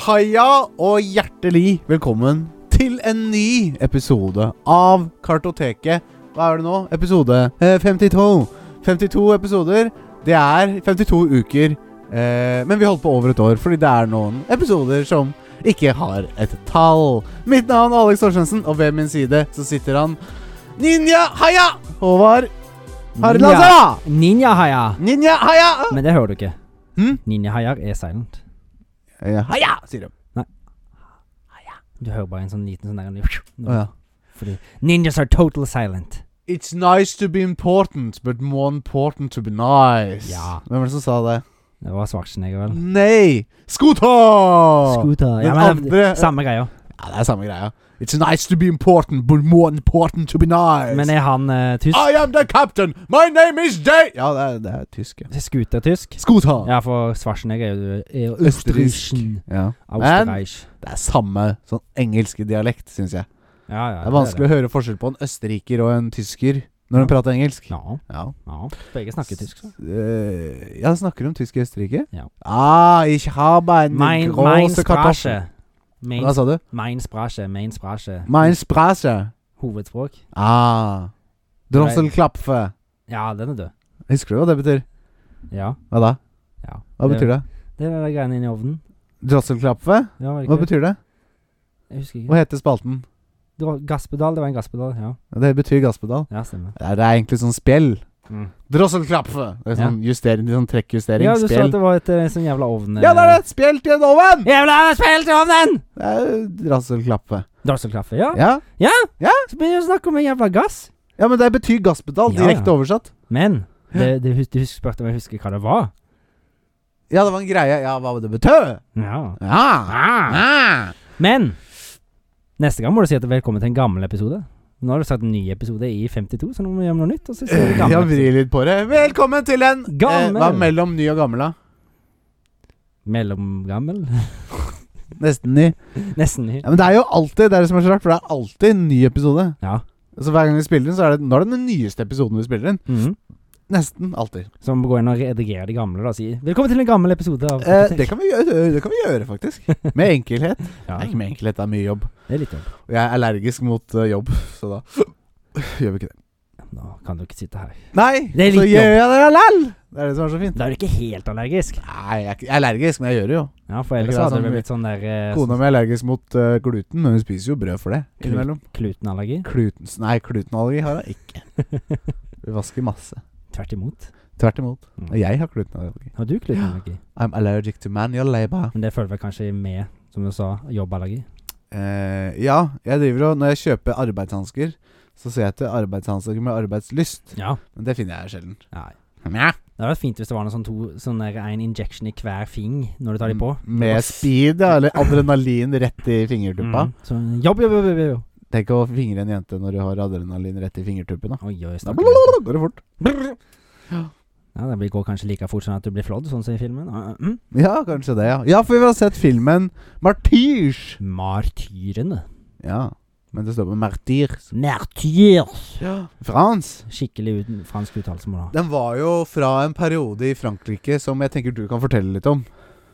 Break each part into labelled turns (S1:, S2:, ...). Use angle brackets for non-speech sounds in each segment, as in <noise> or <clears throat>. S1: Haia og hjertelig velkommen til en ny episode av Kartoteket. Hva er det nå? Episode eh, 52. 52 episoder. Det er 52 uker. Eh, men vi holdt på over et år, fordi det er noen episoder som ikke har et tall. Mitt navn er Alex Torstensen, og ved min side så sitter han Ninja Haia! Håvard Harlandsa!
S2: Ninja-haia.
S1: Ninja Haia!
S2: Men det hører du ikke.
S1: Hm?
S2: Ninja-haier er silent.
S1: Eh, Haia, sier de.
S2: Du hører bare en sånn liten sånn der
S1: Å ja.
S2: Fordi ninjas are total silent.
S1: It's nice to be important, but more important to be nice.
S2: Ja.
S1: Hvem var det som sa det?
S2: Det var Schwarzenegger, vel.
S1: Nei! Scooter!
S2: Scooter.
S1: Den
S2: Ja, men,
S1: andre-
S2: samme greia.
S1: Ja, det er samme greia. It's nice to be important, but more important to be nice.
S2: Men er han eh, tysk?
S1: I am the captain! My name is Day! Ja, det er, det er tysk. ja.
S2: Scooter-tysk?
S1: Scooter!
S2: Ja, for Schwarzenegger er jo- er jo
S1: Ah! Østerriksk.
S2: Østerriksk.
S1: Ja. Men
S2: Austerreich.
S1: det er samme sånn engelske dialekt, syns jeg.
S2: Ja, ja,
S1: Det er vanskelig å høre forskjell på en østerriker og en tysker når
S2: Ja.
S1: de prater engelsk.
S2: Ja,
S1: Ja.
S2: ja. Begge snakker tysk. så.
S1: Eh, ja, snakker de tysk i Østerrike?
S2: Ja.
S1: Ah, ich habe eine
S2: Mein, mein
S1: große Kartoffel.
S2: Sprache. Mein,
S1: Hva sa du?
S2: mein Sprache. Mein Sprache.
S1: Altså- Mein Sprache.
S2: Hovedspråk.
S1: Ah. Drosselklapfe.
S2: Ja, den er død.
S1: Husker du hva det betyr?
S2: Ja.
S1: Hva da?
S2: ja.
S1: Hva betyr det?
S2: Det er de greiene inni ovnen.
S1: Drosselklapfe?
S2: Ja,
S1: Hva
S2: var det ikke det?
S1: betyr det?
S2: Jeg husker ikke.
S1: Hva heter spalten?
S2: Dro- Gasspedal, det var en gasspedal. Ja,
S1: Det betyr gasspedal.
S2: ja stemmer.
S1: Det er, det er egentlig sånn spjell. Drosselklapfe. Det er sånn justering, det er sånn trekkjustering.
S2: Ja, du sa at
S1: spjell.
S2: det var et eh, sånn jævla ovn eh,
S1: Ja, det er det! Spjell til en oven!
S2: Jævla spill til ovnen!
S1: Det er drosselklapfe.
S2: Drosselklaffe, ja.
S1: Ja.
S2: Så begynner du å snakke om en jævla gass.
S1: ja, men det betyr gasspedal.
S2: Ja, ja.
S1: Direkte oversatt.
S2: Men det, det, hus- du hus- spurte om jeg husker hva det var.
S1: Ja, det var en greie. Ja, hva det betød?
S2: Ja.
S1: Ja.
S2: Ah.
S1: Ah.
S2: Men neste gang må du si at velkommen til en gammel episode. Nå har du sagt en ny episode i 52, så nå må vi gjøre noe nytt. Og
S1: <laughs>
S2: så sier vi gammel
S1: Eh, Jeg
S2: episode.
S1: vrir litt på det. Velkommen til en eh,
S2: Gammel.
S1: hva er mellom ny og gammel, da?
S2: Mellomgammel. <laughs>
S1: Nesten ny.
S2: Nesten ny.
S1: Ja, men det er jo alltid det er det som er så rart, for det er alltid en ny episode.
S2: Ja.
S1: Så hver gang vi spiller inn, så er det Nå er det den nyeste episoden vi spiller inn.
S2: Mhm.
S1: Nesten alltid.
S2: Så må vi gå inn og redigere de gamle da og si velkommen til en gammel episode av
S1: Eh, det, kan vi gjøre, det kan vi gjøre, faktisk. Med enkelhet.
S2: ja,
S1: Nei, ikke med enkelhet, det er mye jobb.
S2: det er litt jobb.
S1: Og jeg er allergisk mot eh, jobb, så da <laughs> gjør vi ikke det.
S2: Nå kan du ikke sitte her.
S1: Nei,
S2: Det er
S1: så
S2: litt
S1: gjør jeg det lell! Det er det som er så fint.
S2: Da er du ikke helt allergisk.
S1: Nei, jeg er ikke jeg er allergisk, men jeg gjør det jo.
S2: Ja, for
S1: Det
S2: ellers
S1: kan være
S2: hadde det
S1: sånn-
S2: blitt sånn der eh,
S1: Kona mi er allergisk mot eh, gluten, men hun spiser jo brød for det innimellom.
S2: klutenallergi.
S1: Klutens, nei, klutenallergi har jeg ikke. <laughs> Vi vasker masse.
S2: Tvert imot.
S1: Tvert imot.
S2: Mm.
S1: Og jeg har klutenallergi.
S2: Har du klutenallergi?
S1: I'm allergic to manual labor.
S2: Men det følger vel kanskje med, som du sa, jobballergi.
S1: Eh, ja, jeg driver og Når jeg kjøper arbeidshansker, så ser jeg etter arbeidshansker med arbeidslyst.
S2: Ja.
S1: Men det finner jeg sjelden.
S2: Nei.
S1: Mjau.
S2: Det hadde vært fint hvis det var noe sånn to Sånn der en injection i hver fing når du tar de
S1: Mm.
S2: på.
S1: Med speed, ja. Eller adrenalin rett i fingertuppa.
S2: Mm. Sånn jobb, jobb, jobb, jobb, jobb.
S1: Tenk å fingre en jente når du har adrenalin rett i fingertuppen. Da
S2: Oi, oi,
S1: Da
S2: stakkars jente.
S1: går det fort.
S2: Ja, det blir- går kanskje like fort sånn at du blir flådd, sånn som i filmen. Ah, ah, mm.
S1: Ja, kanskje det, ja. Ja, for vi har sett filmen 'Martyrs'.
S2: Martyrene.
S1: Ja, men det står på 'Martyrs'.
S2: Martyrs.
S1: Frans.
S2: Skikkelig uten fransk uttalelse må du ha.
S1: Den var jo fra en periode i Frankrike som jeg tenker du kan fortelle litt om.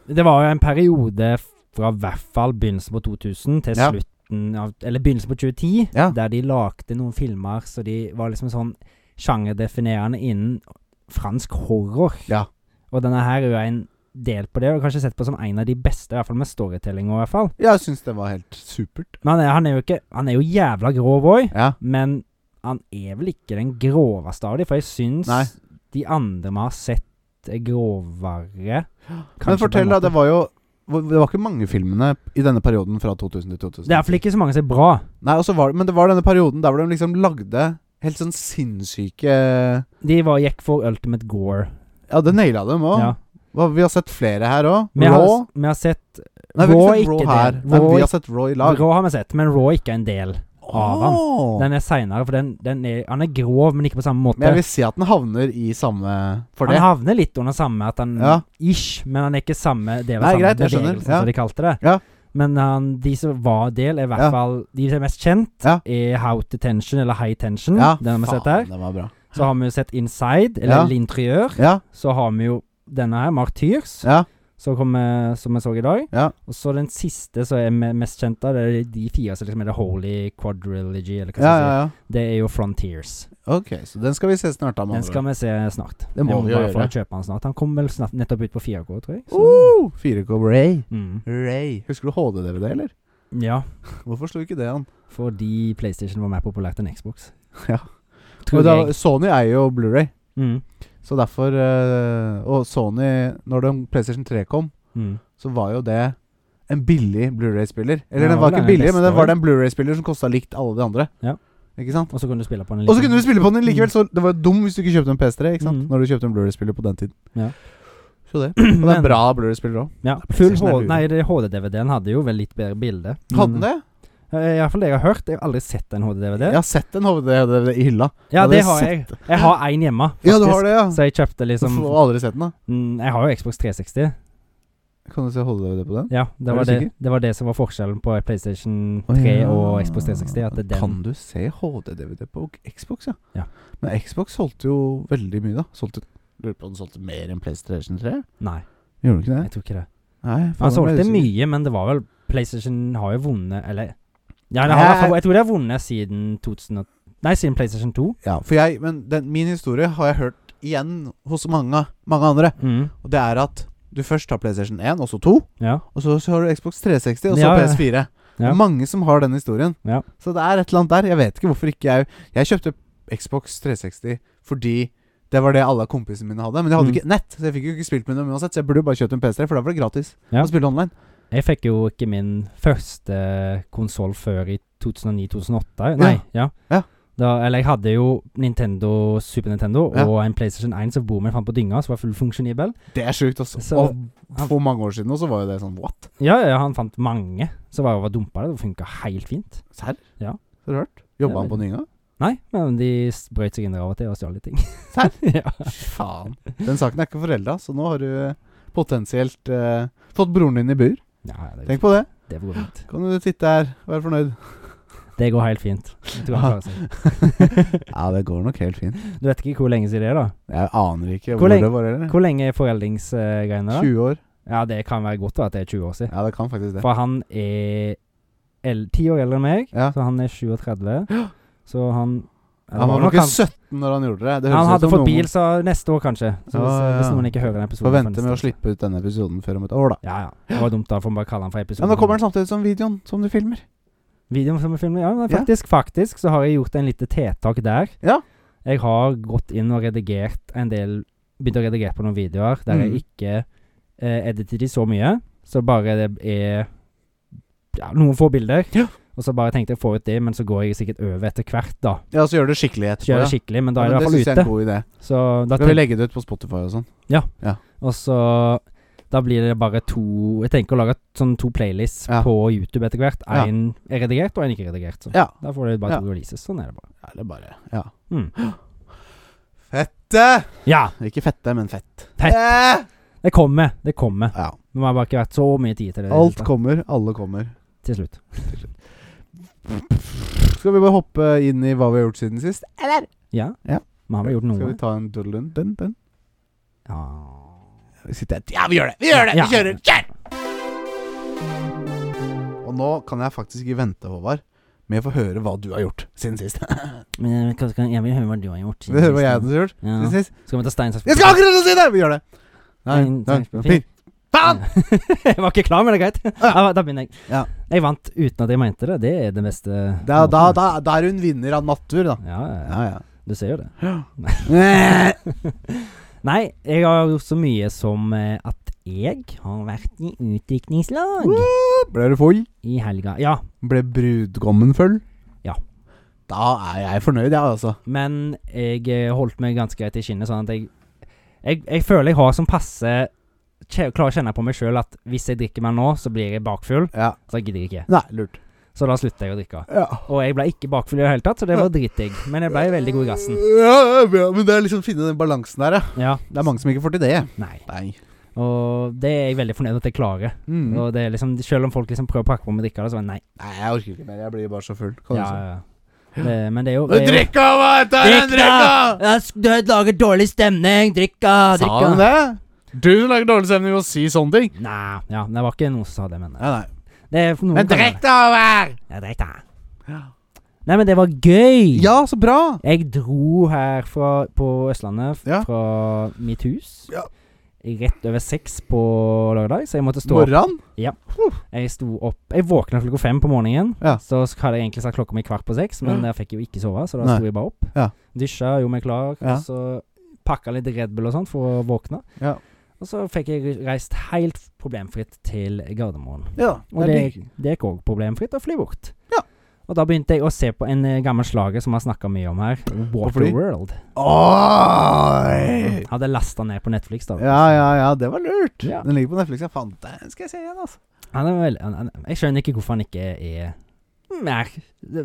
S2: Det var jo en periode fra i hvert fall begynnelsen på 2000 til
S1: Ja.
S2: slutten av Eller begynnelsen på 2010,
S1: Ja.
S2: der de lagde noen filmer så de var liksom sånn sjangerdefinerende innen fransk horror.
S1: Ja.
S2: Og denne her er jo en del på det, og kanskje sett på som en av de beste, i hvert fall med storytelling. og i hvert fall.
S1: Jeg syns den var helt supert.
S2: Men han er, han er jo ikke Han er jo jævla grå, boy,
S1: Ja.
S2: men han er vel ikke den groveste av dem, for jeg syns
S1: Nei.
S2: de andre vi har sett, er grovere. Kanskje på en
S1: Men fortell, da.
S2: måte.
S1: Det var jo det var ikke mange filmene i denne perioden fra 2000 til 2000.
S2: Det er iallfall ikke så mange som er bra.
S1: Nei, og så var det, Men det var denne perioden der hvor de liksom lagde helt sånn sinnssyke
S2: De var, gikk for Ultimate Gore.
S1: Ja, det naila dem òg.
S2: Ja.
S1: Vi har sett flere her òg.
S2: Vi, har,
S1: Raw.
S2: vi har sett
S1: Nei, vi har
S2: Raw
S1: ikke sett Raw
S2: ikke
S1: her.
S2: del.
S1: Nei,
S2: Raw
S1: vi
S2: ikke-
S1: har sett Raw i lag.
S2: Raw har vi sett, men Raw ikke er en del. av han.
S1: Åh.
S2: Den er seinere, for den, den er, han er grov, men ikke på samme måte.
S1: Men jeg vil si at den havner i samme For
S2: han
S1: det.
S2: havner litt under samme at han
S1: Ja.
S2: Ish, men han er ikke samme del av
S1: Nei,
S2: samme
S1: greit, jeg skjønner,
S2: bevegelse,
S1: ja.
S2: som de kalte det.
S1: Ja.
S2: Men han, de som var del, er i hvert
S1: Ja.
S2: fall De som er mest kjent,
S1: Ja.
S2: er How to Tension, eller High Tension.
S1: Ja,
S2: den har vi sett
S1: faen,
S2: her.
S1: den var bra.
S2: Så har vi jo sett Inside,
S1: Ja.
S2: eller L'Interieur.
S1: Ja,
S2: Så har vi jo denne her, Martyrs.
S1: ja.
S2: Så kommer, som jeg så i dag.
S1: Ja.
S2: Og så den siste som er me- mest kjent av, det er de fire som liksom er det Holy Quadrilogy, eller hva
S1: Ja,
S2: skal jeg
S1: ja, ja.
S2: si. Det er jo Frontiers.
S1: Ok, så den skal vi se snart, da. med
S2: Den
S1: andre
S2: skal vi se snart.
S1: Det må
S2: jeg
S1: vi gjøre.
S2: bare få kjøpe den snart. Han kom vel snart, nettopp ut på 4K, tror jeg.
S1: ord. Oh, 4K Ray.
S2: Mm.
S1: Ray. Husker du HD-DVD, eller?
S2: Ja,
S1: Hvorfor slo ikke det an?
S2: fordi PlayStation var mer populært enn Xbox.
S1: <laughs> Ja. Men
S2: Tror
S1: da,
S2: jeg.
S1: Sony eier jo Blu-ray
S2: Mm.
S1: så derfor eh, Og Sony, når den PlayStation 3 kom,
S2: Mm.
S1: så var jo det en billig Blu-ray-spiller. Eller
S2: Ja,
S1: den var
S2: det
S1: ikke
S2: er den
S1: billig, men
S2: beste,
S1: den var
S2: vel?
S1: den Blu-ray-spiller som kosta likt alle de andre.
S2: Ja.
S1: Ikke sant?
S2: Og så kunne du spille på den
S1: Og så kunne du spille på den likevel,
S2: Mm.
S1: så det var jo dum hvis du ikke kjøpte en PS3. Ikke sant?
S2: Mm.
S1: Når du kjøpte en Blu-ray-spiller på den tiden.
S2: Ja.
S1: Så det.
S2: <clears throat>
S1: Og det er
S2: Men-
S1: bra Blu-ray-spiller òg.
S2: Ja, full
S1: PlayStation er
S2: HD
S1: lure.
S2: Nei, det- HD-DVD-en hadde jo vel litt bedre bilde. eh,
S1: Hadde den det?
S2: Iallfall det jeg har hørt. Jeg har aldri sett en HD-DVD.
S1: Jeg har sett en HVD i hylla.
S2: Ja,
S1: Hadde
S2: det
S1: jeg
S2: har jeg. Jeg har én hjemme, faktisk.
S1: Ja, du har det, ja.
S2: Så jeg kjøpte
S1: Du
S2: liksom
S1: får aldri sett den, da.
S2: mm, Jeg har jo Xbox 360.
S1: Kan du se HVD på den?
S2: Ja, det
S1: Er du
S2: var det,
S1: sikker?
S2: det var det som var forskjellen på PlayStation
S1: Å,
S2: 3
S1: ja.
S2: og Xbox 360. At det er den
S1: Kan du se HD-DVD på Xbox, ja?
S2: Ja.
S1: Men Xbox solgte jo veldig mye, da. Solgte, lurer på om den solgte mer enn PlayStation 3?
S2: Nei,
S1: Gjorde den ikke det?
S2: jeg tror ikke det.
S1: Nei, faen,
S2: Han
S1: da ble jeg
S2: solgte
S1: usikker.
S2: mye, men det var vel PlayStation har jo vunnet, eller Ja, det har,
S1: Nei,
S2: i hvert fall- jeg tror de har vunnet siden 2000 og, Nei, siden PlayStation 2.
S1: Ja, for jeg, men den, min historie har jeg hørt igjen hos mange, mange andre.
S2: Mm,
S1: Og det er at du først har PlayStation 1, og så 2,
S2: ja.
S1: og så, så har du Xbox 360, og så
S2: Ja, ja.
S1: PS4. Det
S2: Ja.
S1: er Mange som har den historien.
S2: Ja.
S1: Så det er et eller annet der. Jeg vet ikke hvorfor ikke jeg Jeg kjøpte Xbox 360 fordi det var det alle kompisene mine hadde. Men jeg hadde
S2: Mm.
S1: ikke nett, så jeg fikk jo ikke spilt med dem uansett. Så jeg burde jo bare kjøpt en PS3, for da var det gratis
S2: Ja.
S1: å spille online.
S2: Jeg fikk jo ikke min første konsoll før i 2009-2008. Nei, ja.
S1: Ja.
S2: Da, eller jeg hadde jo Nintendo, Super Nintendo
S1: Ja.
S2: og en PlayStation 1 som broren min fant på dynga, som var fullfunksjonibel.
S1: Det er sjukt, altså.
S2: Så-
S1: og for mange år siden også var jo det sånn what?
S2: Ja, ja, han fant mange, så var jeg var dumpa det. Det funka helt fint.
S1: Serr?
S2: Ja.
S1: Har du hørt?
S2: Ja,
S1: Jobba han
S2: men-
S1: på Nynga?
S2: <laughs> Nei, men de s- brøt seg inn der av og til og stjal litt ting.
S1: Serr?
S2: <laughs> ja.
S1: Faen. Den saken er ikke forelda, så nå har du eh, potensielt eh, fått broren din i bur.
S2: ja, det,
S1: Tenk på det.
S2: det går fint.
S1: Kan du sitte her, være fornøyd.
S2: Det går helt fint. Jeg tror
S1: Ah.
S2: han klarer seg.
S1: <laughs> Ja, det går nok helt fint.
S2: Du vet ikke hvor lenge siden det er, da?
S1: Jeg aner ikke
S2: Hvor
S1: hvor,
S2: lenge-
S1: det var heller.
S2: Hvor lenge er foreldingsgreiene, da?
S1: 20 år.
S2: Ja, det kan være godt da, at det er 20 år siden.
S1: Ja, det kan faktisk det.
S2: For han er el- 10 år eldre enn meg,
S1: Ja.
S2: så han
S1: <gasps>
S2: er 37. Så han ja, det
S1: Han var nok
S2: nok
S1: ikke 17 når han gjorde det. det
S2: Han
S1: høres ut
S2: hadde
S1: som
S2: fått
S1: noen
S2: bil, så neste år kanskje. Så hvis,
S1: Ja, ja,
S2: hvis
S1: ja.
S2: noen ikke hører den
S1: Får
S2: episoden fra
S1: vente
S2: neste
S1: med å
S2: år.
S1: slippe ut denne episoden før om et år, da.
S2: Ja, ja. Det var dumt, da. Får man bare kalle den for
S1: Men
S2: episode
S1: nå kommer den samtidig som videoen som du filmer.
S2: Videoen som vi filmer, ja. Men
S1: Ja.
S2: faktisk, faktisk så har jeg gjort en lite tiltak der.
S1: Ja.
S2: Jeg har gått inn og redigert en del Begynt å redigere på noen videoer der jeg
S1: Mm.
S2: ikke eh, editer de så mye. Så bare det er ja, noen få bilder.
S1: Ja.
S2: Og så bare tenkte jeg å få ut det, men så går jeg sikkert over etter hvert, da.
S1: Ja, så gjør du skikkelig
S2: Så gjør jeg det skikkelig, men da er det i
S1: det synes jeg
S2: hvert
S1: er en
S2: fall
S1: god
S2: ute.
S1: idé.
S2: Så da
S1: Da kan vi
S2: tenk,
S1: legge det ut på Spotify og sånn.
S2: og så da blir det bare to Jeg tenker å lage sånn to playlists
S1: Ja.
S2: på YouTube etter hvert.
S1: Ja.
S2: Én er redigert, og én ikke redigert. Så.
S1: Ja.
S2: Da får du bare
S1: Ja.
S2: to releases. Sånn er det bare.
S1: Eller bare Ja.
S2: Mm.
S1: Fette!
S2: Ja!
S1: Ikke fette, men fett.
S2: Fett.
S1: Eh!
S2: Det kommer. Det kommer.
S1: Ja.
S2: Nå har jeg bare ikke vært så mye tid til det. i det
S1: Alt
S2: siste.
S1: kommer, alle kommer.
S2: til slutt.
S1: Skal vi bare hoppe inn i hva vi har gjort siden sist? Eller?
S2: Ja.
S1: Ja.
S2: Men har vi gjort
S1: Skal
S2: noe?
S1: vi ta en duddelen? Den, den.
S2: Ja.
S1: Vi sitter her. Ja, vi gjør det! Vi gjør det!
S2: Ja.
S1: Vi kjører! Kjør! Og nå kan jeg faktisk ikke vente, Håvard, med å få høre hva du har gjort siden <laughs> sist.
S2: Men jeg, vet ikke hva- skal- jeg vil høre hva du har gjort.
S1: Vil du høre hva jeg har gjort
S2: Ja.
S1: siden sist?
S2: Skal vi ta stein, saks,
S1: Jeg skal akkurat si det! Vi gjør det! Nei,
S2: Stein,
S1: nei,
S2: saks, papir.
S1: papir. Faen!
S2: <laughs> jeg var ikke klar, men det er greit. Ja. da begynner jeg.
S1: Ja.
S2: Jeg vant uten at jeg mente det. Det er det beste.
S1: Da, da, da, da er hun vinner av natur, da.
S2: Ja, ja, ja.
S1: Ja, ja.
S2: Du ser jo det.
S1: Eh,
S2: Nei, jeg har gjort så mye som eh, at jeg har vært i utviklingslag
S1: Ble du full?
S2: i helga. Ja,
S1: Ble brudgommen full?
S2: Ja.
S1: Da er jeg fornøyd, jeg, altså.
S2: Men jeg eh, holdt meg ganske greit i skinnet, sånn at jeg Jeg, jeg føler jeg har som passe kje- Klarer å kjenne på meg sjøl at hvis jeg drikker meg nå, så blir jeg bakfull.
S1: Ja.
S2: Så jeg gidder jeg ikke.
S1: Nei, lurt.
S2: Så da slutter jeg å drikke.
S1: Ja.
S2: Og jeg ble ikke bakfull i det hele tatt, så det var dritdigg. Men jeg ble veldig god i gassen.
S1: Ja, ja, men det er liksom å finne den balansen der, ja.
S2: Ja.
S1: Det er mange som ikke får til det.
S2: Nei.
S1: Nei.
S2: Og det er jeg veldig fornøyd med at jeg klarer.
S1: Mm.
S2: Og det er liksom Selv om folk liksom prøver å pakke på meg drikke, så er det nei.
S1: Nei, jeg orker ikke mer. Jeg blir bare så full.
S2: Ja, ja, ja. Det, men det er jo det er jo-
S1: Drikka, hva heter
S2: Drikk, ah. da! Jeg s- Du lager dårlig stemning. Drikk, da!
S1: Sa han det? Du som lager dårlig stemning ved å si sånne ting.
S2: Nei, ja, det var ikke noen som sa det, men
S1: Nei, nei.
S2: det er noen
S1: Men
S2: kan gjøre
S1: drekk deg over!
S2: det. Ja, drekk, da. Nei, men det var gøy!
S1: Ja, så bra!
S2: Jeg dro her fra, på Østlandet, f-
S1: Ja.
S2: fra mitt hus.
S1: Ja.
S2: Rett over seks på lørdag, så jeg måtte stå opp.
S1: Morran?
S2: Jeg sto opp Jeg våkna klokka fem på morgenen.
S1: Ja.
S2: Så sk- hadde jeg egentlig sagt klokka mi kvart på seks, men
S1: Ja.
S2: jeg fikk jo ikke sove, så da
S1: Nei.
S2: sto jeg bare opp.
S1: Ja.
S2: Dusja, gjorde meg klar,
S1: Ja.
S2: og så pakka litt Red Bull og sånt for å våkne.
S1: Ja.
S2: Og så fikk jeg reist helt problemfritt til Gardermoen.
S1: Ja. det
S2: Og
S1: er
S2: det, det gikk òg problemfritt å fly bort.
S1: Ja.
S2: Og da begynte jeg å se på en eh, gammel slager som vi har snakka mye om her.
S1: fly?
S2: Waterworld.
S1: Oi!
S2: Hadde lasta ned på Netflix. da
S1: Ja, ja, ja, det var lurt.
S2: Ja.
S1: Den ligger på Netflix. Jeg fant den. Skal jeg se igjen, altså.
S2: Han er vel, han, han, jeg skjønner ikke hvorfor han ikke er mer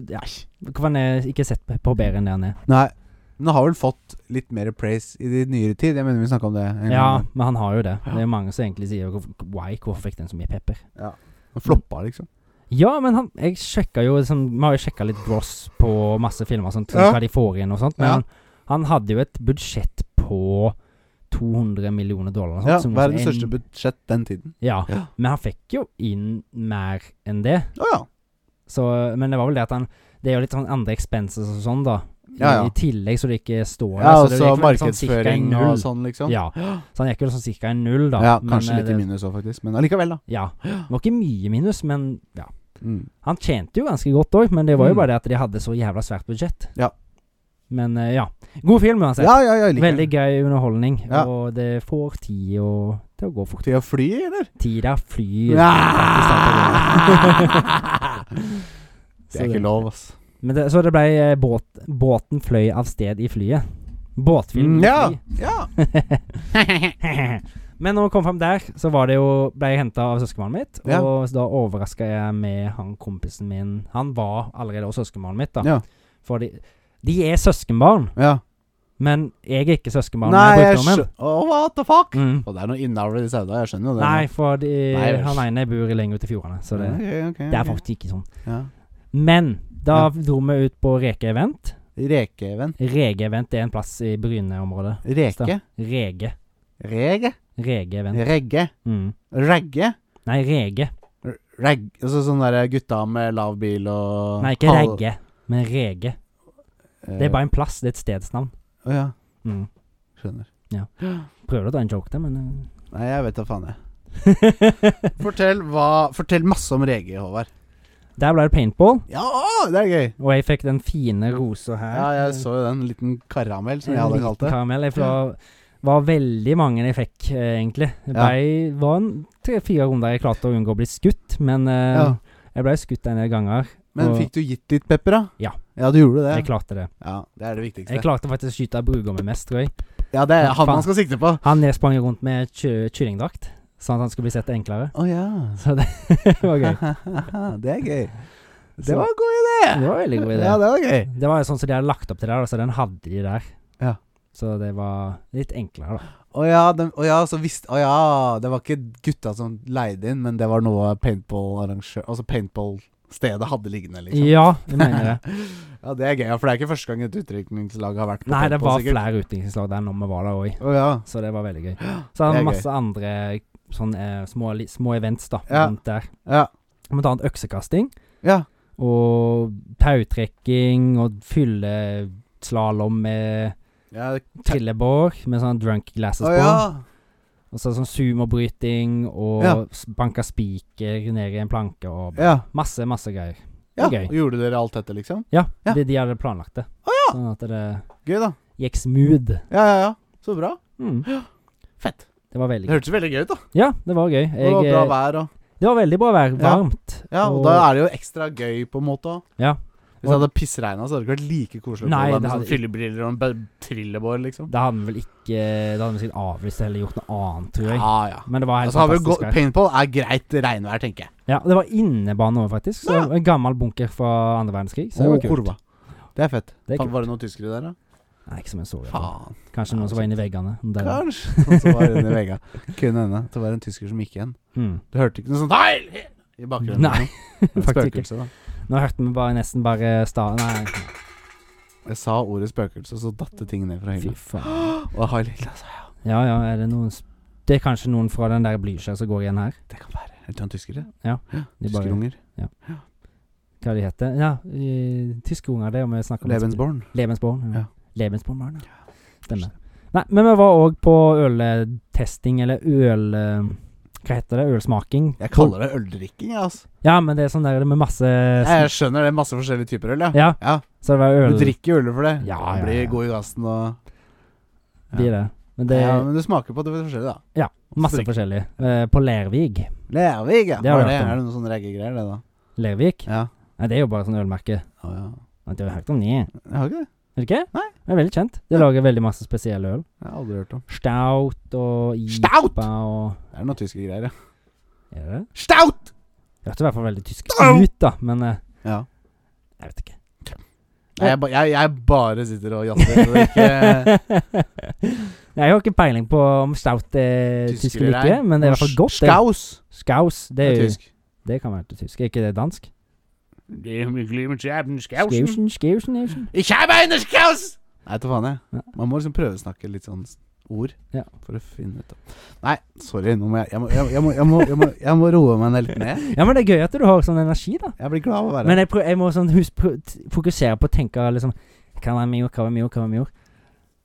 S2: ja, Hvorfor han er ikke sett på, på bedre enn det han er.
S1: Nei. Men den har vel fått litt mer praise i de nyere tid. Jeg mener vi snakka om det. en gang.
S2: Ja, men han har jo det. Det er jo mange som egentlig sier "Hvorfor- Why, hvorfor fikk den så mye pepper?
S1: Den floppa, liksom.
S2: Ja, men han Jeg sjekka jo liksom, Vi har jo sjekka litt gross på masse filmer sånn og sånt,
S1: Ja.
S2: hva de får inn og sånt, men
S1: Ja.
S2: han, han hadde jo et budsjett på 200 millioner dollar. og Sånt,
S1: Ja,
S2: sånn som også
S1: Verdens
S2: er en-
S1: største budsjett den tiden.
S2: Ja,
S1: Ja.
S2: men han fikk jo inn mer enn det.
S1: Å ja.
S2: Så, men det var vel det at han Det er jo litt sånn andre expenses og sånn, da. I,
S1: Ja, ja.
S2: I tillegg så det ikke står der.
S1: ja
S2: så
S1: og
S2: det
S1: så
S2: gikk vel sånn cirka i
S1: markedsføring
S2: null.
S1: og sånn, liksom.
S2: Ja, så han gikk vel sånn cirka i null, da.
S1: Ja,
S2: men,
S1: kanskje
S2: eh,
S1: litt i minus òg, faktisk. Men allikevel, da.
S2: det- Ja. Det var ikke mye minus, men ja.
S1: Mm.
S2: Han tjente jo ganske godt òg, men det var jo
S1: Mm.
S2: bare det at de hadde så jævla svært budsjett.
S1: Ja.
S2: Men eh, ja. God film uansett.
S1: Ja, ja, ja, jeg liker
S2: Veldig
S1: det.
S2: gøy underholdning,
S1: Ja.
S2: og det får tid å, til å gå fort.
S1: Til å fly, eller?
S2: Tida flyr.
S1: <laughs> Ah!
S2: Så
S1: Det er ikke lov, ass.
S2: Men det, så det ble eh, båt, Båten fløy av sted i flyet. Båtfilm. i
S1: Mm, ja.
S2: fly.
S1: ja.
S2: <laughs>
S1: <laughs>
S2: Men når jeg kom fram der, så var det jo, ble jeg henta av søskenbarnet mitt.
S1: Ja.
S2: Og så da overraska jeg med han kompisen min. Han var allerede hos søskenbarnet mitt, da.
S1: Ja.
S2: For de, de er søskenbarn,
S1: ja.
S2: men jeg er ikke søskenbarn.
S1: Nei,
S2: jeg er
S1: jeg
S2: brukdommen.
S1: skjønner oh, What the fuck?
S2: Mm.
S1: Og det er noe innavl i disse hoda, jeg skjønner jo det.
S2: Nei, for de,
S1: Nei, vel.
S2: han ene bor lenger ute i fjordene, så det,
S1: Ok, ok,
S2: det er
S1: ok.
S2: faktisk ikke sånn.
S1: ja.
S2: Men da dro vi ut på Reke Event.
S1: Rekeven.
S2: Rege Event er en plass i Bryne-området.
S1: Reke?
S2: Rege.
S1: Rege?
S2: Rege Event.
S1: Regge?
S2: Mm.
S1: Regge?
S2: Nei, Rege.
S1: R- Reg... Altså sånn der gutta med lav bil og
S2: Nei, ikke
S1: Hal-
S2: Regge, men Rege.
S1: eh,
S2: Det er bare en plass, det er et stedsnavn.
S1: Å ja.
S2: Mm.
S1: Skjønner.
S2: Prøvde å ta en joke der, men
S1: Nei, jeg vet da faen, jeg.
S2: eh.
S1: Fortell, hva, fortell masse om Rege, Håvard.
S2: <laughs> Der ble det paintball,
S1: Ja, å, det er gøy!
S2: og jeg fikk den fine rosa her.
S1: Ja, jeg så jo den. Liten karamell, som
S2: En
S1: jeg hadde
S2: liten
S1: kalt det.
S2: Karamell. Jeg var, var veldig mange jeg fikk, eh, egentlig. Det
S1: Ja.
S2: ble- var en tre-fire runder jeg klarte å unngå å bli skutt, men eh,
S1: Ja.
S2: jeg ble skutt en del ganger.
S1: Men
S2: Og-
S1: fikk du gitt litt pepper, da?
S2: Ja.
S1: Ja, du gjorde
S2: Jeg
S1: det?
S2: klarte det.
S1: Ja, Det er det
S2: Jeg
S1: viktigste.
S2: klarte faktisk å skyte brudgommen mest, tror jeg.
S1: Ja, det er
S2: Ja,
S1: han
S2: faen.
S1: man skal sikte på.
S2: Han jeg sprang jo rundt med ky- kyllingdrakt, sånn at han skulle bli sett enklere. <laughs>
S1: Å ja.
S2: Så det var gøy. <laughs>
S1: det er gøy. <laughs>
S2: Så-
S1: Det var en god idé!
S2: Det var en veldig god idé.
S1: Ja, det var gøy.
S2: Det var jo sånn som de hadde lagt opp til der, da, så den hadde de der.
S1: Ja.
S2: Så det var litt enklere, da.
S1: Å ja, den, å ja, så visst, å ja, det var ikke gutta som leide inn, men det var noe paintball-arrangør Altså paintball-stedet hadde liggende, liksom.
S2: Ja, jeg mener
S1: <laughs>
S2: det.
S1: Ja, det er gøy, ja, for det er ikke første gang et utdrikningslag har vært på
S2: Nei, det
S1: paintball,
S2: var
S1: sikkert.
S2: flere utviklingslag der når vi var der òg,
S1: Å ja.
S2: så det var veldig gøy. Så
S1: Det
S2: hadde
S1: er
S2: vi masse andre sånn eh, små, li- små events da,
S1: Ja.
S2: rundt der.
S1: Ja.
S2: Blant annet øksekasting
S1: Ja.
S2: og tautrekking og fylleslalåm med
S1: ja.
S2: trillebår med sånn drunk glasses
S1: Å
S2: på.
S1: ja.
S2: Og så sånn sumobryting og
S1: Ja.
S2: s- banka spiker ned i en planke og
S1: ja.
S2: masse, masse greier.
S1: ja.
S2: Det er gøy.
S1: Og gjorde dere alt dette, liksom?
S2: Ja,
S1: Ja.
S2: Det, de hadde planlagt det. Sånn at det
S1: Gøy, da.
S2: gikk smooth.
S1: Ja, ja, ja. Så bra.
S2: Mm.
S1: Fett.
S2: Det var
S1: Det
S2: veldig gøy.
S1: hørtes veldig gøy ut, da.
S2: Ja, det var gøy.
S1: Og det var
S2: Jeg,
S1: bra
S2: eh,
S1: vær og
S2: det var veldig bra vær.
S1: Ja.
S2: Varmt.
S1: Ja, og da er det jo ekstra gøy, på en måte. også.
S2: Ja.
S1: Hvis det hadde pissregna, så hadde det ikke vært like koselig. å
S2: Nei,
S1: gå der
S2: det
S1: med
S2: hadde
S1: sånn Fyllebriller og en bø- trillebår, liksom.
S2: Da hadde vi vel ikke Da hadde vi sikkert avlyst eller gjort noe annet, tror jeg.
S1: Ja, ja.
S2: Men det var helt
S1: Altså, har vi gå-
S2: fantastisk. vær.
S1: paintball er greit regnvær, tenker jeg.
S2: Ja, det var innebane òg, faktisk. Så
S1: Ja.
S2: En gammel bunker fra andre verdenskrig. Så det var kult.
S1: kurva. Det er fett.
S2: Det er
S1: Faen,
S2: kult.
S1: Var det noen tyskere der, da?
S2: Nei, ikke som jeg så. i hvert fall.
S1: Faen.
S2: Kanskje
S1: Ja,
S2: noen som var inni veggene. Der.
S1: Kanskje. <laughs> Noen som var inne i vegga. Kunne hende. Det var en tysker som gikk igjen.
S2: Mm.
S1: Du hørte ikke noe sånt Hei! i bakgrunnen? <laughs>
S2: Nei, faktisk ikke.
S1: Spøkelse, da.
S2: Nå hørte vi bare nesten bare sta... Nei,
S1: Jeg sa ordet spøkelse, og så datt det ting ned fra
S2: fy
S1: hylla.
S2: faen.
S1: Og hylla, altså.
S2: Ja ja, er det noen Det er kanskje noen fra den der Blücher som går igjen her.
S1: Det kan være. Er det han tyskere?
S2: Ja, De bare,
S1: Tyskerunger.
S2: hva de heter Ja, eh, tyske unger, det om vi snakker om
S1: Lebensborn.
S2: Lebensborn.
S1: Ja.
S2: Ja. Lebensborn-barn, ja. Stemmer. Nei, men vi var òg på øltesting, eller øl... eh, Hva heter det? Ølsmaking?
S1: Jeg kaller det øldrikking, jeg, altså.
S2: Ja, men det er sånn der med masse
S1: Jeg skjønner det er masse forskjellige typer øl, ja.
S2: Ja,
S1: Ja.
S2: så det var øl
S1: Du drikker jo øl for det.
S2: Ja, ja,
S1: Du
S2: ja.
S1: Blir god i gassen og
S2: blir det. Men det er
S1: ja, Men du smaker på det forskjellige, da.
S2: Ja, masse forskjellig. Eh, på Lervig.
S1: Lervig, ja.
S2: Det har
S1: Hva er det?
S2: jeg hørt om.
S1: Er det noen sånne reggegreier, det, da?
S2: Lervik?
S1: Ja.
S2: Nei, det er jo bare sånn ølmerke.
S1: Å, ja.
S2: Nei, Det har jeg hørt om det.
S1: Jeg har ikke det.
S2: Er det ikke?
S1: Nei.
S2: Det er veldig kjent. De
S1: Ja.
S2: lager veldig masse spesiell øl.
S1: Jeg har aldri hørt om.
S2: Stout og IPA
S1: Stout!
S2: og
S1: Det er noen tyske greier, ja.
S2: Er det det?
S1: Stout!
S2: Det hørtes i hvert fall veldig tysk
S1: Stout!
S2: ut, da, men eh,
S1: Ja.
S2: jeg vet ikke.
S1: Nei, jeg, ba- jeg, jeg bare sitter og jazzer. og eh, ikke-
S2: Nei, jeg har ikke peiling på om stout er tysk eller
S1: greier.
S2: ikke, men <laughs> det er i hvert fall godt. det.
S1: Skaus
S2: Skaus. Det,
S1: er
S2: er jo,
S1: tysk.
S2: det kan være tysk. Er ikke det dansk?
S1: Det er mye glimmer til den
S2: Skausen, skausen, skausen.
S1: Ich habe eine Skaus! Nei, ta faen,
S2: Ja.
S1: jeg. Man må liksom prøve å snakke litt sånn s- ord
S2: Ja.
S1: for å finne ut av Nei, sorry. Nå må jeg Jeg må, jeg, jeg må, jeg må, jeg må, jeg må roe meg ned litt ned.
S2: Ja, men det er gøy at du har sånn energi, da.
S1: Jeg blir glad av å være her.
S2: Men jeg, prøv, jeg må sånn hus, pr- t- fokusere på å tenke liksom Kan være mjor, kan være mjor, kan være mjor.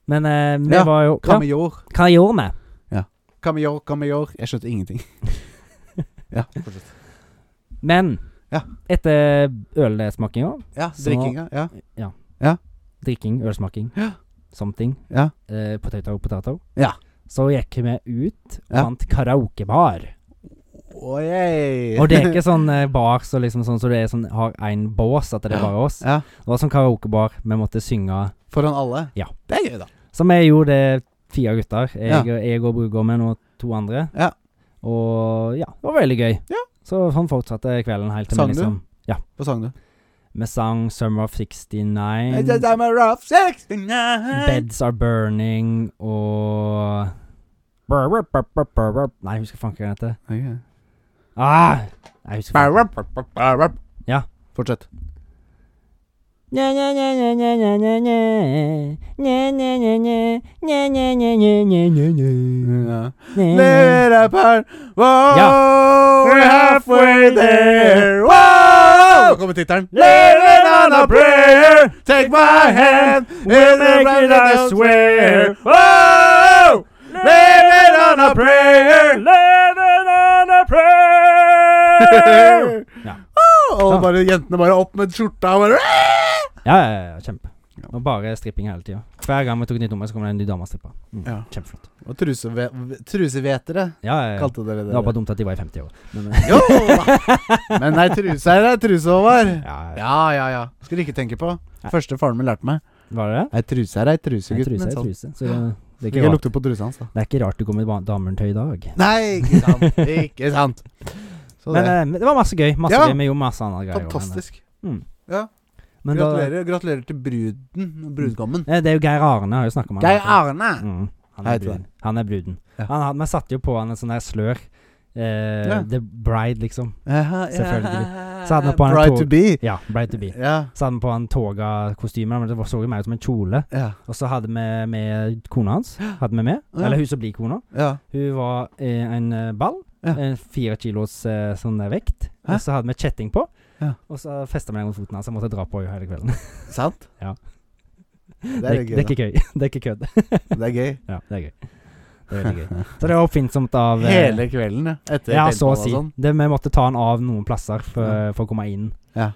S2: Men eh, vi
S1: Ja,
S2: var jo ja,
S1: Kamejor.
S2: Hva jeg gjorde vi?
S1: Kamejor, kamejor. Jeg skjønte
S2: <laughs>
S1: ingenting. ja, fortsett.
S2: Men
S1: Ja.
S2: etter ølsmakinga
S1: Ja,
S2: Så-
S1: drikkinga. Ja.
S2: Drikking, ølsmaking,
S1: Ja.
S2: something,
S1: ja.
S2: eh, potato, potato.
S1: Ja.
S2: Så gikk vi ut og
S1: Ja.
S2: fant karaokebar.
S1: Oh, yeah.
S2: Og det er ikke sånn eh, bar så liksom sånn så det er sånn, har én bås, at det er bare oss.
S1: <laughs> Ja,
S2: Det var sånn karaokebar. Vi måtte synge.
S1: Foran alle?
S2: Ja.
S1: Det er gøy, da.
S2: Så vi gjorde det, fire gutter. Jeg,
S1: Ja.
S2: og- jeg og brudgommen og to andre.
S1: Ja.
S2: Og ja, det var veldig gøy.
S1: Ja.
S2: Så sånn fortsatte kvelden helt til
S1: Sang
S2: vi
S1: du?
S2: liksom Ja.
S1: Hva sang du?
S2: Vi sang 'Summer of 69',
S1: It's a summer of 69.
S2: 'Beds Are Burning' og brr, brr, brr, brr, brr, brr. Nei, jeg husker faen ikke hva den heter.
S1: Ok.
S2: Ah! Nei, Jeg husker faen ikke. Ja.
S1: Fortsett.
S2: Nja, nja, nja, nja, nja, nja, nja, nja. Nja, nja, nja, nja. Nja, nja, nja, nja, nja, nja, nja.
S1: Ja.
S2: Nja.
S1: Let up our Wow,
S2: Ja.
S1: we're halfway there. Wow! Nå kommer tittelen. Let it on a prayer. Take my hand. We'll make it, I swear. Wow! Let it on a prayer. Let it on a <laughs> prayer.
S2: Ja.
S1: Wow! Og bare, jentene bare opp med skjorta og bare
S2: Ja, ja, ja, kjempe.
S1: Ja.
S2: Og bare stripping hele tida. Hver gang vi tok et nytt nummer, så kom det en ny dame og strippa. Mm.
S1: Ja.
S2: Kjempeflott.
S1: Og truseve- trusevetere,
S2: Ja, ja, ja.
S1: kalte dere det. eh,
S2: Det var bare dumt at de var i 50 år. Men,
S1: Jo da. Men nei, truse er ei truse, Håvard.
S2: <laughs> ja, ja.
S1: Ja, ja, ja. Skal du ikke tenke på.
S2: Nei.
S1: Første faren min lærte meg.
S2: Var det det?
S1: Ei truse er ei truse,
S2: En
S1: gutten min.
S2: truse er
S1: sa han.
S2: en truse. Så det, det, er
S1: Fikk
S2: ikke
S1: jeg
S2: rart.
S1: lukte på trusa hans, da.
S2: det er ikke rart du går med ba- damertøy i dag.
S1: Nei, ikke sant. Ikke sant. Så
S2: Men
S1: det.
S2: eh, men det var masse gøy. Masse
S1: Ja. eh.
S2: gøy med jo masse andre greier. også, men,
S1: Fantastisk.
S2: Mm.
S1: Ja.
S2: Men da,
S1: gratulerer, gratulerer til bruden og brudgommen.
S2: eh, det er jo Geir Arne, har jo snakka om han.
S1: Geir Arne.
S2: Mm, han,
S1: Hei
S2: er
S1: til
S2: bruden. han er bruden.
S1: Ja.
S2: Han, han, vi satte jo på han en sånn der slør. Eh,
S1: Ja.
S2: The Bride, liksom.
S1: Jaha, ja.
S2: Selvfølgelig. Så hadde han på en
S1: Bride
S2: tog-
S1: to be.
S2: Ja, Bride to be.
S1: Ja.
S2: Så hadde vi på han toga-kostymer, men det var- så jo mer ut som en kjole.
S1: Ja.
S2: Og så hadde vi med kona hans. Hadde vi med.
S1: Ja.
S2: Eller hun som blir kona.
S1: ja.
S2: Hun var eh, en eh, ball.
S1: Ja.
S2: En fire kilos eh, sånn der vekt.
S1: Hæ?
S2: Og så hadde vi kjetting på.
S1: Ja.
S2: Og så festa vi den rundt foten hans. Jeg måtte dra på henne hele kvelden.
S1: Sant?
S2: Ja.
S1: Det
S2: Det
S1: er
S2: er,
S1: litt
S2: det er
S1: gøy.
S2: ikke gøy. <laughs> Det er ikke kødd.
S1: da. Det er gøy.
S2: Ja, det er gøy. Det er
S1: <laughs>
S2: veldig gøy. Så det var oppfinnsomt av eh,
S1: Hele kvelden, ja. Etter
S2: Ja, så å
S1: teltball
S2: si.
S1: og sånn.
S2: Det, vi måtte ta den av noen plasser for, for å komme inn.
S1: Ja.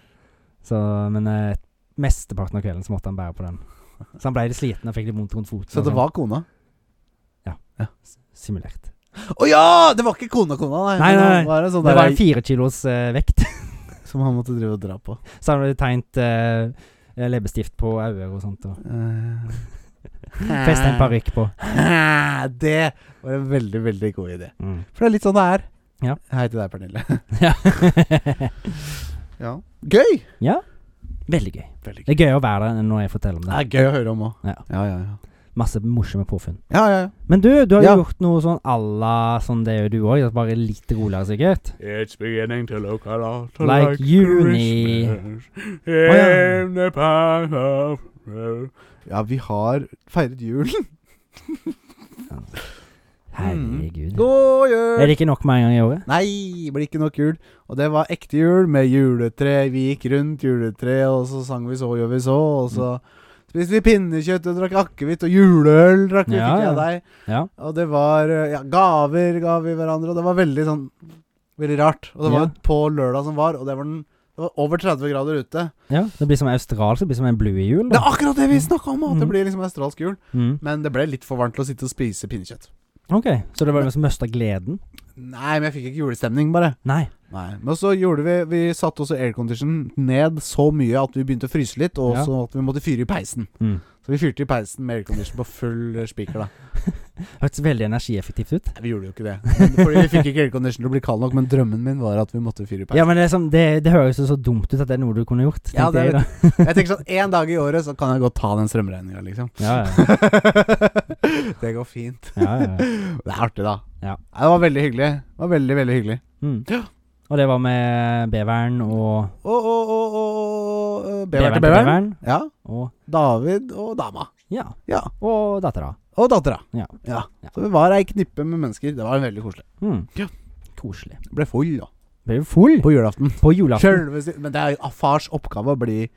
S2: Så, men eh, mesteparten av kvelden så måtte han bære på den. Så han ble litt sliten og fikk litt vondt rundt foten.
S1: Så
S2: og
S1: det
S2: sånn.
S1: var kona?
S2: Simulert.
S1: Å ja! Det var ikke kona, kona, nei.
S2: Nei, nei, nei.
S1: Det var en sånn
S2: Det
S1: der
S2: var en fire kilos eh, vekt.
S1: som han måtte drive og dra
S2: <laughs>
S1: på.
S2: Så hadde de tegnet eh, leppestift på øyne og sånt. Og
S1: Ah.
S2: festa en parykk på.
S1: Eh, Det var en veldig, veldig god idé. <laughs>
S2: Mm.
S1: For det er litt sånn det er.
S2: Ja.
S1: Hei til deg, Pernille.
S3: <laughs>
S2: Ja. <laughs>
S1: Ja. Gøy!
S2: Veldig gøy.
S1: Veldig
S2: Det er gøy å være der når jeg forteller om
S1: Det
S2: det.
S1: er gøy å høre om òg.
S2: Ja.
S1: Ja, ja, ja.
S2: Masse morsomme påfunn.
S1: Ja, ja, ja.
S2: Men du, du har jo
S1: Ja.
S2: gjort noe sånn à la sånn det gjør du òg, bare litt roligere sikkert.
S3: It's beginning to look a lot
S2: Like
S3: like,
S2: uni.
S3: Christmas in
S2: ja.
S3: the park of
S1: ja vi har feiret julen. Mm.
S2: Herregud.
S1: God
S2: Er
S1: jul!
S2: det ikke nok med en gang i året?
S1: Nei, det blir ikke nok jul. Og det var ekte jul med juletre. Vi gikk rundt juletreet, og så sang vi så gjør vi så, og så spiste vi pinnekjøtt og drakk akevitt, og juleøl drakk vi,
S2: Ja,
S1: fikk jeg
S2: ja.
S1: av deg.
S2: Ja.
S1: Og det var eh, ja, gaver ga vi hverandre, og det var veldig sånn Veldig rart. Og det var
S2: Ja.
S1: jo på lørdag som var, og det var, den, det var over 30 grader ute.
S2: ja. Det blir som australsk, det blir som en blue i jul.
S1: Det
S2: Da.
S1: er akkurat det vi snakka om! At det
S2: Mhm.
S1: blir liksom australsk jul.
S2: Mm.
S1: Men det ble litt for varmt til å sitte og spise pinnekjøtt.
S2: Ok, så det var det som mista gleden?
S1: Nei, men jeg fikk ikke julestemning, bare.
S2: Nei.
S1: Nei, Men så gjorde vi Vi satte også aircondition ned så mye at vi begynte å fryse litt, og
S2: Ja.
S1: så at vi måtte fyre i peisen.
S2: Mm.
S1: Så vi fyrte i peisen med aircondition på full spiker, da.
S2: Hørtes veldig energieffektivt ut.
S1: Nei, vi gjorde jo ikke det. Men, fordi vi fikk ikke aircondition til å bli kald nok, men drømmen min var at vi måtte fyre i peisen.
S2: Ja, men det, er sånn- det, det høres jo så dumt ut at det er noe du kunne gjort.
S1: Ja,
S2: tenkte
S1: det er
S2: jeg da.
S1: Jeg tenker sånn, En dag i året så kan jeg godt ta den strømregninga, liksom.
S2: Ja, ja,
S1: det går fint.
S2: ja, ja, ja.
S1: Det er artig, da.
S2: Ja.
S1: Nei, Det var veldig hyggelig. Det var veldig, veldig hyggelig. <gasps>
S2: Mm. Og det var med beveren og
S1: Og, og, og, og øh,
S2: Beveren
S1: Beveren til
S2: til
S1: beveren.
S2: beveren.
S1: Ja.
S2: Og
S1: David og dama.
S2: ja,
S1: Ja.
S2: og dattera.
S1: Og dattera.
S2: Ja.
S1: Ja.
S2: Ja.
S1: Så vi var ei knippe med mennesker. Det var veldig koselig.
S2: Mm.
S1: Ja.
S2: Koselig.
S1: Ble full da
S2: Ble du full
S1: på julaften.
S2: på julaften?
S1: Sjølveste Men det er jo fars oppgave å bli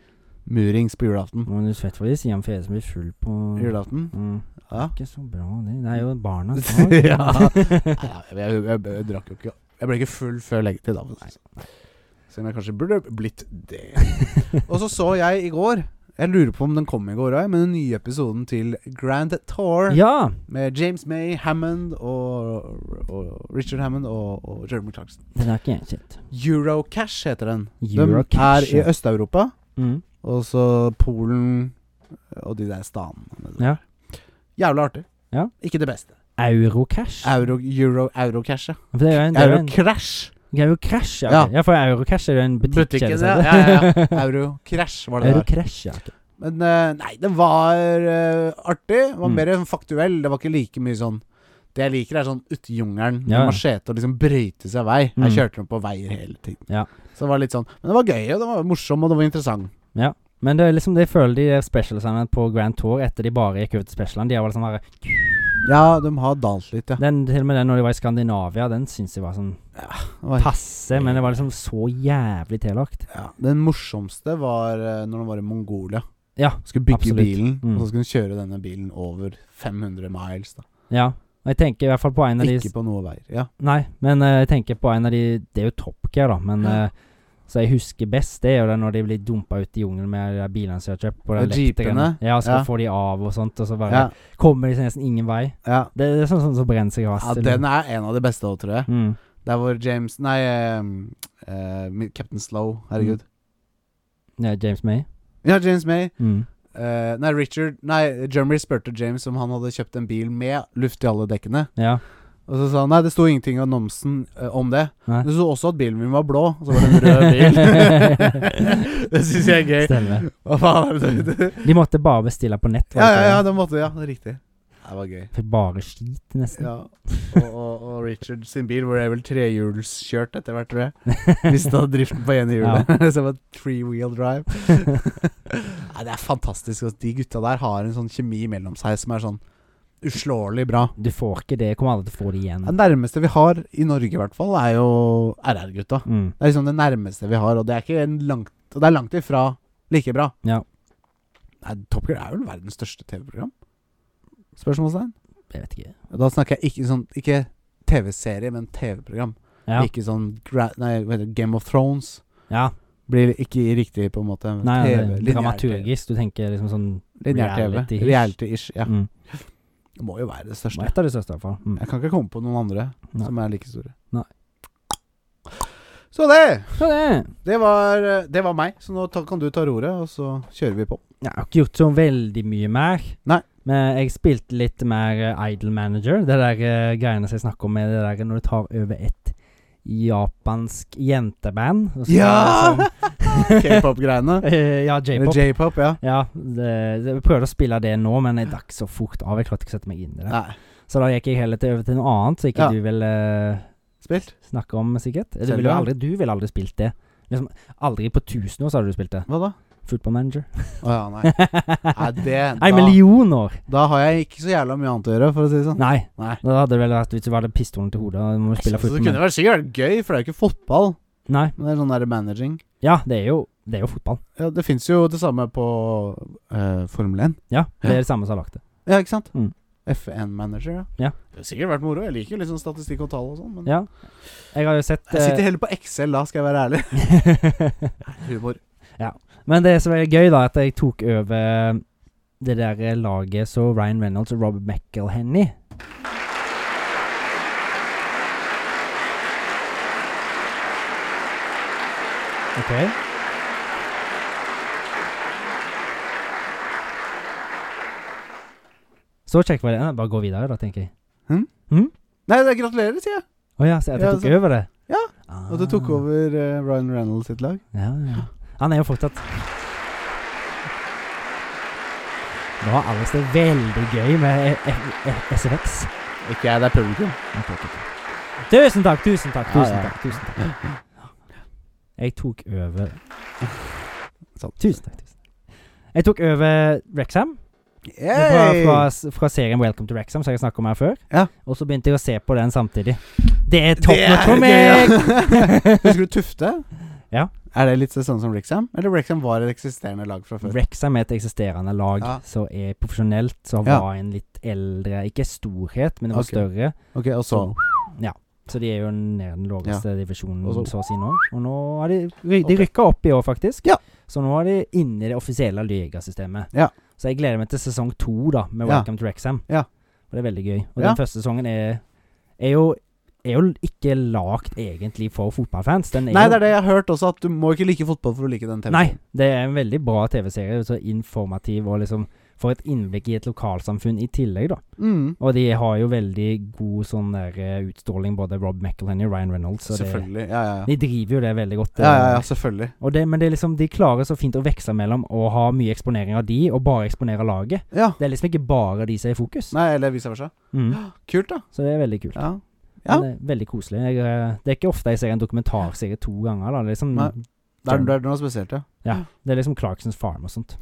S1: murings på julaften.
S2: Nå er du svett for det, sier han Fede som blir full på
S1: Julaften.
S2: mm.
S1: Ja.
S2: Ikke så bra, det. Det er jo barna. som har-
S1: <laughs> ja. Nei, jeg, jeg, jeg, jeg drakk jo ikke Jeg ble ikke full før leggetid, da. for å si det sånn. Selv om jeg kanskje burde blitt det. Og så så jeg i går jeg lurer på om den kom i går òg, men den nye episoden til Grand Tour
S2: ja!
S1: med James May Hammond og, og Richard Hammond og, og Jeremy Clarkson.
S2: Den har ikke jeg sett.
S1: Eurocash heter den.
S2: Eurocash,
S1: De er
S2: ja.
S1: i Øst-Europa,
S2: Mm.
S1: og så Polen og de der stanene.
S2: Ja.
S1: Jævla artig.
S2: Ja.
S1: Ikke det beste.
S2: Eurocash?
S1: Euro, Euro, Eurocash, ja.
S2: For det er jo en, det er jo en
S1: Eurocrash.
S2: <laughs> Eurocrash, ja.
S1: Ja.
S2: ok. ja. For Eurocrash er jo en butikk.
S1: Butikken, ja.
S2: ja.
S1: ja,
S2: <laughs>
S1: ja, ja. Eurocrash var det der.
S2: Eurocrash, ja. ok.
S1: Men eh, nei, den var eh, artig. Det var
S2: Mm.
S1: mer en faktuell. Det var ikke like mye sånn Det jeg liker, er sånn ute i jungelen med
S2: Ja.
S1: machete og liksom brøyte seg vei.
S2: Mm.
S1: Jeg kjørte den på veier hele tiden.
S2: Ja.
S1: Så det var litt sånn Men det var gøy, og det var morsom, og det var interessant.
S2: Men det er liksom det jeg føler de specialsene på Grand Tour etter de bare gikk over til specialene. De har liksom bare,
S1: Ja, de har dalt litt, ja.
S2: den, til og med den når de var i Skandinavia, den syns jeg var sånn
S1: Det var,
S2: passe, men det var liksom så jævlig tillagt.
S1: ja. Den morsomste var eh, når de var i Mongolia.
S2: Ja.
S1: Skulle bygge
S2: Absolutt.
S1: bilen,
S2: Mm.
S1: og så skulle de kjøre denne bilen over 500 miles. Da.
S2: Ja. Og jeg tenker i hvert fall på en av de
S1: Ikke på noe veier. Ja.
S2: Nei, men eh, jeg tenker på en av de Det er jo Top Gear, da, men
S1: Ja.
S2: eh, Så jeg husker best, det er jo det når de blir dumpa ut i jungelen med de der bilene som de har kjøpt. på den
S1: Og jeepene.
S2: lekteren. Ja, så
S1: Ja.
S2: får de av og sånt, og så bare
S1: Ja,
S2: kommer de seg nesten ingen vei.
S1: ja.
S2: Det, det er sånn, sånn som brenner seg
S1: ja,
S2: fast.
S1: den er en av de beste òg, tror jeg.
S2: mm.
S1: Der hvor James Nei, ehm, eh, Captain Slow. Herregud.
S2: ja, James May.
S1: Ja, James May.
S2: Mm.
S1: eh, nei, Richard Nei, Jeremy spurte James om han hadde kjøpt en bil med luft i alle dekkene.
S2: Ja.
S1: Og så sa han nei, det sto ingenting i annonsen eh, om det.
S2: Nei.
S1: Det sto også at bilen min var blå, og så var det en rød
S2: <laughs>
S1: bil. <laughs> det syns jeg er gøy.
S2: Stemmer.
S1: Hva faen er det du
S2: De måtte bare bestille på nett. var
S1: Ja, ja,
S2: det ikke
S1: Mm. ja,
S2: det?
S1: det måtte Ja, det er riktig. Det var gøy.
S2: Fikk bare
S1: <laughs>
S2: skit, nesten.
S1: Ja. Og, og, og Richard sin bil ble vel trehjulskjørt etter hvert, tror jeg. Mista driften på ene hjulet. <laughs> Som en three wheel <laughs> drive. Nei, det er fantastisk at de gutta der har en sånn kjemi mellom seg som er sånn uslåelig bra.
S2: Du får ikke det. Jeg kommer aldri til å få det igjen.
S1: Det nærmeste vi har i Norge, i hvert fall, er jo RR-gutta.
S2: Mm.
S1: Det er liksom det nærmeste vi har, og det er ikke en langt Og det er langt ifra like bra.
S2: Ja.
S1: Nei, Top Gear er vel verdens største TV-program? Spørsmålstegn?
S2: Jeg vet ikke.
S1: Og Da snakker jeg ikke sånn Ikke TV-serie, men TV-program.
S2: Ja.
S1: Ikke sånn gra nei, hva heter det, Game of Thrones.
S2: ja.
S1: Blir ikke riktig, på en måte. men
S2: Nei,
S1: TV,
S2: det er
S1: lineær TV.
S2: dramaturgisk. Du tenker liksom sånn
S1: Lineær TV.
S2: Reality-ish.
S1: Reality-ish. Ja.
S2: mm.
S1: Det må jo være det
S2: Det var
S1: største.
S2: Et av de største, i hvert fall. Mm.
S1: Jeg kan ikke komme på noen andre
S2: Nei.
S1: som er like store.
S2: Nei.
S1: Så det!
S2: Så det
S1: Det var, det var meg. Så nå ta, kan du ta roret, og så kjører vi på.
S2: Jeg har ikke gjort så veldig mye mer.
S1: Nei.
S2: Men jeg spilte litt mer eh, Idol Manager. Det der eh, greiene som jeg snakker om, er det der når du tar over et japansk jenteband. og så er
S1: Ja!
S2: det
S1: K-pop-greiene.
S2: sånn- <laughs> Eh, ja,
S1: Eller
S2: j-pop.
S1: J-pop, ja.
S2: Ja, det, det, jeg prøvde å spille det nå, men jeg dakk så fort av. Jeg klarte ikke å sette meg inn i det.
S1: Nei.
S2: Så da gikk jeg heller til, over til noe annet, så ikke
S1: Ja.
S2: du vil eh,
S1: Spilt?
S2: snakke om, sikkert. Du
S1: Zelda?
S2: ville aldri, du ville aldri spilt det. Liksom, aldri på tusen år så hadde du spilt det.
S1: Hva da?
S2: Football manager.
S1: Å ja, nei. Nei, det-
S2: <laughs> Nei,
S1: da-
S2: million år!
S1: Da har jeg ikke så jævla mye annet å gjøre, for å si det sånn.
S2: Nei.
S1: Nei.
S2: Da hadde det vel vært hvis du hadde pistolen til hodet og må
S1: Jeg synes
S2: spille
S1: det
S2: football
S1: kunne
S2: manager.
S1: vært sikkert vært gøy, for det er jo ikke fotball.
S2: Nei.
S1: Men det er sånn der managing.
S2: Ja, det er jo, det er jo fotball.
S1: Ja, det fins jo det samme på eh, Formel 1.
S2: Ja, det
S1: Ja.
S2: er det samme som har lagt det.
S1: Ja, ikke sant?
S2: Mm.
S1: F1-manager, ja.
S2: Ja.
S1: Det har sikkert vært moro. Jeg liker jo litt sånn statistikk og tall og sånn, men
S2: Ja. Jeg har jo sett
S1: Jeg sitter
S2: eh,
S1: heller på Excel da, skal jeg være ærlig.
S2: <laughs>
S1: Humor.
S2: Men det som er gøy, da, er at jeg tok over eh, det der eh, laget så Ryan Reynolds og Rob McElhenny Ok. Så kjekk var det. Bare gå videre, da, tenker jeg.
S1: Nei, det er gratulerer, sier jeg.
S2: Å ja, så jeg
S1: Ja,
S2: tok
S1: så-
S2: over det?
S1: Ja,
S2: Ah.
S1: At du tok over eh, Ryan Reynolds sitt lag.
S2: Ja, ja. Han er jo fortsatt Nå har Alice det veldig gøy med eh, eh, eh, SFX.
S1: Ikke jeg, det er publikum.
S2: Ok, ok, ok. Tusen takk, tusen takk,
S1: Ja,
S2: tusen
S1: ja.
S2: takk. tusen takk Jeg tok over
S1: Sånn.
S2: Tusen takk. tusen takk Jeg tok over Rexham. Fra,
S1: Yay!
S2: fra, s- fra serien Welcome to Rexham, som jeg snakka om her før.
S1: Ja.
S2: Og så begynte jeg å se på den samtidig. Det er top
S1: Det
S2: notch
S1: er
S2: for
S1: gøy,
S2: meg! <laughs>
S1: ja. <laughs> Husker du Tufte?
S2: Ja.
S1: Er det litt sånn som Rexham? Eller Rexham var et eksisterende lag fra før?
S2: Wrexham er et eksisterende lag
S1: Ja.
S2: som er profesjonelt, som
S1: Ja.
S2: var en litt eldre Ikke storhet, men det var
S1: Ok.
S2: større.
S1: Ok, og så
S2: Så de er jo nede i den laveste divisjonen,
S1: Og så-
S2: så å si nå. Og nå har de, ry- de
S1: Ok.
S2: rykka opp i år, faktisk.
S1: Ja.
S2: Så nå er de inne i det offisielle ligasystemet.
S1: Ja.
S2: Så jeg gleder meg til sesong to da med
S1: Ja.
S2: Welcome to Wrexham.
S1: Ja.
S2: For det er veldig gøy. Og
S1: Ja.
S2: den første sesongen er, er jo er jo ikke lagd egentlig for fotballfans. Den er
S1: Nei,
S2: jo
S1: det er det jeg har hørt også, at du må ikke like fotball for å like den
S2: Nei,
S1: TV-serien.
S2: det er en veldig bra TV-serie. Så informativ og liksom får et innblikk i et lokalsamfunn i tillegg, da.
S1: Mm,
S2: Og de har jo veldig god sånn der eh, utstråling, både Rob McElhenny og Ryan Reynolds. Så det,
S1: selvfølgelig. Ja, ja, ja.
S2: de driver jo det veldig godt. eh,
S1: Ja, ja, ja, selvfølgelig.
S2: Og det, men det er liksom, de klarer så fint å veksle mellom å ha mye eksponering av de, og bare eksponere laget.
S1: Ja.
S2: Det er liksom ikke bare de som er i fokus.
S1: Nei, eller vice versa.
S2: Mm.
S1: Kult, da.
S2: Så det er veldig kult.
S1: Ja. Ja.
S2: Men det er veldig koselig. Jeg, eh, det er ikke ofte jeg ser en dokumentarserie to ganger. Da. Det, er liksom,
S1: Nei. Det er, det er noe spesielt, ja.
S2: det er liksom Clarksons Farm og sånt.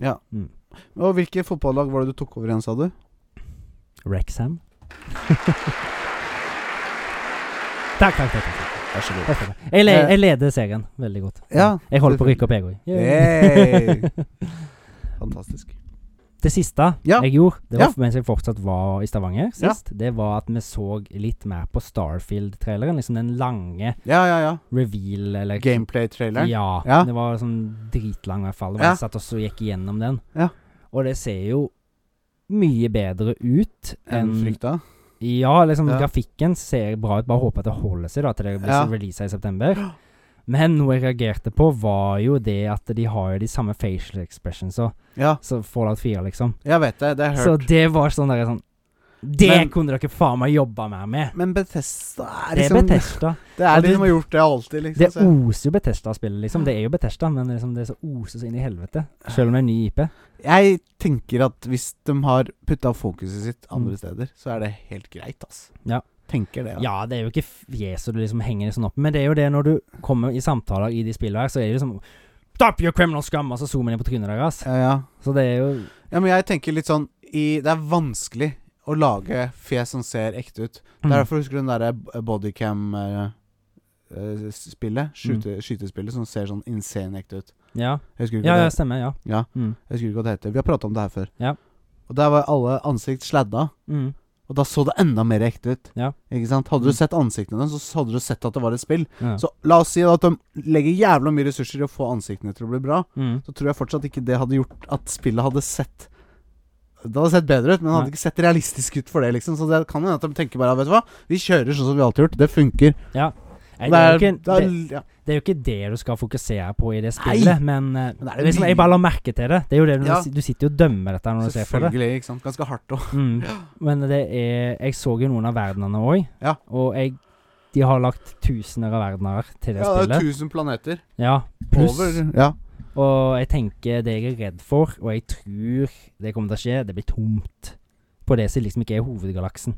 S1: Og hvilke fotballag var det du tok over igjen, sa du?
S2: Rexham. takk, takk, takk. takk.
S1: Vær så
S2: takk, takk. Jeg, le, jeg leder serien veldig godt.
S1: Ja,
S2: jeg holder på å rykke opp, jeg òg.
S1: Yay. Fantastisk.
S2: <laughs> Det siste
S1: Ja.
S2: jeg gjorde, det var
S1: Ja.
S2: mens jeg fortsatt var i Stavanger
S1: Ja.
S2: sist, det var at vi så litt mer på Starfield-traileren. Liksom den lange
S1: Ja, ja, ja.
S2: reveal eller
S1: Gameplay-traileren.
S2: Ja.
S1: Ja.
S2: Det var sånn dritlang, i hvert fall. Det var
S1: Ja.
S2: Jeg satt også og gikk igjennom den.
S1: Ja.
S2: Og det ser jo mye bedre ut
S1: Enn
S2: enn
S1: frykta.
S2: Ja, liksom
S1: Ja.
S2: grafikken ser bra ut. Bare håper at det holder seg da til det blir
S1: Ja.
S2: releasa i september. Men noe jeg reagerte på, var jo det at de har jo de samme facial expressionsa
S1: Ja,
S2: som Fallout 4, liksom.
S1: jeg vet det. Det har jeg
S2: Så
S1: hørt.
S2: det var sånn der sånn Det
S1: Men-
S2: kunne dere faen meg jobba mer med.
S1: Men Bethesda er
S2: Det er
S1: liksom <laughs>
S2: Bethesda.
S1: Det er
S2: Og
S1: de
S2: det-
S1: som har gjort det alltid, liksom.
S2: Det
S1: så-
S2: oser jo Bethesda-spillet, liksom. Det er jo Bethesda, men liksom det er så oser så inn i helvete. Selv om det er en ny IP.
S1: Jeg tenker at hvis de har putta fokuset sitt andre
S2: Mm.
S1: steder, så er det helt greit, ass.
S2: Ja.
S1: Tenker det. da.
S2: Ja, det er jo ikke fjeset du liksom henger sånn opp men det er jo det når du kommer i samtaler i de spillene her, så er det liksom Stop your criminal scum! Og så zoomer de på trynet deres.
S1: ja, Eh, ja.
S2: Så det er jo
S1: Ja, men jeg tenker litt sånn i, Det er vanskelig å lage fjes som ser ekte ut. Det er
S2: mm,
S1: derfor jeg husker den derre eh, bodycam-spillet. eh,
S2: Mm.
S1: skyte, Skytespillet som ser sånn insane ekte ut.
S2: Ja,
S1: Jeg husker ikke,
S2: ja,
S1: hva,
S2: ja,
S1: det,
S2: stemmer. Ja.
S1: Ja.
S2: Mm,
S1: jeg husker ikke hva det heter. Vi har prata om det her før.
S2: Ja.
S1: Og der var alle ansikt sladda.
S2: mm,
S1: Og da så det enda mer ekte ut.
S2: Ja.
S1: Ikke sant? Hadde du
S2: Mm.
S1: sett ansiktene deres, så hadde du sett at det var et spill.
S2: ja.
S1: Så la oss si da at de legger jævla mye ressurser i å få ansiktene til å bli bra.
S2: mm.
S1: Så tror jeg fortsatt ikke det hadde gjort at spillet hadde sett Det hadde sett bedre ut, men det hadde
S2: Nei.
S1: ikke sett realistisk ut for det, liksom. Så det kan hende at de tenker bare Vet du hva, vi kjører sånn som vi alltid har gjort. Det funker.
S2: Nei, det, er jo ikke,
S1: det er-
S2: det,
S1: ja.
S2: det er jo ikke det du skal fokusere på i det spillet, men,
S1: Men
S2: eh,
S1: det er jo
S2: liksom,
S1: mye-
S2: jeg bare la merke til det. Det er jo det du,
S1: Ja.
S2: du sitter jo og dømmer dette når du ser på det.
S1: Selvfølgelig, ikke sant. Ganske hardt òg.
S2: Mm. Men det er Jeg så jo noen av verdenene òg,
S1: Ja.
S2: og jeg de har lagt tusener av verdener til det
S1: Ja, det er 1000
S2: spillet.
S1: planeter.
S2: Ja, pluss.
S1: Over. Ja.
S2: Og jeg tenker det jeg er redd for, og jeg tror det kommer til å skje, det blir tomt. På det som liksom ikke er hovedgalaksen.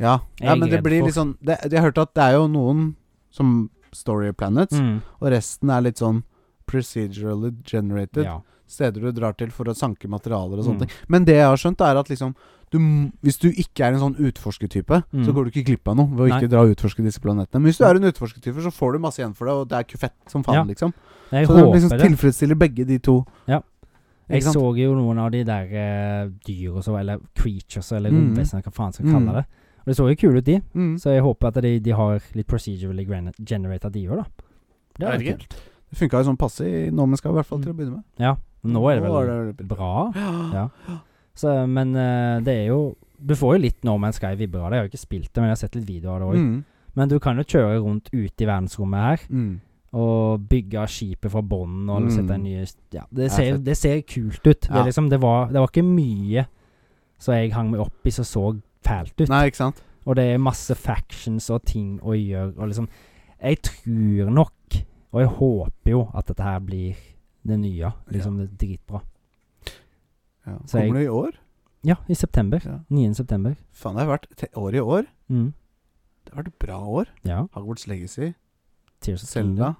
S1: ja.
S2: Jeg
S1: ja
S2: er
S1: men det
S2: redd
S1: blir
S2: for-
S1: litt sånn det, Jeg hørte at det er jo noen som Story Planets,
S2: Mm.
S1: og resten er litt sånn procedurally generated.
S2: Ja.
S1: Steder du drar til for å sanke materialer og
S2: Mm.
S1: sånne ting. Men det jeg har skjønt, er at liksom du, m- hvis du ikke er en sånn utforskertype,
S2: Mm.
S1: så går du ikke glipp av noe ved å
S2: Nei.
S1: ikke dra og utforske disse planetene. Men hvis du er en utforskertype, så får du masse igjen for det, og det er kufett som faen,
S2: Ja.
S1: liksom.
S2: Jeg
S1: så det
S2: håper
S1: liksom
S2: det.
S1: tilfredsstiller begge de to.
S2: Ja.
S1: Ikke
S2: Jeg
S1: sant?
S2: så jo noen av de der eh, dyr og så, eller creatures, eller
S1: Mm.
S2: romvesener, hva faen skal
S1: Mm.
S2: kalle det. Og det så jo kule ut, de.
S1: Mm.
S2: Så jeg håper at de, de har litt procedurally gran- generated, de òg, da. Det
S1: Jeg
S2: er
S1: vet
S2: jo kult.
S1: Det funka jo sånn passe i Nomenska, i hvert fall til å begynne med.
S2: Ja. Nå er det
S1: Nå
S2: vel
S1: det-
S2: bra. Ja. Så, men eh, det er jo Du får jo litt No Man's Sky-vibber av det. Jeg har jo ikke spilt det, men jeg har sett litt videoer av det òg.
S1: Mm.
S2: Men du kan jo kjøre rundt ute i verdensrommet her
S1: Mm.
S2: og bygge skipet fra bånn og
S1: Mm.
S2: sette en ny Ja, det
S1: er
S2: ser,
S1: fett.
S2: det ser kult ut. Det,
S1: Ja.
S2: er liksom, det, var, det var ikke mye som jeg hang meg opp i som så fælt ut.
S1: Nei, ikke sant?
S2: Og det er masse factions og ting å gjøre og liksom Jeg tror nok, og jeg håper jo, at dette her blir det nye. Liksom det er dritbra.
S1: Ja.
S2: Så jeg-
S1: Kommer det i år?
S2: Ja, i september.
S1: Ja.
S2: 9. september.
S1: Faen, det har vært te- år i år.
S2: Mm.
S1: Det har vært et bra år.
S2: Ja.
S1: Hogwarts Legacy,
S2: Tears of Kingdom.
S1: Selda,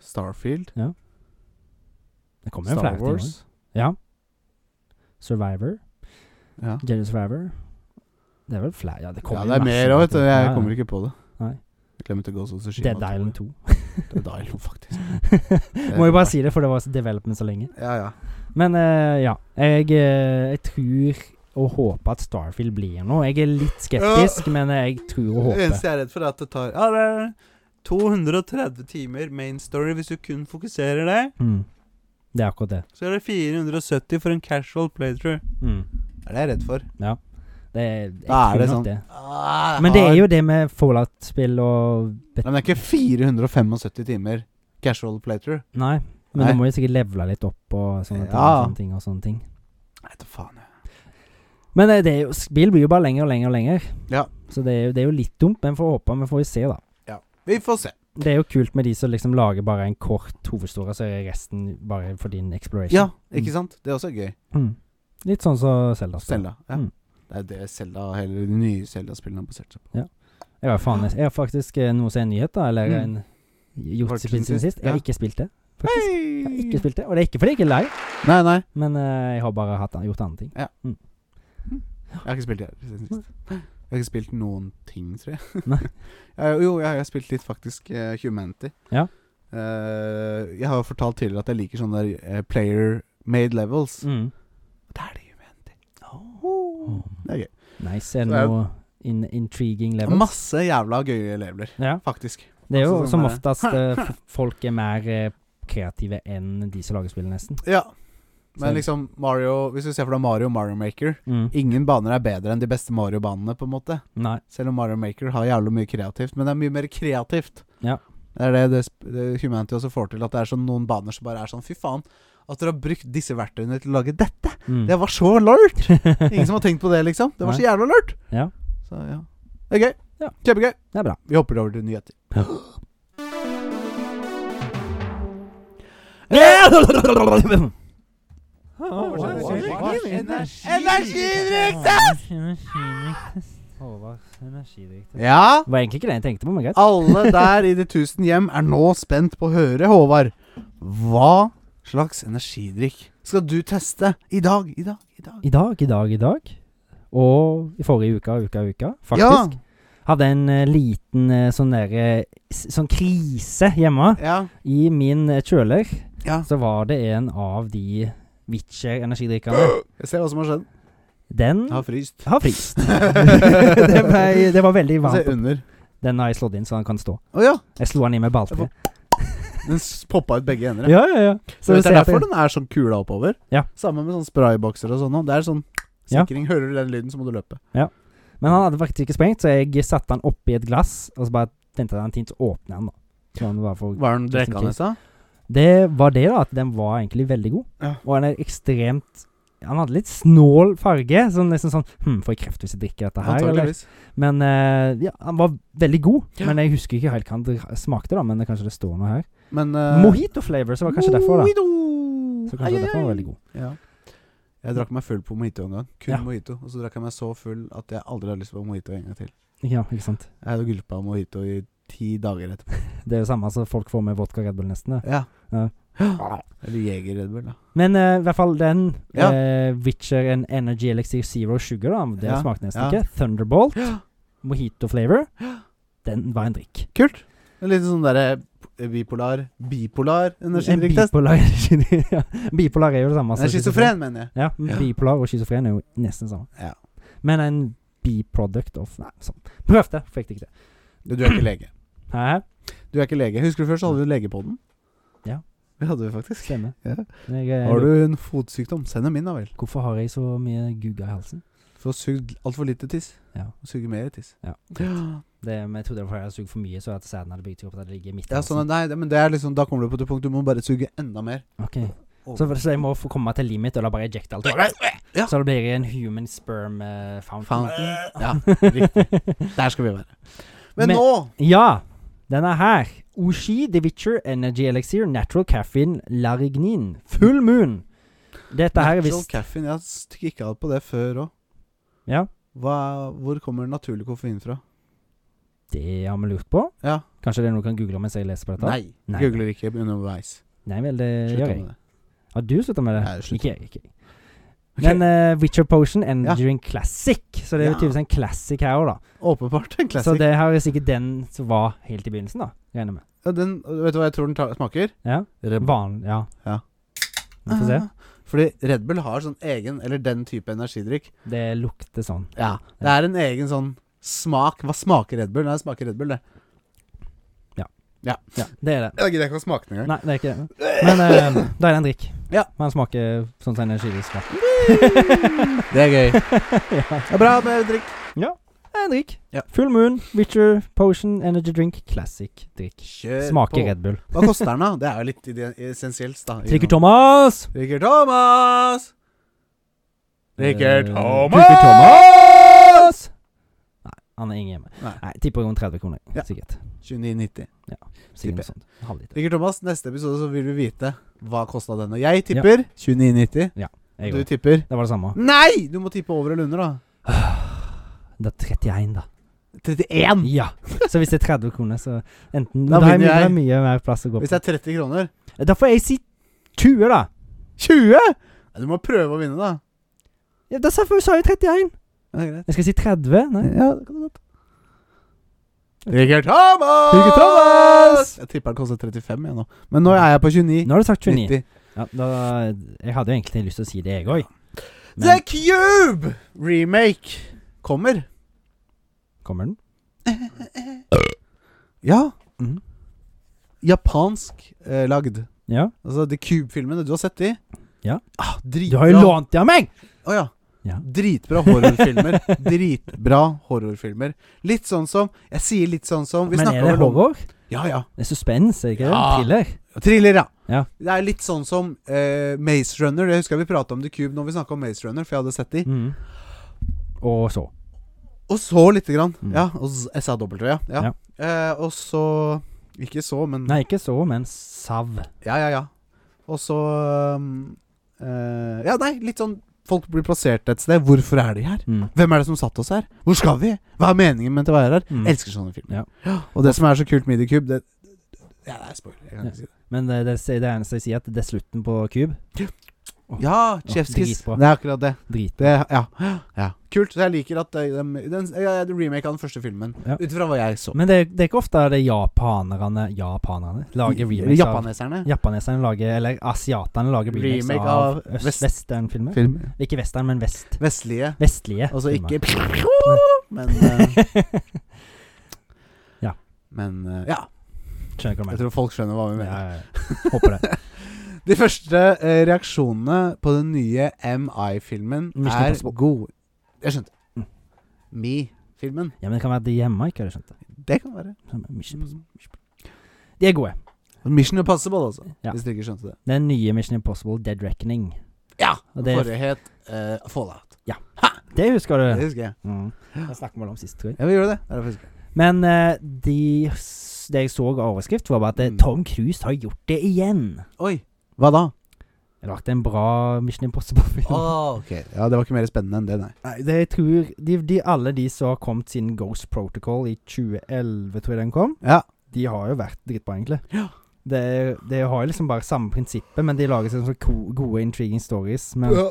S1: Starfield,
S2: Det kommer jo flere
S1: Star
S2: ting også.
S1: Wars.
S2: Ja. Survivor.
S1: Ja.
S2: Jedi Survivor. Det er vel flere Ja, det
S1: ja,
S2: kommer
S1: det er mer òg, vet du. Jeg kommer ikke på det.
S2: Nei.
S1: Jeg glemte Ghost of Tsushima.
S2: Dead
S1: <laughs>
S2: Island 2.
S1: Dead Island, faktisk.
S2: Må
S1: Eh,
S2: jo bare si det, for det var development så lenge.
S1: Ja, ja.
S2: Men eh, ja. Jeg, eh, jeg tror og håper at Starfield blir noe. Jeg er litt skeptisk, men jeg tror og
S1: Det
S2: håper.
S1: eneste jeg er redd for, er at det tar Ja, det er 230 timer main story hvis du kun fokuserer det.
S2: Mm. Det er akkurat det.
S1: Så er det 470 for en casual playthrough.
S2: Mm.
S1: Det er det jeg er redd for.
S2: Det er, jeg
S1: Da er
S2: tror
S1: det
S2: nok
S1: sånn.
S2: det.
S1: Ah,
S2: Men det er jo det med Fallout-spill og
S1: Nei, Men det er ikke 475 timer casual playthrough.
S2: Nei, men
S1: Nei.
S2: du må jo sikkert levele litt opp og sånne, ting,
S1: Ja.
S2: og sånne ting og sånne ting.
S1: Nei, da faen. jeg.
S2: Men eh, det er jo, spill blir jo bare lenger og lenger og lenger.
S1: Ja.
S2: Så det er, jo, det er jo litt dumt, men får håpe. Vi får jo se, da.
S1: Vi får se.
S2: Det er jo kult med de som liksom lager bare en kort hovedstore, så er resten bare for din exploration.
S1: Ja, ikke sant? Det er også gøy.
S2: Mm. Litt sånn som Zelda.
S1: Selda. Ja.
S2: Mm.
S1: Det er det Zelda, eller de nye Zelda-spillene har basert seg på.
S2: Jeg har, faen, jeg har faktisk eh, noe som er en nyhet, da. Eller
S1: Mm.
S2: en gjort
S1: Faktisk
S2: siden sist. Jeg
S1: ja.
S2: har ikke spilt det. Faktisk. Jeg har ikke
S1: Hei!
S2: spilt det, Og det er ikke fordi jeg ikke er lei,
S1: Nei, nei.
S2: men eh, jeg har bare hatt, gjort andre ting.
S1: Jeg har ikke spilt det her siden sist. Jeg har ikke spilt noen ting, tror jeg.
S2: <laughs>
S1: <laughs>
S2: Nei.
S1: jeg jo, jeg har spilt litt faktisk eh, Humanity.
S2: Ja.
S1: Eh, jeg har jo fortalt tidligere at jeg liker sånne der eh, player made levels.
S2: Mm.
S1: Det er det Humanity.
S2: Oh.
S1: Det er gøy.
S2: Nice.
S1: Så det
S2: Er
S1: er
S2: det
S1: jo-
S2: noe in intriguing level?
S1: Masse jævla gøye leveler,
S2: Ja.
S1: faktisk.
S2: Det er jo
S1: Altså, sånn,
S2: som
S1: eh, <laughs>
S2: oftest eh, f- folk er mer eh, kreative enn de som lager spill, nesten.
S1: Ja. Men
S2: Så-
S1: liksom Mario Hvis du ser for deg Mario Mario Maker
S2: Mm.
S1: Ingen baner er bedre enn de beste Mario-banene, på en måte.
S2: Nei.
S1: Selv om Mario Maker har jævlig mye kreativt, men det er mye mer kreativt.
S2: Ja.
S1: Det er det, det, sp- det Humanity også får til, at det er sånn noen baner som bare er sånn Fy faen, at dere har brukt disse verktøyene til å lage dette!
S2: Mm.
S1: Det var så lurt! Ingen som har tenkt på det, liksom. Det var så jævla lurt!
S2: Ja.
S1: Så ja. Det er gøy.
S2: Ja.
S1: Kjempegøy.
S2: <laughs> Det er bra.
S1: Vi hopper over til nyheter.
S2: Ja.
S1: Energidrikk-test!
S2: Håvards energidirektør.
S1: Ja?
S2: Det var egentlig ikke det jeg tenkte på, men greit.
S1: Alle der i de tusen hjem er nå spent på å høre, Håvard. Hva slags energidrikk skal du teste i dag? I dag, i dag.
S2: I dag, i dag, i dag. Og i forrige uke, uka, uka, faktisk. Hadde en eh, liten eh, sånn der eh, s- Sånn krise hjemme.
S1: Ja.
S2: I min eh, kjøler
S1: ja.
S2: så var det en av de Witcher-energidrikkene.
S1: Jeg ser hva som har skjedd.
S2: Den
S1: Jeg har fryst.
S2: har frist. <laughs> det, ble, det var veldig
S1: Jeg
S2: varmt.
S1: ser Altså, under.
S2: Den har jeg slått inn, så den kan stå.
S1: Å ja.
S2: Jeg slo den i med balte.
S1: Den s- poppa ut begge ender. Ja.
S2: Ja, ja, ja.
S1: Så det
S2: du
S1: er
S2: ser at
S1: derfor
S2: det-
S1: den er sånn kula oppover.
S2: Ja.
S1: Samme med sånn spraybokser og sånn. nå. Det er sånn
S2: Ja.
S1: sikring. Hører du den lyden, så må du løpe.
S2: Men han hadde faktisk ikke sprengt, så jeg satte den oppi et glass, og så bare tenkte jeg den tint, så åpnet jeg den, da. Så den var for
S1: Var den
S2: Just in
S1: drikkende, sa?
S2: Det var det, da. At den var egentlig veldig god.
S1: Ja.
S2: Og den er ekstremt Han hadde litt snål farge. Sånn nesten sånn Hm, får jeg kreft hvis jeg drikker dette her? eller?
S1: Antakeligvis.
S2: Men eh, ja, han var veldig god.
S1: Ja.
S2: Men jeg husker ikke helt hva han dra- smakte, da. Men det, kanskje det står noe her.
S1: Men eh,
S2: Mojito flavor, så var det kanskje derfor, da.
S1: Mojito!
S2: Så
S1: Ai,
S2: kanskje
S1: ai, ai.
S2: derfor var den veldig god.
S1: Ja. Jeg drakk meg full på mojito en gang. Kun
S2: Ja.
S1: mojito. Og så drakk jeg meg så full at jeg aldri har lyst på mojito en gang til.
S2: Ja, ikke sant.
S1: Jeg hadde gulpa mojito i ti dager etterpå.
S2: Det er jo samme som folk får med vodka Red Bull, nesten. Det.
S1: Ja.
S2: Ja.
S1: Eller Jeger Red Bull, da.
S2: Men eh, i hvert fall den
S1: Ja.
S2: eh, Witcher and Energy Elixir Zero Sugar, da, det
S1: Ja,
S2: smakte nesten
S1: ja.
S2: ikke. Thunderbolt, mojito flavor, den var en drikk.
S1: Kult. En liten sånn derre bipolar Bipolar
S2: En
S1: energidrikktest.
S2: bipolar, <laughs> ja. bipolar er jo det samme. altså,
S1: Nei,
S2: som
S1: schizofren, mener jeg.
S2: Ja, men
S1: Ja.
S2: bipolar og schizofren er jo nesten samme.
S1: Ja.
S2: Men en biproduct of Nei, sånn. Prøvde, fikk det ikke til.
S1: Du er ikke lege.
S2: Hæ?
S1: Du er ikke lege. Husker du før så hadde vi en lege på den?
S2: Ja.
S1: Det hadde vi faktisk.
S2: Stemmer.
S1: Ja.
S2: Jeg, eh,
S1: Har du en fotsykdom, send dem inn, da vel.
S2: Hvorfor har jeg så mye gugga i halsen?
S1: For å suge altfor lite tiss.
S2: Ja.
S1: Og suge mer tiss.
S2: Ja. Det, men jeg trodde det var fordi jeg hadde sugd for mye, så at sæden hadde bygd seg opp at det ligger midt i
S1: Ja, sånn, at- nei, det, men det er liksom Da kommer du på et punkt du må bare suge enda mer.
S2: Ok. Så, så jeg må få komme til limit, og da bare ejecte alt.
S1: Oh. Ja.
S2: Så det blir en human sperm eh, fountain.
S1: Fountain. Ja, riktig. Der skal vi være. Men,
S2: Men-
S1: nå
S2: <laughs> Ja, den er her. Oshi, The Witcher, Energy Elixir, Natural Caffeine, Larignin. Full Moon. Dette her er
S1: Natural
S2: visst
S1: caffeine. Jeg stikka på det før òg.
S2: Ja,
S1: Hvor kommer naturlig koffein fra?
S2: det har vi lurt på.
S1: Ja.
S2: Kanskje det er noe du kan google mens jeg leser på dette?
S1: Nei.
S2: Nei. Eh,
S1: Googler ikke underveis.
S2: Nei vel, det
S1: Slutt
S2: gjør jeg.
S1: med det.
S2: Har du slutta med det?
S1: Nei, jeg slutter.
S2: ikke jeg. ikke jeg
S1: Ok.
S2: Men eh, Witcher Potion,
S1: Ja.
S2: Energy Drink Classic. Så det er jo
S1: Ja.
S2: tydeligvis en classic her òg, da.
S1: Åpenbart en
S2: Så
S1: classic.
S2: det her er sikkert den som var helt i begynnelsen, da. Regner jeg med.
S1: Ja, den, vet du hva jeg tror den ta, smaker?
S2: Ja.
S1: Red
S2: Van, ja.
S1: Ja.
S2: Vi får se.
S1: Ah. Fordi Red Bull har sånn egen, eller den type energidrikk.
S2: Det lukter sånn.
S1: Ja. Det er en egen sånn smak. Hva smaker Red Bull? Nei, det smaker Red Bull, det.
S2: Ja, det er det.
S1: Jeg gidder ikke å smake den engang.
S2: Nei, det er ikke det. Men eh,
S1: <laughs>
S2: da er det en drikk.
S1: Ja.
S2: Man smaker sånn som energidrikk skal.
S1: Det er gøy.
S2: <laughs>
S1: Det er bra med drikk.
S2: Det er En drikk.
S1: Ja.
S2: Full Moon, Witcher, Potion, Energy Drink, Classic drikk.
S1: Kjør
S2: Smaker
S1: Eh, på.
S2: Red Bull.
S1: Hva koster den, da? Det er jo litt i det- essensielt, da. i
S2: Trikker
S1: noe.
S2: Thomas!
S1: Trikker Thomas! Trikker
S2: Eh,
S1: Thomas!
S2: Trikker Thomas! Nei, han er ingen hjemme.
S1: Nei.
S2: Nei, Tipper rundt 30 kroner.
S1: Ja.
S2: Sikkert.
S1: 29,90.
S2: Sikkert
S1: Tipper
S2: noe sånt. Halvliter.
S1: Trikker Thomas, neste episode så vil vi vite hva kosta denne. Jeg tipper 29,90.
S2: Jeg
S1: Du
S2: går.
S1: tipper
S2: Det var det samme.
S1: Nei! Du må tippe over eller under, da.
S2: <sighs> Det er 31, da.
S1: 31!
S2: Ja. Så hvis det er 30 kroner, så enten
S1: Da
S2: Da, har jeg
S1: vinner
S2: mye,
S1: jeg.
S2: mye mer plass å gå
S1: Hvis
S2: på. Eh,
S1: det er 30 kroner
S2: Da får jeg si 20, da.
S1: 20? Ja, du må prøve å vinne, da.
S2: Ja, da sa sa jeg 31.
S1: Ja, det er greit.
S2: Jeg skal si 30. Nei.
S1: Ja, det kan du godt. Richard Thomas!
S2: Richard Thomas!
S1: Jeg tipper den koster 35 jeg nå. Men nå er jeg på 29.
S2: Nå har du sagt 29.
S1: 90.
S2: Ja, da, jeg hadde jo egentlig lyst til å si det, jeg òg.
S1: The
S2: Men
S1: Cube remake
S2: <laughs>
S1: kommer.
S2: kommer den?
S1: Ja.
S2: Mhm.
S1: Japansk eh, lagd.
S2: Ja.
S1: Altså The Cube-filmene. Du har sett de?
S2: Ja.
S1: Ah,
S2: Du
S1: dritbra.
S2: har jo lånt det av meg!
S1: Å ja.
S2: Ja.
S1: Dritbra horrorfilmer. Dritbra horrorfilmer. Litt sånn som Jeg sier litt sånn som vi
S2: Men
S1: snakket
S2: er det
S1: vel om-
S2: horror?
S1: Ja, ja.
S2: Det er suspens, er det ikke det?
S1: Ja.
S2: Thriller?
S1: Thriller, ja.
S2: Ja.
S1: Det er litt sånn som eh, Maze Runner. Jeg husker vi prata om The Cube når vi snakka om Maze Runner, for jeg hadde sett de.
S2: Mm. Og så.
S1: Og så lite grann.
S2: Mm.
S1: Ja. Og s- jeg sa dobbelt, ja. ja.
S2: Ja.
S1: Eh, og så Ikke så, men
S2: Nei, ikke så, men sav.
S1: Ja, ja, ja. Og så um, eh, Ja, nei, litt sånn Folk blir plassert et sted. Hvorfor er de her?
S2: Mm.
S1: Hvem er det som satt oss her? Hvor skal vi? Hva er meningen med å være her?
S2: Mm.
S1: Elsker sånne filmer.
S2: Ja.
S1: Og det som er så kult med The Cube, det Ja, det er spoiler. Jeg kan
S2: Ja.
S1: ikke si det.
S2: Men det, det, det eneste jeg sier, at det er slutten på Cube.
S1: Ja, Chef's Kiss.
S2: dritbra.
S1: Det er akkurat det.
S2: Drit.
S1: Det, ja. ja. Kult. Så jeg liker at eh, dem- den, ja, ja, det remake av den første filmen.
S2: Ja.
S1: Ut fra hva jeg så.
S2: Men det, det er ikke ofte det er japanerne Japanerne lager remakes av
S1: Japaneserne.
S2: Japaneserne lager Eller asiatene lager remakes
S1: Remake
S2: av,
S1: av
S2: øst-
S1: vest-
S2: westernfilmer.
S1: Film.
S2: Ikke western, men vest.
S1: Vestlige.
S2: Vestlige.
S1: Altså
S2: filmer.
S1: ikke <laughs> Men eh,
S2: Ja.
S1: Men eh, ja.
S2: Skjønner ikke hva
S1: Jeg
S2: du mener.
S1: tror folk skjønner hva vi mener.
S2: Ja, ja, ja. Håper det.
S1: De første eh, reaksjonene på den nye MI-filmen
S2: Mission
S1: er
S2: Impossible.
S1: gode. Jeg skjønte.
S2: Mm.
S1: Me-filmen.
S2: Ja, men det kan være de hjemme ikke har skjønt det.
S1: Det kan være.
S2: Som er Mission Impossible. De er gode.
S1: Mission Impossible, altså.
S2: Ja.
S1: Hvis dere ikke skjønte det.
S2: Den nye Mission Impossible Dead Reckoning.
S1: Ja!
S2: Og det-
S1: Forrige het eh, Fallout.
S2: Det husker
S1: Det
S2: du.
S1: husker jeg.
S2: Mm. Det snakket vi vel om sist, tror jeg.
S1: Ja, vi gjorde det. Det er derfor jeg husker.
S2: Men eh, de, s- det jeg så av overskrift, var bare at eh,
S1: Mm.
S2: Tom Cruise har gjort det igjen.
S1: Oi. Hva da?
S2: Jeg lagde en bra Mission
S1: Å,
S2: Impossible-film.
S1: Ah, ok. Ja, det var ikke mer spennende enn det, nei.
S2: Nei, det jeg tror de, de, Alle de som har kommet siden Ghost Protocol i 2011, tror jeg den kom,
S1: Ja.
S2: de har jo vært dritbra, egentlig. Det, er- det har jo liksom bare samme prinsippet, men de lager sånne så ko- gode intriguing stories. Men
S1: Ja.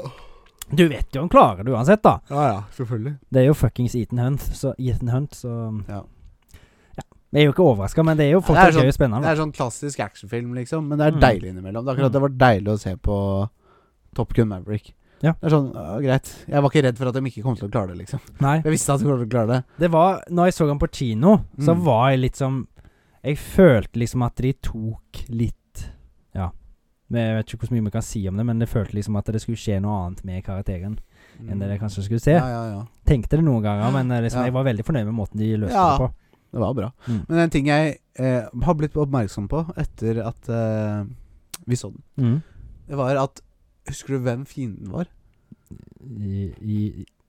S2: du vet jo han klarer det uansett, da.
S1: ja ja, selvfølgelig.
S2: Det er jo fuckings Ethan Hunt, så, Ethan Hunt, så
S1: Ja.
S2: Ja. Jeg er jo ikke overraska, men det er
S1: Ja,
S2: jo
S1: det
S2: fortsatt
S1: er sånn-
S2: gøy og spennende.
S1: Det er sånn klassisk actionfilm, liksom, men det er
S2: Mm.
S1: deilig innimellom. Det er akkurat det var deilig å se på Top Gun Maverick.
S2: Ja.
S1: Det er sånn, ja, Greit. Jeg var ikke redd for at de ikke kom til å klare det, liksom.
S2: Nei.
S1: Jeg visste at de kom til å klare det.
S2: Det var Når jeg så han på kino, så
S1: Mm.
S2: var jeg litt som Jeg følte liksom at de tok litt Ja. Jeg vet ikke hvor mye vi kan si om det, men det følte liksom at det skulle skje noe annet med karakteren enn det jeg kanskje skulle se.
S1: Ja, ja, ja.
S2: Tenkte det noen ganger, men eh, liksom,
S1: Mm. Ja.
S2: jeg var veldig fornøyd med måten de løste
S1: Ja.
S2: det på.
S1: Det var bra.
S2: Mm.
S1: Men en ting jeg eh, har blitt oppmerksom på etter at eh, vi så den,
S2: Mm.
S1: det var at Husker du hvem fienden var?
S2: I, i,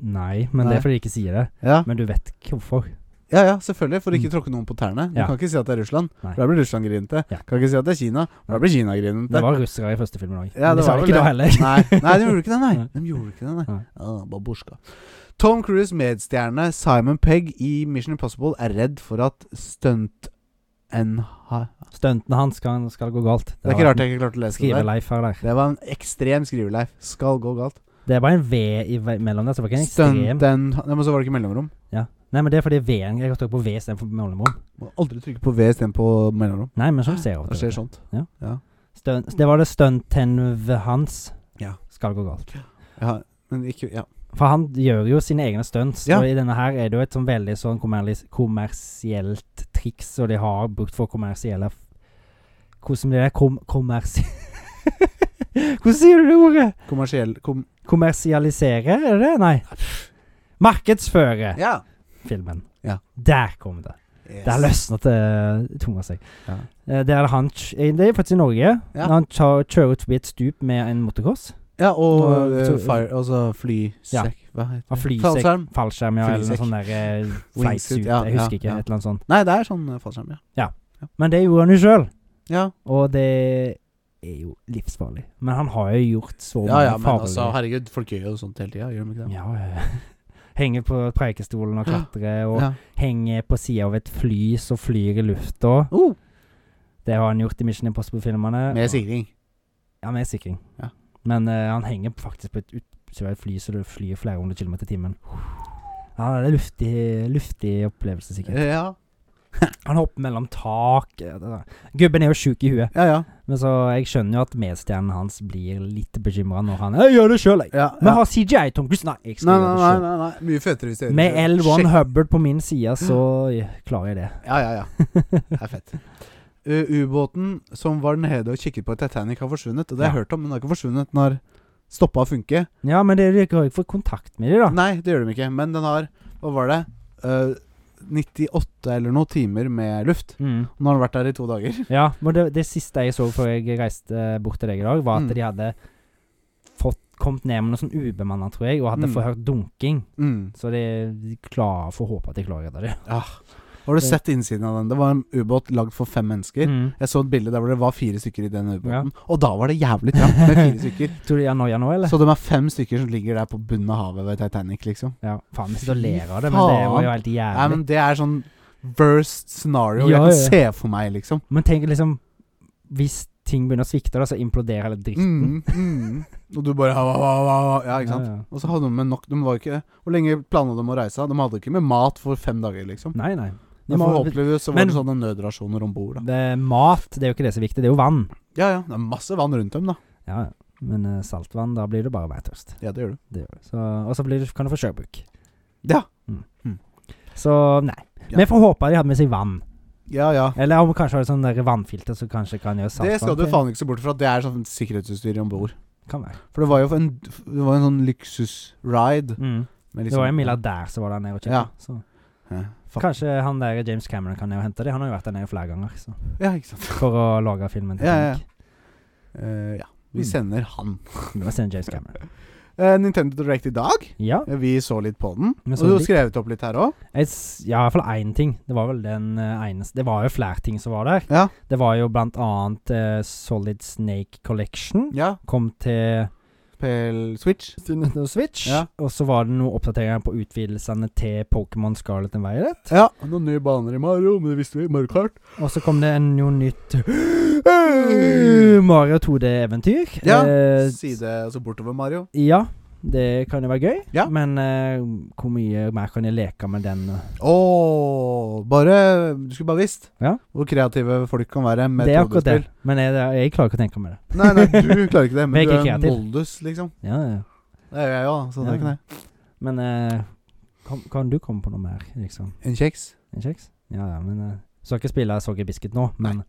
S2: nei, men det
S1: Nei.
S2: er fordi de ikke sier det.
S1: Ja,
S2: Men du vet ikke hvorfor.
S1: ja, ja selvfølgelig. For å ikke tråkke noen på tærne. Du
S2: Mm. Ja.
S1: kan ikke si at det er Russland.
S2: Nei.
S1: For da blir Russland grinete.
S2: Ja.
S1: Kan ikke si at det er Kina. For da blir Kina grinete.
S2: Det var russere i første filmen òg.
S1: Ja,
S2: de
S1: det
S2: sa
S1: var vel
S2: det ikke da
S1: det.
S2: heller.
S1: <laughs> Nei, nei, de gjorde ikke det, nei.
S2: Nei.
S1: De gjorde ikke det, nei.
S2: Nei.
S1: Ja, babushka. Tom Cruise' medstjerne Simon Pegg i Mission Impossible er redd for at stunt NH
S2: Stuntene hans skal, skal gå galt.
S1: Det er ikke rart jeg ikke klarte å lese det. der.
S2: Skriveleif her der.
S1: Det var en ekstrem skriveleif. Skal gå galt.
S2: Det er bare en V i, ve- mellom der, så det var ikke en ekstrem
S1: Stunt NH Nei, men så var det ikke mellomrom.
S2: Nei, men det er fordi V-en Jeg har trykket på V istedenfor mellomrom.
S1: Må aldri trykke på V istedenfor mellomrom.
S2: Nei, men sånn ser jeg
S1: Det
S2: av
S1: skjer
S2: og til.
S1: sånt.
S2: Stunt- Det var det stunt-ten-v hans
S1: Ja.
S2: skal gå galt.
S1: Ja, men ikke Ja.
S2: For han gjør jo sine egne stunts,
S1: Ja.
S2: og i denne her er det jo et sånn veldig sånn kommerlis- kommersielt triks, og de har brukt for kommersielle f- Hvordan blir det? Kom kommersi... <laughs> Hvordan sier du det ordet?
S1: Kommersiell kom
S2: Kommersialisere, er det det? Nei. Markedsføre
S1: Ja.
S2: filmen.
S1: Ja.
S2: Der kom det.
S1: Yes.
S2: Der løsnet det tunga seg.
S1: Ja.
S2: Eh, Det er han kj- eh, Det er faktisk i Norge.
S1: Ja.
S2: Når han kjø- kjører ut forbi et stup med en motocross.
S1: Ja, og
S2: Da-
S1: eh,
S2: så-
S1: fire Og så flysekk Hva
S2: Av
S1: heter det?
S2: flysekk, fallskjerm ja, eller noe
S1: Mm. Flysekk.
S2: sånn der eh,
S1: <laughs> Wingsuit,
S2: flightsuit.
S1: ja,
S2: Jeg husker
S1: ja,
S2: ikke.
S1: ja.
S2: Et eller annet sånt.
S1: Nei, det er sånn eh, fallskjerm, ja.
S2: Men det gjorde han jo sjøl,
S1: Ja.
S2: og det er jo livsfarlig. Men han har jo gjort så
S1: Ja,
S2: mye
S1: ja, men
S2: farlig.
S1: altså, herregud, folk gjør jo sånt hele tida, gjør de ikke det?
S2: ja, ja. <laughs> Henge på preikestolen og klatre, og
S1: Ja.
S2: henge på sida av et fly som flyr i lufta.
S1: Oh,
S2: Det har han gjort i Mission Impossible-filmene.
S1: med sikring.
S2: Ja, med sikring.
S1: Ja.
S2: Men eh, han henger faktisk på et utsvevd fly, så det flyr flere hundre kilometer i timen. Ja, det er luftig, luftig opplevelse, sikkert.
S1: Ja,
S2: Han hopper mellom tak eh, det der. Gubben er jo sjuk i huet,
S1: ja. ja,
S2: men så jeg skjønner jo at medstjernen hans blir litt bekymra når han Jeg gjør det sjøl, jeg.
S1: ja,
S2: Vi
S1: ja.
S2: har CGI, Tom Cruise. Nei, jeg
S1: Nei,
S2: skal
S1: nei,
S2: gjøre det
S1: nei,
S2: sjøl.
S1: nei, nei. Mye fetere hvis du gjør det
S2: Med
S1: selv.
S2: L1
S1: Shit.
S2: Hubbard på min side, så klarer jeg det. <laughs>
S1: Ja, ja, ja. Det er fett. U- Eh, Ubåten som var nede og kikket på Titanic, har forsvunnet. Og det har jeg
S2: Ja.
S1: hørt om, men den har ikke forsvunnet. Den har stoppa å funke.
S2: Ja, men det, dere har jo ikke fått kontakt med dem, da.
S1: Nei, det gjør de ikke. Men den har Hva var det? Eh, 98 eller noe timer med luft.
S2: Mm.
S1: Nå har den vært der i to dager.
S2: <laughs> Ja, men det, det siste jeg så før jeg reiste eh, bort til deg i dag, var at
S1: Mm.
S2: de hadde fått, kommet ned med noe sånn ubemanna, tror jeg, og hadde
S1: Mm.
S2: fått hørt dunking.
S1: Mm.
S2: Så de, de klarer, får håpe at de klarer å redde det.
S1: Har du sett innsiden av den? Det var en ubåt lagd for fem mennesker.
S2: Mm.
S1: Jeg så et bilde der hvor det var fire stykker i den ubåten. Og da var det jævlig trangt med fire
S2: <laughs>
S1: stykker.
S2: <laughs> Tror du de er noia nå, eller?
S1: Så de er fem stykker som ligger der på bunnen av havet ved Titanic, liksom.
S2: Ja, faen, vi sitter og
S1: Fy
S2: ler av det, men det var jo
S1: faen.
S2: helt
S1: Nei,
S2: jævlig.
S1: men det er sånn worst scenario
S2: Ja,
S1: jeg kan
S2: ja.
S1: se for meg, liksom.
S2: Men tenk liksom Hvis ting begynner å svikte, da, så imploderer hele dritten.
S1: Mm, mm. Og du bare ha, ha, ha, ha, ha. Ja, ikke sant.
S2: Ja, ja.
S1: Og så hadde de med nok De var jo ikke Hvor lenge planla de å reise? De hadde ikke med mat for fem dager, liksom.
S2: Nei, nei.
S1: Men forhåpentligvis så var
S2: Men-
S1: det sånne nødrasjoner om bord, da.
S2: det, mat, det er jo ikke det som er viktig, det er jo vann.
S1: Ja ja, det er masse vann rundt dem, da.
S2: Ja, ja. Men eh, saltvann, da blir du bare veitørst.
S1: Ja, det gjør du.
S2: Det gjør det. Så, og så blir du, kan du få sjøbuk.
S1: Ja.
S2: Mm.
S1: Mm.
S2: Så nei.
S1: Ja.
S2: Men jeg får håpe de hadde med seg vann.
S1: Ja ja.
S2: Eller om kanskje har de sånn der vannfilter som kanskje kan gjøre saltvann
S1: Det skal du
S2: til.
S1: faen ikke se bort fra. Det er sånn sikkerhetsutstyr om bord.
S2: Kan være.
S1: For det var jo en, det var en sånn luksusride.
S2: Mm.
S1: med
S2: Det var en
S1: liksom-
S2: milliardær som var der nede og
S1: Ja.
S2: kjøpte. Så
S1: Ja, fuck.
S2: Kanskje han der James Cameron kan ned og hente det. Han har jo vært der nede flere ganger så.
S1: ja, ikke sant.
S2: for å lage filmen. til
S1: Ja, ja, ja.
S2: Sonic.
S1: Eh, ja. Vi
S2: Mm.
S1: sender han.
S2: Det var sin James Cameron.
S1: Eh, Nintendo Direct i dag.
S2: Ja.
S1: Eh, Vi så litt på den.
S2: Vi
S1: Og
S2: så
S1: du har
S2: litt.
S1: skrevet opp litt her òg.
S2: Jeg, s- ja, i hvert fall én ting. Det var vel den eh, eneste Det var jo flere ting som var der.
S1: Ja.
S2: Det var jo blant annet eh, Solid Snake Collection.
S1: Ja.
S2: Kom til
S1: PL Switch.
S2: til Nintendo Switch.
S1: Ja.
S2: Og så var det noen oppdateringer på utvidelsene til Pokémon Scarlet and Violet.
S1: Ja, noen nye baner i Mario, men det visste vi. Mario Kart.
S2: Og så kom det en- noe nytt <laughs> øh, Mario 2D-eventyr.
S1: Ja,
S2: Eh,
S1: Side, altså bortover Mario.
S2: ja, det kan jo være gøy.
S1: Ja.
S2: Men eh, hvor mye mer kan jeg leke med den?
S1: Åh, bare Du skulle bare visst
S2: Ja.
S1: hvor kreative folk kan være med
S2: det er akkurat det.
S1: 2D-spill.
S2: Men jeg, jeg klarer ikke å tenke meg det.
S1: Nei, nei, du klarer ikke det,
S2: Men
S1: men
S2: jeg
S1: du
S2: er ikke
S1: er
S2: kreativ.
S1: Moldus, liksom.
S2: Ja, ja.
S1: Det er jeg òg, så det
S2: Ja.
S1: kan jeg.
S2: Men eh, kan, kan du komme på noe mer, liksom?
S1: En kjeks.
S2: En kjeks? Ja, ja, men eh, Skal ikke spille Soggy Biscuit nå, men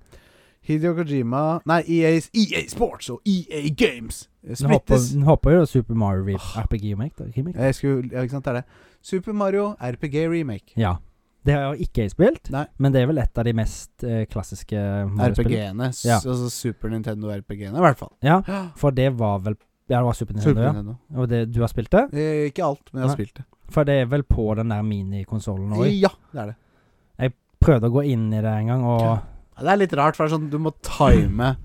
S1: Hideo Kojima Nei, E EAs, EA Sports og EA Games eh,
S2: den hopper,
S1: splittes.
S2: den hopper jo Super Mario Re- RPG remake. Da, remake.
S1: Jeg skulle, ja, ikke sant, det er det. Super Mario RPG Remake.
S2: Ja. Det har jeg ikke spilt,
S1: Nei.
S2: men det er vel et av de mest eh, klassiske Mario-spillene.
S1: RPG-ene. s-
S2: Ja.
S1: Altså Super Nintendo-RPG-ene, i hvert fall.
S2: Ja, for det var vel Ja, det var Super Nintendo,
S1: Super
S2: ja.
S1: Nintendo.
S2: Og det, du har spilt det?
S1: Eh, ikke alt, men jeg har
S2: Nei.
S1: spilt det. Eh,
S2: For det er vel på den der minikonsollen òg.
S1: Ja, det er det.
S2: Prøvde å gå inn i det en gang, og
S1: Ja. Ja, Det er litt rart, for det er sånn du må time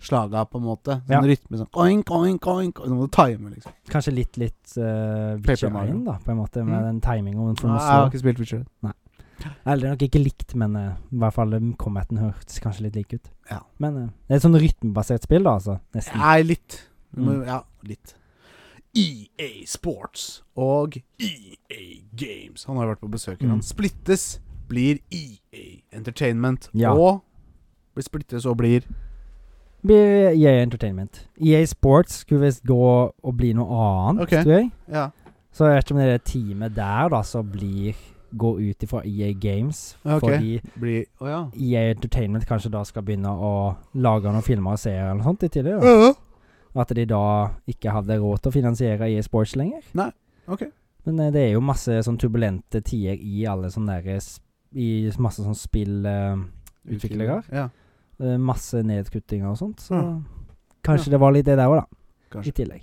S1: slaga, på en måte. Sånn
S2: Ja.
S1: rytme sånn oink, oink, oink. og Du må time, liksom.
S2: kanskje litt, litt uh,
S1: Paper
S2: Witcher
S1: Mario.
S2: 1, da, på en måte, med
S1: Mm.
S2: den timingen.
S1: Nei, jeg har ikke spilt Witcher.
S2: Eller nok ikke likt, men eh, i hvert fall eh, combaten hørtes kanskje litt lik ut.
S1: Ja.
S2: Men eh, det er et sånn rytmebasert spill, da, altså. Nesten.
S1: Nei, litt. Du må,
S2: Mm.
S1: Ja, litt. EA Sports og EA Games Han har jo vært på besøk her.
S2: Mm.
S1: Han splittes, blir EA Entertainment,
S2: Ja.
S1: og blir splittes og blir
S2: Blir EA Entertainment. EA Sports skulle visst gå og bli noe annet,
S1: Ok.
S2: tror jeg.
S1: Ja.
S2: Så jeg vet ikke om det er det teamet der, da, som blir Går ut ifra EA Games.
S1: Ja, ok.
S2: Fordi
S1: Blir Å ja.
S2: EA Entertainment kanskje da skal begynne å lage noen filmer og serier eller noe sånt i tidligere.
S1: Ja.
S2: At de da ikke hadde råd til å finansiere EA Sports lenger.
S1: Ok.
S2: Men eh, det er jo masse sånn turbulente tider i alle sånne der, s- I masse sånn spill eh, Utviklere?
S1: Ja.
S2: eh, Masse nedkuttinger og sånt. Så
S1: Mm. Ja.
S2: kanskje det var litt det der òg, da.
S1: Kanskje.
S2: I tillegg.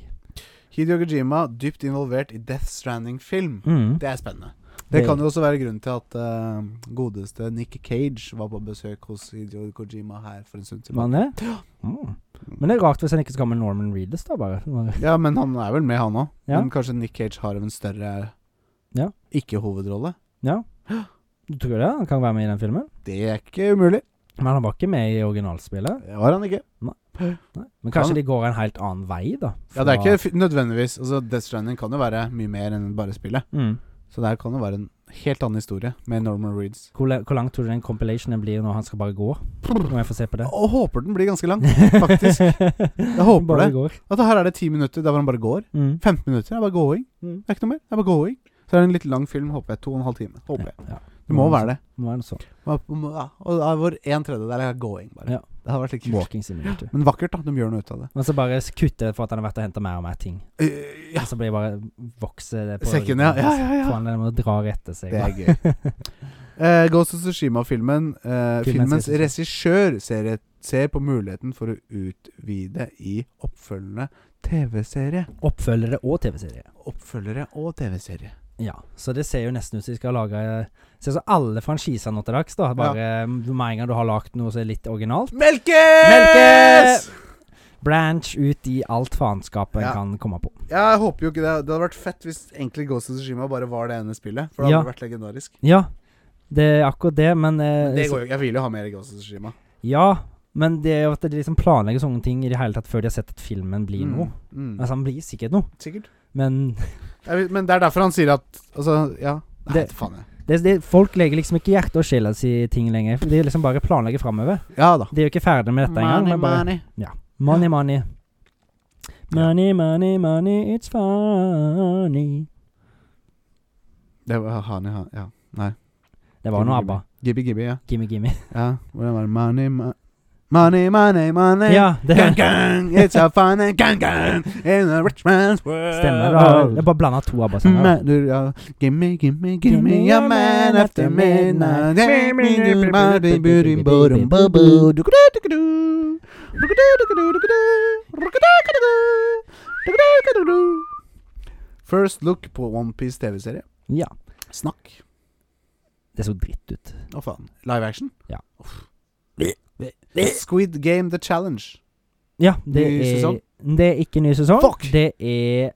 S1: Hideo Kojima dypt involvert i Death Stranding-film.
S2: Mm.
S1: Det er spennende. Det
S2: Det-
S1: kan jo også være grunnen til at eh, godeste Nick Cage var på besøk hos Hideo Kojima her for en stund
S2: Var
S1: tilbake.
S2: han det? Mm. Men det er rart hvis han ikke skal med Norman Reedus, da, bare.
S1: Ja, men han er vel med, han òg.
S2: Ja.
S1: Men kanskje Nick Cage har en større
S2: Ja.
S1: ikke-hovedrolle.
S2: Ja. Du tror det? Han kan være med i den filmen?
S1: Det er ikke umulig.
S2: Men han var ikke med i originalspillet?
S1: Det var han ikke.
S2: Nei. Men kanskje
S1: Han-
S2: de går en helt annen vei, da?
S1: Ja, det er
S2: fra-
S1: ikke f- nødvendigvis Altså, Death Stranding kan jo være mye mer enn bare spillet.
S2: mm.
S1: Så der kan det være en helt annen historie med Norman Reeds.
S2: hvor, le- hvor langt tror du den compilationen blir når han skal bare gå? Når jeg får se på det?
S1: Og håper den blir ganske lang. faktisk.
S2: <laughs>
S1: Jeg håper
S2: bare
S1: det.
S2: Går.
S1: At her er det ti minutter der hvor han bare går.
S2: Mm.
S1: 15 minutter. Det er bare going.
S2: Mm.
S1: Det er ikke noe mer. Det er bare going. Så er det en litt lang film, håper jeg. To og en halv time. Håper jeg.
S2: Ja.
S1: Det må være det.
S2: Må være noe sånn sånt.
S1: Man- man- ja, Og da er hvor en tredjedel er going, bare.
S2: Ja.
S1: Det hadde vært litt kult.
S2: Walking simulator.
S1: Men vakkert, da. De gjør noe ut av det.
S2: Men så bare s- kutter det for at han har vært og henta mer og mer ting.
S1: Eh, ja.
S2: Og så blir det bare vokser det på
S1: Sekken, ja. Ja, ja, ja.
S2: Får han den og drar etter seg.
S1: Det er gøy.
S2: <laughs>
S1: Eh, Ghost of Tsushima-filmen eh,
S2: Filmens
S1: Filmens regissør ser, et, ser på muligheten for å utvide i oppfølgende TV-serie.
S2: Oppfølgere og TV-serie.
S1: Oppfølgere og TV-serie.
S2: Ja, så det ser jo nesten ut som de skal lage Ser ut som alle franchiser nå til dags, da. Bare med en gang du har lagd noe som er litt originalt.
S1: Melkes!
S2: Melkes! Branch ut i alt faenskapet en
S1: Ja.
S2: kan komme på.
S1: Ja, jeg håper jo ikke det. Det hadde vært fett hvis egentlig Ghost of Tsushima bare var det ene spillet. For det
S2: Ja.
S1: hadde vært legendarisk.
S2: Ja, det er akkurat det, men, eh,
S1: Men det går jo ikke. Jeg vil jo ha mer Ghost of Tsushima.
S2: Ja, men det er jo at de liksom planlegger sånne ting i det hele tatt før de har sett at filmen blir
S1: Mm,
S2: noe.
S1: Mm.
S2: Altså, han blir sikkert noe,
S1: Sikkert.
S2: men <laughs>
S1: Jeg vil, men det er derfor han sier at Altså, ja. Nei,
S2: Det-
S1: faen jeg.
S2: det, det, Folk legger liksom ikke hjerte og sjela si i ting lenger. for De liksom bare planlegger framover.
S1: Ja da.
S2: De er jo ikke ferdig med dette engang. men bare- Money, money. Money, money, money, it's funny.
S1: Det var han, ja. ja. Nei.
S2: Det var
S1: Gimme,
S2: noe ABBA.
S1: Gibby Gibby, ja.
S2: Gimme, gimme.
S1: Ja, hvordan var det? Money, ma money, money, money.
S2: Ja, det
S1: Gang, gang, it's a fun and gang, gang, in a rich man's world.
S2: stemmer. Da. Jeg bare blanda to ABBA-sanger.
S1: Ma- du, Sånn, ja. Gimme, gimme, gimme a man after midnight. Yeah, me, gimme, body, booty, bottom, bubble. Dukada, dukadu. Dukada, dukadu, dukadu. Rukada, dukadu. Dukada, dukadu. First look på Onepiece TV-serie.
S2: Ja.
S1: Snakk.
S2: Det så dritt ut.
S1: Å faen. Live action?
S2: Ja.
S1: Uff. Squid Game The Challenge.
S2: Ja, det
S1: Ny
S2: er
S1: sesong?
S2: Det er ikke ny sesong.
S1: Fuck!
S2: Det er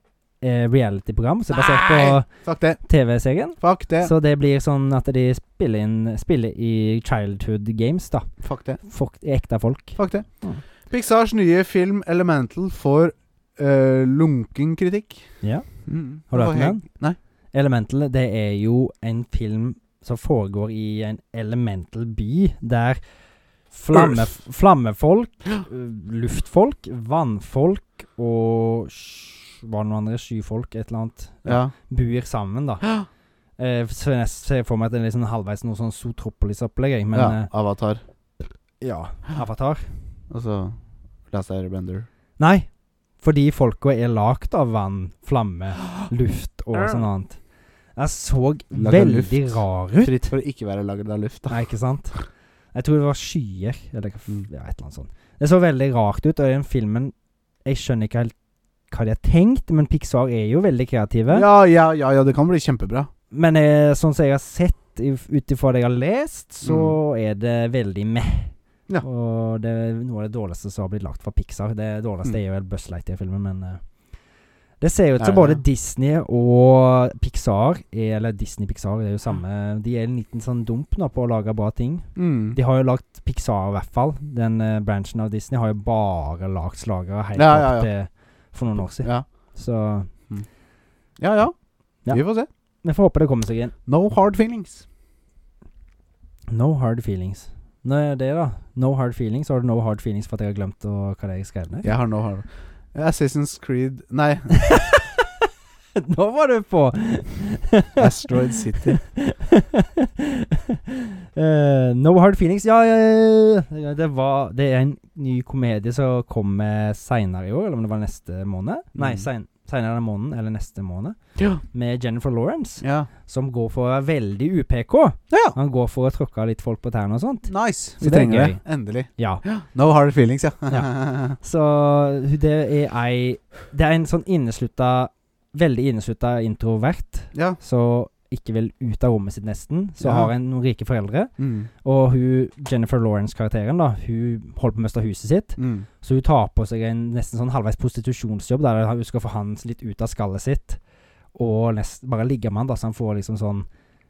S2: eh, reality-program som er basert
S1: Nei!
S2: på
S1: Fuck det.
S2: TV-serien.
S1: Fuck det.
S2: Så det blir sånn at de spiller inn Spiller i childhood games, da.
S1: Fuck det.
S2: Folk, ekte folk.
S1: Fuck det.
S2: Mm.
S1: Pixars nye film 'Elemental' får eh, lunken kritikk.
S2: Ja.
S1: Mm.
S2: Har du hørt om
S1: Får
S2: den?
S1: he- Nei.
S2: Elemental, det er jo en film som foregår i en elemental by, der flamme, flammefolk, øh, luftfolk, vannfolk og sj- hva er det noen andre, skyfolk, et eller annet,
S1: Ja.
S2: bor sammen, da. Eh, så jeg ser for meg at det er liksom halvveis noe sånn Zootropolis-opplegg, jeg, men
S1: ja.
S2: eh,
S1: Avatar.
S2: ja. Avatar.
S1: Altså Last Airbender.
S2: Nei, fordi folka er lagd av vann, flamme, luft og sånn annet. Jeg så
S1: Laget av
S2: veldig
S1: luft.
S2: rar ut.
S1: Fritt for å ikke være lagd av luft, da.
S2: Nei, ikke sant? Jeg tror det var skyer, eller hva f- ja, et eller annet sånt. Det så veldig rart ut, og i den filmen Jeg skjønner ikke helt hva de har tenkt, men Pixar er jo veldig kreative.
S1: Ja, ja, ja, ja, det kan bli kjempebra.
S2: Men eh, sånn som jeg har sett, i- ut ifra det jeg har lest, så er det veldig meh.
S1: Mm. Ja.
S2: Og det er noe av det dårligste som har blitt lagt fra Pixar. Det
S1: Mm.
S2: dårligste er jo vel Buzz Lightyear-filmen, men eh, Det ser jo ut
S1: Er
S2: som
S1: det
S2: både
S1: det?
S2: Disney og Pixar er, Eller Disney-Pixar det er jo samme De er en liten sånn dump nå på å lage bra ting.
S1: Mm.
S2: De har jo lagt Pixar i hvert fall. Den eh, branchen av Disney har jo bare lagd slagere helt
S1: Ja, ja, ja.
S2: opp til for noen år siden.
S1: Ja.
S2: Så
S1: ja, ja.
S2: Ja.
S1: Vi får se.
S2: vi får håpe det kommer seg inn.
S1: No hard feelings.
S2: No hard feelings. Nå er det, da. No hard feelings. Har du no hard feelings for at jeg har glemt å, hva det er jeg skrev ned?
S1: Jeg har no hard Assassin's Creed Nei,
S2: <laughs> Nå var du på! <laughs>
S1: Asteroid City.
S2: Eh, no hard feelings. Ja, ja, ja, ja. Det, var, det er en ny komedie som kommer seinere i år, eller om det var neste måned? Nei,
S1: Mm.
S2: sein, seinere den måneden, eller neste måned.
S1: Ja.
S2: Med Jennifer Lawrence,
S1: ja.
S2: som går for å være veldig UPK.
S1: Ja.
S2: Han går for å tråkke litt folk på tærne og sånt.
S1: Nice.
S2: Så
S1: Vi
S2: det er
S1: trenger
S2: gøy.
S1: det. Endelig.
S2: Ja.
S1: No hard feelings, ja.
S2: Så hun- det er ei Det er en sånn inneslutta Veldig inneslutta introvert,
S1: ja.
S2: så ikke vil ut av rommet sitt, nesten. Så
S1: Ja.
S2: har en noen rike foreldre.
S1: Mm.
S2: Og hun, Jennifer Lawrence-karakteren da Hun holder på å miste huset sitt,
S1: Mm.
S2: så hun tar på seg en nesten sånn halvveis prostitusjonsjobb der hun skal få han litt ut av skallet sitt, og nest, bare ligge med han, da, så han får liksom sånn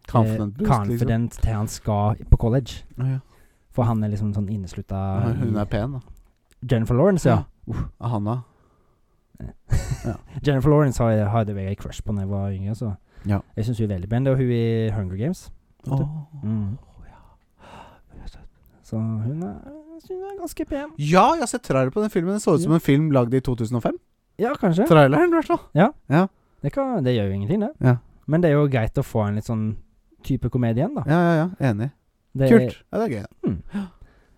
S1: Confident
S2: eh,
S1: boost, liksom.
S2: confident til han skal på college.
S1: Å, ja.
S2: For han er liksom sånn inneslutta
S1: Hun er pen, da.
S2: Jennifer Lawrence, ja.
S1: Ah, Hanna.
S2: Jennifer Lawrence har jeg- hadde jeg en crush på da jeg var yngre, så
S1: Ja.
S2: jeg syns hun er veldig pen. Det er hun i Hunger Games. Vet du? Mm. Så hun er, jeg synes hun er ganske pen.
S1: Ja, jeg har sett trailer på den filmen. Det så ut som en film lagd i 2005.
S2: Ja, kanskje.
S1: Traileren, i hvert fall.
S2: Det, kan, det gjør jo ingenting, det.
S1: Ja.
S2: Men det er jo greit å få en litt sånn type komedie igjen, da.
S1: Ja, ja, ja. Enig.
S2: Det er-
S1: Kult. Ja, det er gøy. da.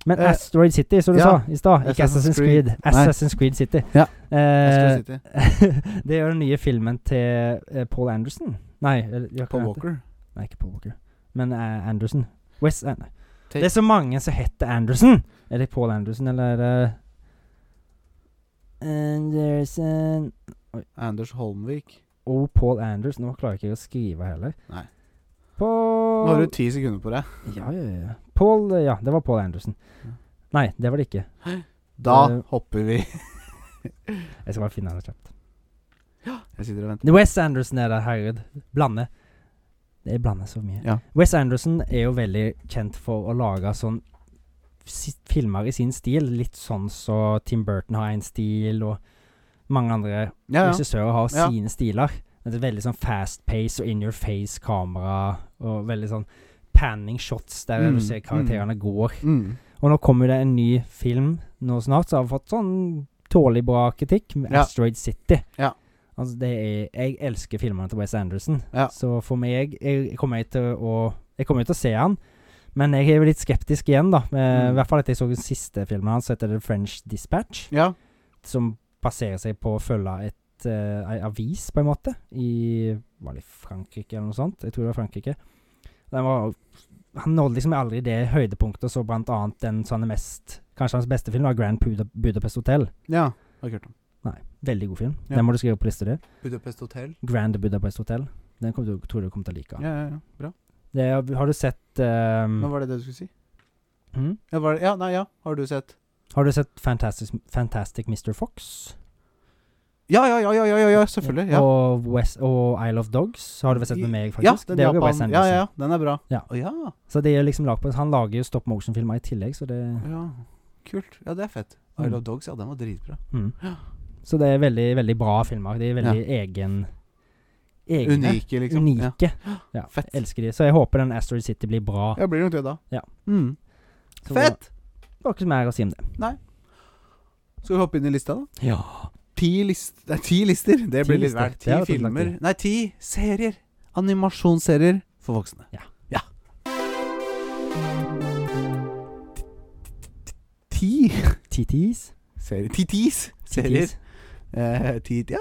S2: Men
S1: Eh,
S2: Asteroid City, som du
S1: ja.
S2: sa i stad. Ikke Assassin's
S1: Assassin's
S2: Creed.
S1: Creed. Nei.
S2: Assassin's Creed City.
S1: Ja.
S2: Eh,
S1: Astro City.
S2: <laughs> det er jo den nye filmen til eh, Paul Anderson. Nei, eller, ja, hva
S1: Paul
S2: heter-
S1: Walker.
S2: Nei, ikke Paul Walker. Men eh, Anderson. Wes eh, nei.
S1: Take-
S2: Det er så mange som heter Anderson. Er det Paul Anderson, eller er det Anderson
S1: Anders Holmvik.
S2: Og Paul Anderson. Nå klarer jeg ikke å skrive heller.
S1: Nei. Nå har
S2: Paul
S1: du ti sekunder på deg.
S2: Ja, ja, ja. Paul eh, Ja, det var Paul Anderson.
S1: Ja.
S2: Nei, det var det ikke.
S1: Da
S2: Eh,
S1: hopper vi.
S2: Jeg skal bare finne det kjapt.
S1: Jeg sitter og venter.
S2: Wes Anderson er det, herregud. Blande. Det er blande så mye.
S1: Ja.
S2: Wes Anderson er jo veldig kjent for å lage sånn si- filmer i sin stil. Litt sånn så Tim Burton har en stil, og mange andre
S1: Ja, ja.
S2: regissører har
S1: Ja.
S2: sine stiler. Det er veldig sånn fast pace og in your face-kamera, og veldig sånn panning shots der
S1: Mm,
S2: du ser karakterene går.
S1: Mm.
S2: Og nå kommer det en ny film nå snart, som har fått sånn tålelig bra kritikk. Med
S1: Ja.
S2: Asteroid City.
S1: Ja.
S2: Altså, det er Jeg elsker filmene til Wes Anderson.
S1: Ja.
S2: Så for meg jeg kommer jeg til å Jeg kommer jo til å se han. Men jeg er jo litt skeptisk igjen, da.
S1: Mm.
S2: Med, I hvert fall etter jeg så den siste filmen hans, heter The French Dispatch.
S1: Ja.
S2: Som baserer seg på å følge et eh, ei avis, på en måte, i Var det i Frankrike eller noe sånt? Jeg tror det var Frankrike. Den var han nådde liksom aldri det høydepunktet, og så blant annet den som han er mest Kanskje hans beste film var Grand Buda- Budapest Hotel.
S1: Ja. Har ikke hørt om.
S2: Nei, veldig god film.
S1: Ja.
S2: Den må du skrive på lista di.
S1: Budapest Hotel.
S2: Grand Budapest Hotel. Den kom, du, tror du kommer til å like.
S1: Ja, ja, ja. Bra.
S2: Det, er- har du sett ehm,
S1: Nå var det det du skulle si?
S2: hm?
S1: Ja, var det, ja, nei, ja. Har du sett
S2: Har du sett Fantastic, Fantastic Mr. Fox?
S1: Ja, ja, ja, ja, ja, ja, ja selvfølgelig. Ja.
S2: Og, West, og Isle of Dogs har du vel sett med meg,
S1: Ja,
S2: faktisk.
S1: den
S2: det er jo Wes
S1: Japan, ja,
S2: Anderson.
S1: ja, ja, den er bra.
S2: Ja.
S1: Å, ja.
S2: Så det er liksom lag på Han lager jo stop motion-filmer i tillegg, så det
S1: ja. Kult. Ja, det er fett. I
S2: Mm.
S1: Love Dogs, ja, den var dritbra.
S2: mm.
S1: Ja.
S2: Så det er veldig, veldig bra filmer. De er veldig egen egne.
S1: Unike, liksom. Ja.
S2: Unike. Ja.
S1: Fett.
S2: Elsker de. Så jeg håper den Asteroid City blir bra.
S1: ja, blir nok det, da.
S2: Ja.
S1: Mm.
S2: Så
S1: Fett!
S2: Det var ikke mer å si om det.
S1: Skal vi hoppe inn i lista, da?
S2: Ja.
S1: Ti, list det er ti lister. Det
S2: Ti
S1: blir litt
S2: lister.
S1: verdt.
S2: Det
S1: Ti
S2: er jo totalt
S1: filmer Nei, ti serier. Animasjonsserier for voksne.
S2: Ja.
S1: ja. Ti
S2: TTs.
S1: serier Titis serier. Eh, ti, ja,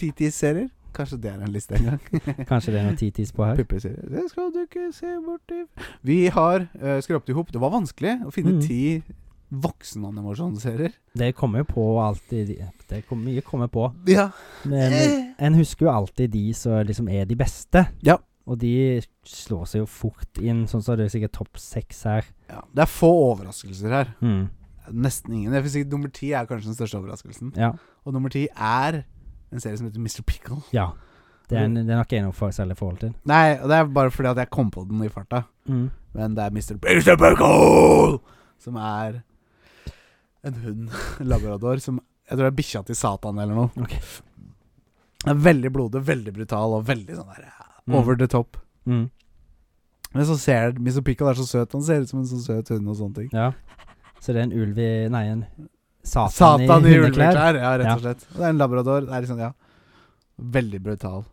S1: titis-serier. Kanskje det er en liste en gang.
S2: Kanskje det er noen TTs på her.
S1: Puppeserier. Det skal du ikke se bort i Vi har uh, skrapt i hop Det var vanskelig å finne
S2: Mm.
S1: ti voksenanimasjonsserier.
S2: Det kommer jo på alltid Det kommer mye kommer på.
S1: Ja.
S2: Men
S1: Eh.
S2: en husker jo alltid de som liksom er de beste.
S1: Ja.
S2: Og de slår seg jo fort inn, sånn som det er sikkert topp seks her.
S1: ja. Det er få overraskelser her.
S2: Mm.
S1: Nesten ingen. Jeg vil si Nummer ti er kanskje den største overraskelsen.
S2: Ja.
S1: Og nummer ti er en serie som heter Mr. Pickle.
S2: ja. Det er, en,
S1: Mm.
S2: det er nok en å få særlig forhold til.
S1: Nei, og det er bare fordi at jeg kom på den i farta.
S2: Mm.
S1: Men det er Mr. Mr. Pickle som er en hund, en labrador, som jeg tror det er bikkja til Satan eller noe.
S2: Ok.
S1: Den er veldig blodig, veldig brutal og veldig sånn der
S2: Mm.
S1: over the top.
S2: Mm.
S1: Men så ser Mr. Pickle er så søt. Han ser ut som en sånn søt hund og sånne ting.
S2: Ja. Så det er en ulv i Nei, en satan,
S1: Satan, i
S2: hundeklær.
S1: juleklær. Ja, rett
S2: Ja.
S1: og slett. Og det er en labrador. Det er liksom, ja Veldig brutal.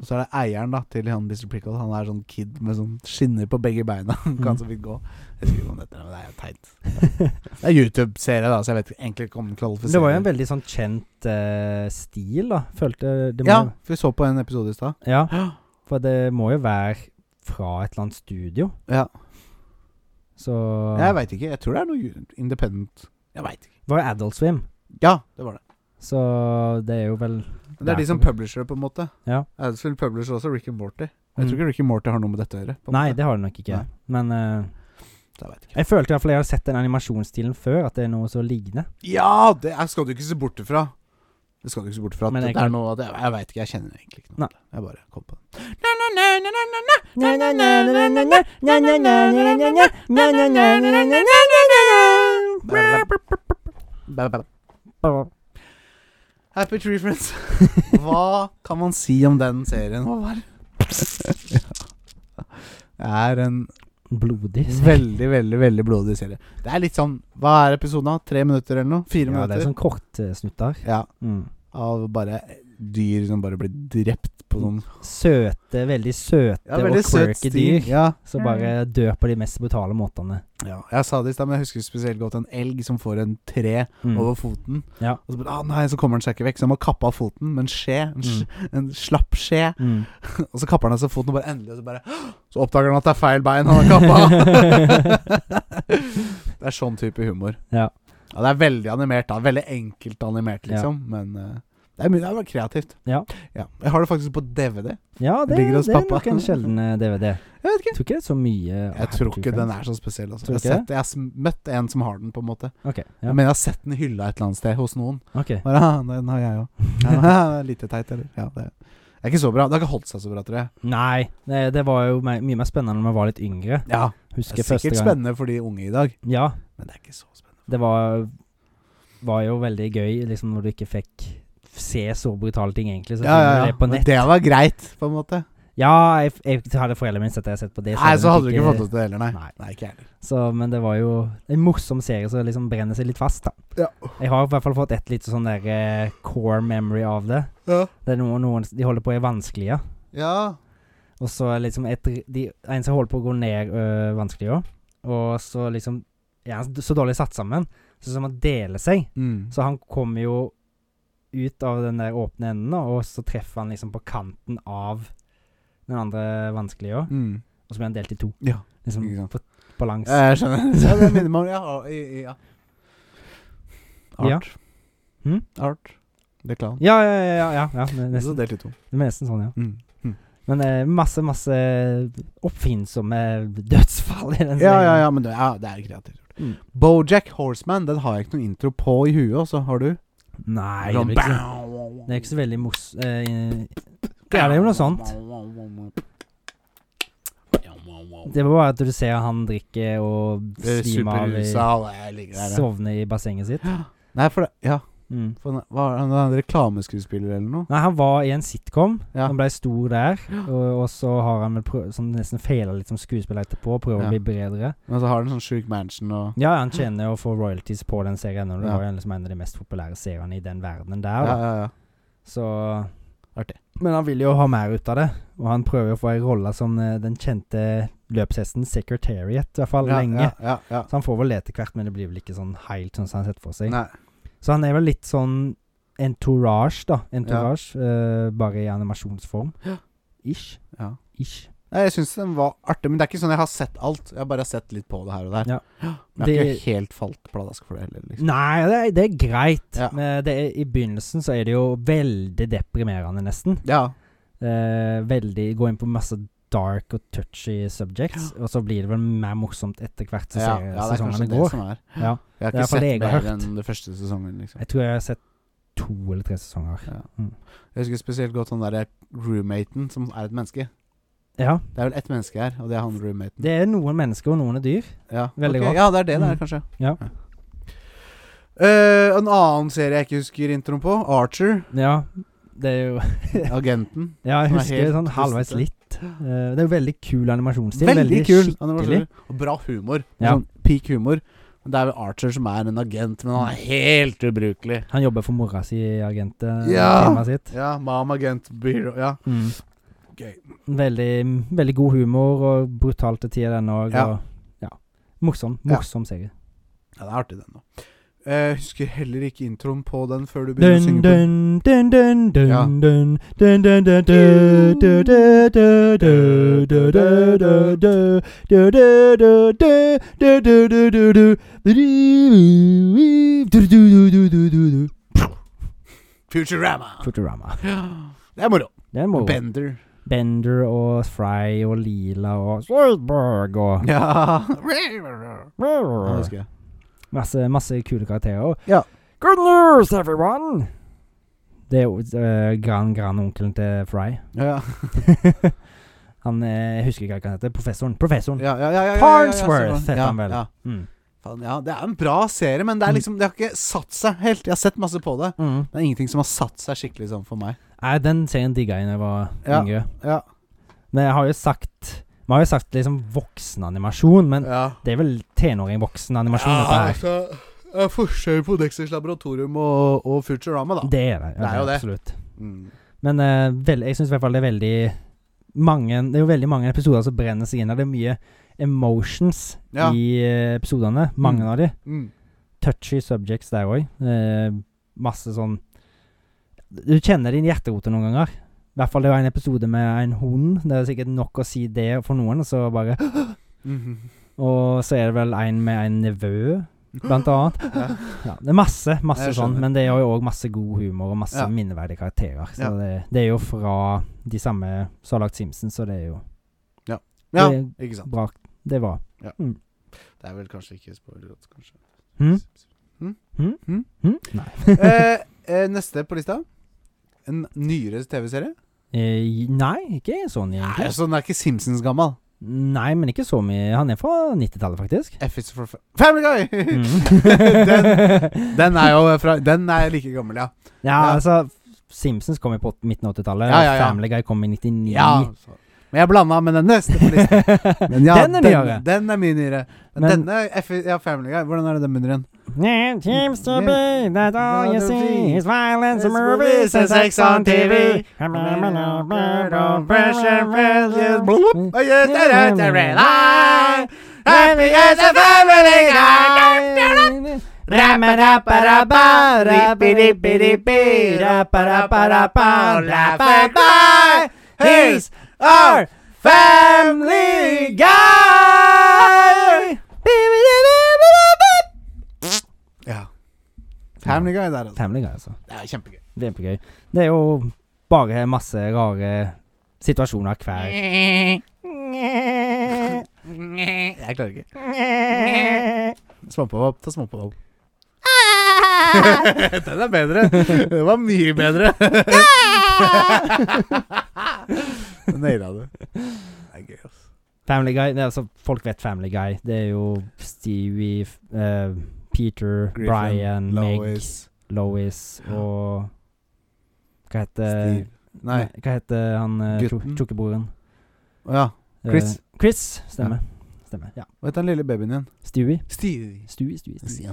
S1: Og så er det eieren da til han Mr. Pickle. Han er sånn kid med sånn skinner på begge beina. <laughs> Han kan
S2: Mm.
S1: så vidt gå. Jeg husker ikke om dette, men det er jo teit. Det er YouTube-serie, da, så jeg vet ikke- egentlig ikke om den
S2: Men Det var jo en
S1: kvalifiserer.
S2: veldig sånn kjent eh, stil, da. Følte det må,
S1: Ja, for vi så på en episode i stad.
S2: ja. For det må jo være fra et eller annet studio.
S1: Ja.
S2: Så
S1: Jeg veit ikke. Jeg tror det er noe ju- independent. Jeg veit ikke.
S2: Var jo Adult Swim,
S1: Ja, det var det.
S2: så det er jo vel
S1: Men det er de som publisher, på en måte.
S2: Ja.
S1: Adelsfield publisher også Rick and Morty. Jeg
S2: Mm.
S1: tror ikke Rick and Morty har noe med dette å gjøre. på en
S2: Nei,
S1: måte.
S2: det har det nok ikke.
S1: Nei.
S2: Men eh,
S1: Så jeg vet ikke.
S2: jeg følte i hvert fall jeg hadde sett den animasjonsstilen før, at det er noe så lignende.
S1: Ja, det er, skal du ikke se bort ifra. Det skal du ikke se bort ifra.
S2: Men
S1: At
S2: jeg
S1: det er
S2: kan-
S1: noe av det. Jeg veit ikke, jeg kjenner egentlig ikke noe.
S2: Nei.
S1: til det. Jeg bare kom på det. Happy Tree Friends. <laughs> Hva kan man si om den serien, Håvard? Det er en
S2: Blodig.
S1: veldig, veldig veldig blodig serie. Det er litt sånn Hva er episoden av? Tre minutter eller noe? Fire
S2: Ja, det er
S1: minutter?
S2: sånn kortsnutter.
S1: Ja,
S2: Mm.
S1: Av bare dyr som bare blir drept på sånn- noen
S2: Søte, veldig søte og quirky dyr.
S1: Ja.
S2: Så bare dør på de mest brutale måtene.
S1: ja. Jeg sa det i stad, men jeg husker spesielt godt en elg som får en tre
S2: Mm.
S1: over foten.
S2: Ja.
S1: Og så bare, ah, nei, så kommer den seg ikke vekk, så han må kappe av foten med en skje. En, sk- en slapp skje.
S2: Mm.
S1: Og så kapper han av seg foten, og bare endelig, og så bare Så oppdager han at det er feil bein han har
S2: <laughs>
S1: kappa. det er sånn type humor.
S2: Ja.
S1: Ja, det er veldig animert, da. Veldig enkelt animert, liksom. Men eh, det er mye det er bare kreativt.
S2: Ja.
S1: ja. Jeg har det faktisk på DVD.
S2: Ja, det,
S1: Det ligger hos
S2: det er
S1: pappa.
S2: nok en sjelden eh, DVD.
S1: Jeg vet ikke.
S2: Jeg tror ikke det er så mye
S1: Jeg tror ikke den er så spesiell. Altså.
S2: Tror
S1: Jeg, har
S2: du ikke
S1: sett, jeg har sm- møtt en som har den, på en måte.
S2: Ok, ja.
S1: Jeg mener jeg har sett den hylla et eller annet sted hos noen.
S2: ok.
S1: Bare, «Ah, den har jeg <laughs> òg. Lite teit, eller? Ja, det det er ikke så bra. Det har ikke holdt seg så bra, tror jeg.
S2: Nei, det, det var jo me- mye mer spennende når man var litt yngre.
S1: Ja,
S2: Husker
S1: det er
S2: første
S1: Sikkert
S2: gang.
S1: spennende for de unge i dag,
S2: Ja,
S1: men det er ikke så spennende.
S2: det var, var jo veldig gøy liksom når du ikke fikk se så brutale ting, egentlig. Så
S1: Ja, ja, ja.
S2: finner du det på
S1: Men
S2: nett.
S1: det var greit, på en måte.
S2: Ja, jeg, jeg hadde foreldrene mine sett det, jeg har sett på det.
S1: Nei, så
S2: hadde
S1: hadde du
S2: nok
S1: ikke fått oss det heller, nei.
S2: Nei.
S1: Nei, ikke jeg heller.
S2: Så, men det var jo en morsom serie som liksom brenner seg litt fast, da.
S1: Ja.
S2: Jeg har i hvert fall fått et lite sånn der eh, core memory av det.
S1: Ja.
S2: Det er noen, noen de holder på å være vanskelige.
S1: ja.
S2: Og så er liksom et, de, en som holder på å gå ned øh, vanskelig òg. Og så liksom er han så dårlig satt sammen, så som han deler seg.
S1: Mm.
S2: Så han kommer jo ut av den der åpne enden, da, og så treffer han liksom på kanten av den andre vanskelige òg.
S1: Mm.
S2: Og så blir han delt i to.
S1: Ja.
S2: Liksom
S1: Ikke sant.
S2: på balanse.
S1: Ja, Jeg skjønner. <laughs> Ja, det minner meg om ja, ja, ja. Art.
S2: Ja. Hm?
S1: Art. Det er klan.
S2: Ja, ja, ja. ja, ja, ja det er
S1: Så
S2: nesten,
S1: delt i to.
S2: det er nesten sånn, ja.
S1: Mm.
S2: Men eh, masse, masse oppfinnsomme dødsfall i den
S1: Ja, ja,
S2: serien.
S1: ja, men det, ja, det er kreativt gjort.
S2: Mm.
S1: Bojack Horseman, den har jeg ikke noen intro på i huet, også. Har du?
S2: Nei, det
S1: Sånn,
S2: blir ikke så, det er ikke så veldig mos... Eh, det er det jo noe sånt. Det var bare at du ser han drikke og
S1: Det er
S2: svime av i
S1: Superrusa og jeg ligger der. Eh, ja.
S2: Sovne i bassenget sitt.
S1: Nei, for det Ja.
S2: Mm.
S1: For han- var han en reklameskuespiller eller noe?
S2: Nei, han var i en sitcom.
S1: Ja.
S2: Han ble stor der. Og, og så har han vel prøv, sånn nesten feila litt som skuespiller etterpå, prøver
S1: Ja.
S2: å bli bedre.
S1: Men så har han en sånn sjuk mansion og
S2: Ja, han tjener å få royalties på den serien ennå. Det
S1: Ja.
S2: var jo en- liksom en av de mest populære seriene i den verdenen der.
S1: Ja,
S2: da.
S1: ja, ja.
S2: Så
S1: Artig.
S2: Men han vil jo ha mer ut av det, og han prøver jo å få ei rolle som eh, den kjente løpshesten Secretariat, i hvert fall
S1: ja,
S2: lenge.
S1: Ja, ja, ja.
S2: Så han får vel det etter hvert, men det blir vel ikke sånn helt sånn som han setter for seg.
S1: Nei.
S2: Så han er vel litt sånn entourage, da. Entourage, eh, bare i animasjonsform. Ish.
S1: Ja.
S2: Ish.
S1: Nei, Jeg syns den var artig, men det er ikke sånn jeg har sett alt. Jeg har bare sett litt på det her og der.
S2: Ja.
S1: Men jeg har
S2: Det-
S1: ikke helt falt pladask for det heller. Liksom.
S2: Nei, det er, det er greit.
S1: Ja.
S2: Men det er, I begynnelsen så er det jo veldig deprimerende, nesten.
S1: Ja.
S2: Eh, veldig Gå inn på masse dark og touchy subjects, og så blir det vel mer morsomt etter hvert som
S1: ja,
S2: ser-
S1: ja, det altså. er kanskje
S2: sesongene
S1: det
S2: går.
S1: som er.
S2: Ja.
S1: Jeg har
S2: Det
S1: ikke
S2: er for
S1: sett
S2: det jeg har
S1: mer
S2: hørt.
S1: enn den første sesongen, liksom.
S2: Jeg tror jeg har sett to eller tre sesonger.
S1: Jeg husker spesielt godt han derre roommaten som er et menneske.
S2: Ja.
S1: Det er vel ett menneske her, og det er han roommaten.
S2: Det er noen mennesker, og noen er dyr.
S1: ja.
S2: veldig
S1: ok,
S2: godt. Mm.
S1: Ja, det er det det er, kanskje.
S2: Ja.
S1: Eh, en annen serie jeg ikke husker introen på, Archer. <laughs>
S2: Ja, det er jo <laughs>
S1: Agenten.
S2: Ja, jeg
S1: Som er
S2: husker
S1: helt
S2: sånn halvveis
S1: tristete.
S2: litt. Eh, det er jo veldig kul animasjonsstil.
S1: veldig, kul.
S2: skikkelig.
S1: animasjon. Og bra humor.
S2: Ja.
S1: Sånn peak humor. Men Det er vel Archer som er en agent, men han er helt ubrukelig.
S2: Han jobber for mora si i agentfirmaet
S1: Ja.
S2: sitt.
S1: Ja, Mam Agent Bureau. Ja.
S2: Mm.
S1: Gøy.
S2: Veldig, veldig god humor, og brutal til tider den òg.
S1: Ja.
S2: Ja. Morsom. Morsom serie.
S1: Ja, det er artig, den, da. Jeg husker heller ikke introen på den før du begynner å
S2: Dun,
S1: synge på den.
S2: dun, dun, dun, dun,
S1: Ja.
S2: dun, dun, dun, dun, dun, dun, dun, dun, dun, dun, dun, dun, dun, dun, dun, dun, dun, dun, dun, dun, dun, dun. Du, du, du, du, du, du, du.
S1: Futurama.
S2: Futurama.
S1: Det er moro.
S2: Det er moro.
S1: Bender.
S2: Bender og Fry og Lila og Swartberg og
S1: Ja.
S2: Brrr.
S1: Det husker jeg.
S2: masse, masse kule karakterer.
S1: Ja.
S2: Good news, everyone! Det er jo eh, grand, grand onkelen til Fry.
S1: Ja, ja.
S2: han eh, Jeg husker ikke hva han heter. Professoren. Professoren.
S1: Ja, ja, ja, ja, ja, ja, ja, ja,
S2: Farnsworth
S1: ja,
S2: heter han vel.
S1: Ja,
S2: Mm.
S1: Faen, ja, det er en bra serie, men det er liksom Det har ikke satt seg helt. Jeg har sett masse på det.
S2: Mm.
S1: Det er ingenting som har satt seg skikkelig sånn for meg.
S2: Nei, den serien digga jeg da jeg var
S1: Ja.
S2: yngre.
S1: Ja.
S2: Men jeg har jo sagt Vi har jo sagt liksom voksenanimasjon, men
S1: ja.
S2: det er vel tenåring-voksenanimasjon, dette her.
S1: altså, det er forskjell på Dexters Laboratorium og, og Futurama, da.
S2: Det er det.
S1: Det er jo det.
S2: Absolutt.
S1: Mm.
S2: Men eh, vel, jeg syns i hvert fall det er veldig mange Det er jo veldig mange episoder som brenner seg inn. og Det er mye emotions
S1: Ja.
S2: i eh, episodene. Mange
S1: Mm.
S2: av de.
S1: Mm.
S2: Touchy subjects der òg. masse sånn Du kjenner din hjerterote noen ganger. I hvert fall det var en episode med en hund. Det er sikkert nok å si det for noen, og så bare
S1: Mhm.
S2: Og så er det vel en med en nevø, blant annet.
S1: Ja.
S2: Ja, det er masse, masse
S1: Jeg
S2: sånn,
S1: skjønner.
S2: men det er jo òg masse god humor og masse
S1: Ja.
S2: minneverdige karakterer. Så
S1: Ja.
S2: det, det er jo fra de samme som har lagd Simpsons, så det er jo
S1: ja,
S2: <laughs> det er
S1: ikke sant.
S2: bra. Det var
S1: Det er vel kanskje ikke spoilerlåt, kanskje.
S2: hm? Hm?
S1: eh, eh, neste på lista. En nyere TV-serie?
S2: Eh, nei, ikke sånn
S1: Nei,
S2: egentlig.
S1: altså, den er ikke Simpsons gammel.
S2: Nei, men ikke så mye. Han er fra 90-tallet, faktisk.
S1: F is for fa- Family Guy!
S2: <laughs> Mm.
S1: Den er jo fra Den er like gammel, ja.
S2: ja,
S1: Ja.
S2: altså Simpsons kom jo på åt- midten av 80-tallet.
S1: Ja, ja, ja.
S2: Family Guy kom i 99.
S1: ja så. Men jeg blanda med den neste på lista. Men ja,
S2: den er nyere.
S1: Den, den er mye nyere. Men,
S2: Men-
S1: denne F ja, Family Guy, hvordan er det den begynner igjen?
S2: It seems to be that all you see is violence and
S1: It's
S2: movies and sex on TV. Mm.
S1: Oh, yes, that is the real life. Happy as a family guy. Here's our Family Guy! Ja. Family Guy der, altså.
S2: Family Guy, altså.
S1: Det er kjempegøy.
S2: Kjempegøy. Det er jo bare masse rare situasjoner hver
S1: <laughs> Jeg klarer ikke. Småpåhopp, ta småpåhopp. <laughs> Den er bedre. Den var mye bedre. Naila du. Det er gøy, ass.
S2: Family Guy, nei, altså folk vet Family Guy. Det er jo Stewie, f- eh, Peter,
S1: Griffin,
S2: Brian, Meg,
S1: Lois,
S2: Lois og Hva heter
S1: Steve Nei,
S2: Hva heter han eh, tjo-
S1: Gutten.
S2: tjukkeboren?
S1: å ja.
S2: Eh,
S1: Chris.
S2: Chris, stemmer. Stemmer, ja.
S1: Hva heter den lille babyen igjen?
S2: Stewie.
S1: Stevie.
S2: Stewie, Stewie, Stewie.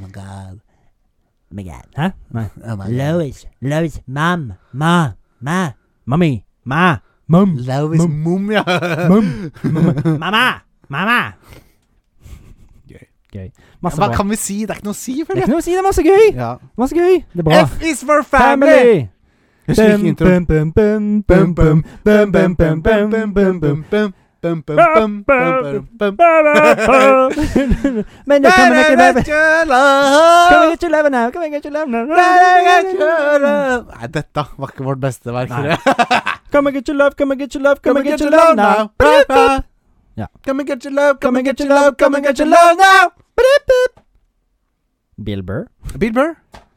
S1: my god.
S2: Hæ? Nei.
S1: Oh my
S2: Lois, Lois, mam, ma, ma, mommy, ma, mum,
S1: Lois
S2: Mum.
S1: Mum, ja. <laughs>
S2: mum, mamma, mamma.
S1: Gøy.
S2: Gøy.
S1: Ja,
S2: Masse
S1: Hva
S2: bra.
S1: kan vi si? Det er ikke noe å si,
S2: Det er
S1: føler jeg.
S2: ikke noe å si, det er masse gøy!
S1: Ja.
S2: Masse gøy! Det er bra.
S1: F is for family! Jeg husker ikke introen. Bum, bum, bum, bum, bum, bum, bum, bum, bum, bum, bum, bum, bum, bum, bum, bum.
S2: <laughs> Men det kan man ikke leve
S1: Better
S2: Kan man
S1: love.
S2: ikke leve nå? Kan man ikke leve nå?
S1: Better love. Nei, dette var ikke vårt beste verk.
S2: Nei.
S1: tror jeg.
S2: Kan man ikke leve? Kan man ikke leve? Kan
S1: Come
S2: man
S1: and get
S2: ikke
S1: your
S2: leve
S1: love
S2: nå?
S1: now. Bra, bra.
S2: Ja.
S1: Come and get your love,
S2: Come
S1: come
S2: and
S1: and
S2: get
S1: get
S2: your
S1: your
S2: love,
S1: love, come and get your love now.
S2: Bill Burr.
S1: Bill Burr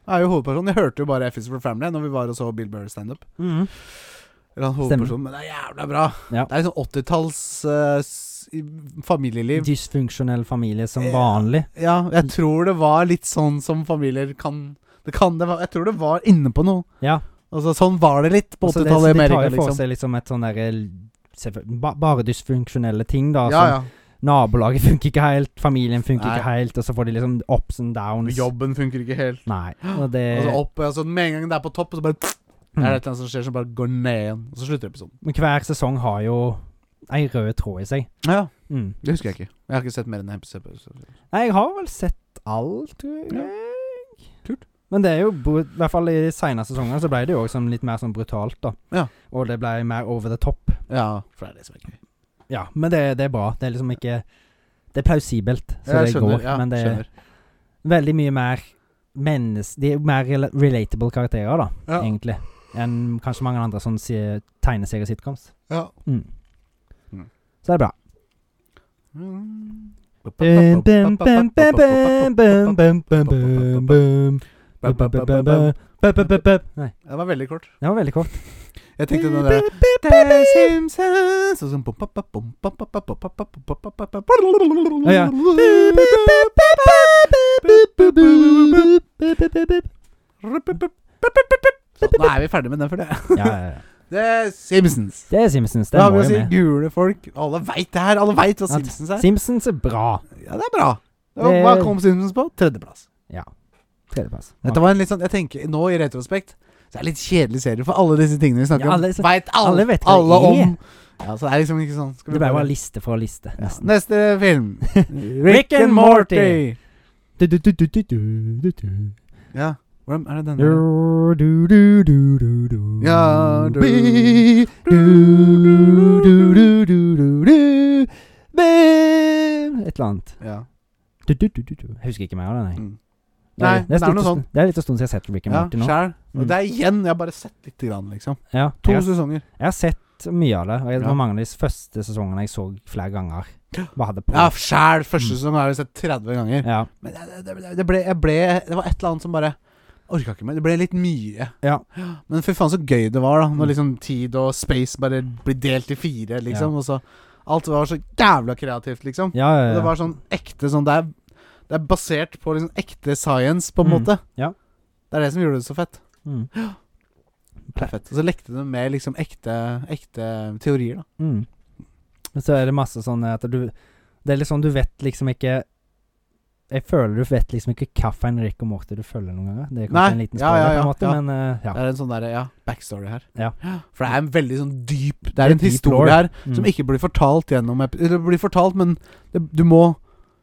S1: er jo hovedpersonen. Jeg hørte jo bare F is for Family når vi var og så Bill Burr standup. Eller han
S2: Stemmer.
S1: hovedpersonen, men det er jævla bra.
S2: Ja.
S1: Det er sånn 80-talls eh, s- i- familieliv.
S2: Dysfunksjonell familie som
S1: Ja.
S2: vanlig.
S1: Ja,
S2: Mm.
S1: jeg tror det var litt sånn som familier kan Det kan det være. Jeg tror det var inne på noe.
S2: Ja.
S1: Altså, sånn var det litt på
S2: Altså, det-
S1: 80-tallet i
S2: det tar
S1: Amerika,
S2: jo for
S1: liksom.
S2: seg liksom et sånn derre selvfø- ba- Bare dysfunksjonelle ting,
S1: Ja,
S2: da. som
S1: ja.
S2: Nabolaget funker ikke helt, familien funker
S1: Nei.
S2: ikke helt, og så får de liksom ups and downs.
S1: Jobben funker ikke helt.
S2: Nei. Og
S1: <gasps>
S2: det mm.
S1: Altså opp, altså Med en gang det er på topp, så bare Det er det et eller annet som skjer som bare går ned igjen. Og så slutter episoden.
S2: Men hver sesong har jo ei rød tråd i seg.
S1: Ja,
S2: Mm.
S1: Det husker jeg ikke. Jeg har ikke sett mer enn en episode.
S2: Nei, jeg har vel sett alt, tror jeg.
S1: Ja. Kult.
S2: Men det er jo, bru- i hvert fall i de senere sesongene, så ble det jo også sånn litt mer sånn brutalt, da.
S1: Ja.
S2: Og det ble mer over the top.
S1: Ja, for det er det som er gøy.
S2: Ja, men det, det er bra. Det er liksom ikke Det er plausibelt, så det går.
S1: ja,
S2: men det er
S1: skjønner.
S2: veldig mye mer mennes... De er mer rela- relatable karakterer, da,
S1: Ja,
S2: egentlig, enn kanskje mange andre sånn si, tegneseriesitcoms.
S1: ja.
S2: Mm.
S1: Mm.
S2: Så det er bra. Nei.
S1: Det var veldig kort.
S2: Det var veldig kort.
S1: Jeg tenkte den der The Simpsons og sånn pom, pom, pom, pom, pom, pom, pom, pom, pom, pom, pom, pom, pom.
S2: Ja, ja.
S1: Så, Nå er vi ferdig med den for det.
S2: Ja, ja, ja.
S1: The Simpsons.
S2: Det er Simpsons. Det
S1: Det har
S2: må
S1: vi å
S2: jo
S1: si.
S2: med.
S1: Gule folk. Alle veit det her. Alle veit hva
S2: At
S1: Simpsons er.
S2: Simpsons er bra.
S1: Ja, det er bra. Og hva kom Simpsons på? Tredjeplass.
S2: Tredjeplass.
S1: Dette var en litt sånn Jeg tenker nå i retrospekt så er det litt kjedelig serie, for alle disse tingene vi snakker
S2: Ja,
S1: om,
S2: alle-
S1: veit alle,
S2: alle vet hva
S1: alle
S2: det er.
S1: om. Ja, så det er liksom ikke sånn skal vi
S2: Det ble
S1: bare-
S2: bare liste fra liste.
S1: ja.
S2: Nesten.
S1: Neste film.
S2: Rick and Morty. Du, du, du, du, du, du, du.
S1: Ja. Hvordan er det denne? Sånn
S2: Du, du, du, du, du, du.
S1: Ja du-
S2: Bi- du, du, du, du, du, du. Bi- Et eller annet.
S1: Ja.
S2: Du, du, du, du, du. Jeg husker ikke mer av det, nei.
S1: Mm.
S2: Det er-
S1: Nei,
S2: det er,
S1: det er noe
S2: litt-
S1: sånt.
S2: Det er litt en stund siden jeg har sett Rick and
S1: ja
S2: Morty nå.
S1: Sjæl.
S2: Mm.
S1: Og det er igjen. Jeg har bare sett lite grann, liksom.
S2: Ja,
S1: To
S2: jeg, har-
S1: sesonger.
S2: jeg har sett mye av det. Og jeg, det
S1: Ja.
S2: var mange av de første sesongene jeg så flere
S1: <gasps>
S2: ganger. Bare hadde på.
S1: Ja, sjæl. Første
S2: Mm.
S1: sesong har jeg sett 30 ganger.
S2: ja.
S1: Men det, det, det- det ble, jeg ble Det var et eller annet som bare Orka ikke mer. Det ble litt mye.
S2: Ja.
S1: Men fy faen så gøy det var, da. Når
S2: Mm.
S1: liksom tid og space bare blir delt i fire, liksom.
S2: Ja.
S1: Og så Alt var så jævla kreativt, liksom.
S2: Ja, ja, ja.
S1: Og det var sånn ekte sånn Det er, det er basert på liksom ekte science, på en
S2: Mm.
S1: måte.
S2: Ja.
S1: Det er det som gjorde det så fett.
S2: mm.
S1: Det er fett. Og så lekte de med liksom ekte, ekte teorier, da.
S2: Mm. Men så er det masse sånn at du Det er litt sånn du vet liksom ikke Jeg føler du vet liksom ikke hvilken Rick og Morty du følger noen ganger. Det er kanskje
S1: Nei.
S2: en liten
S1: Ja,
S2: spoiler
S1: ja, ja,
S2: på en måte,
S1: ja.
S2: men eh, ja.
S1: Det er en sånn derre ja, backstory her.
S2: Ja.
S1: For det er en veldig sånn dyp Det
S2: er
S1: er en
S2: deep
S1: historie
S2: lore.
S1: her
S2: Mm.
S1: som ikke blir fortalt gjennom epi- Eller blir fortalt, men det, du må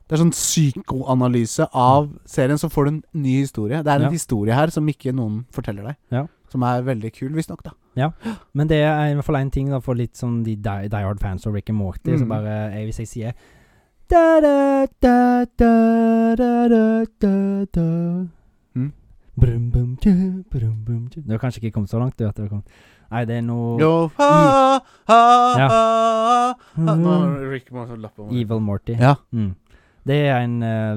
S1: Det er sånn psykoanalyse av serien, så får du en ny historie. Det er en
S2: Ja.
S1: historie her som ikke noen forteller deg.
S2: Ja.
S1: Som er veldig kul, visstnok, da.
S2: Men det er i hvert fall én ting da, for litt sånn de die, die hard fans av Rick and Morty,
S1: Mm.
S2: som bare jeg, Hvis jeg sier da, da, da, da, da, da, da, da.
S1: Mm.
S2: Brum, bum, tju, brum, bum, tju. Du har kanskje ikke kommet så langt, du? At det kom. Nei, det er noe
S1: Jo, ha, ha,
S2: Ja.
S1: ha, ha. Nå
S2: Mm.
S1: har Rick må ha sånn lapp om det.
S2: Evil Morty.
S1: Ja.
S2: Mm. Det er en eh,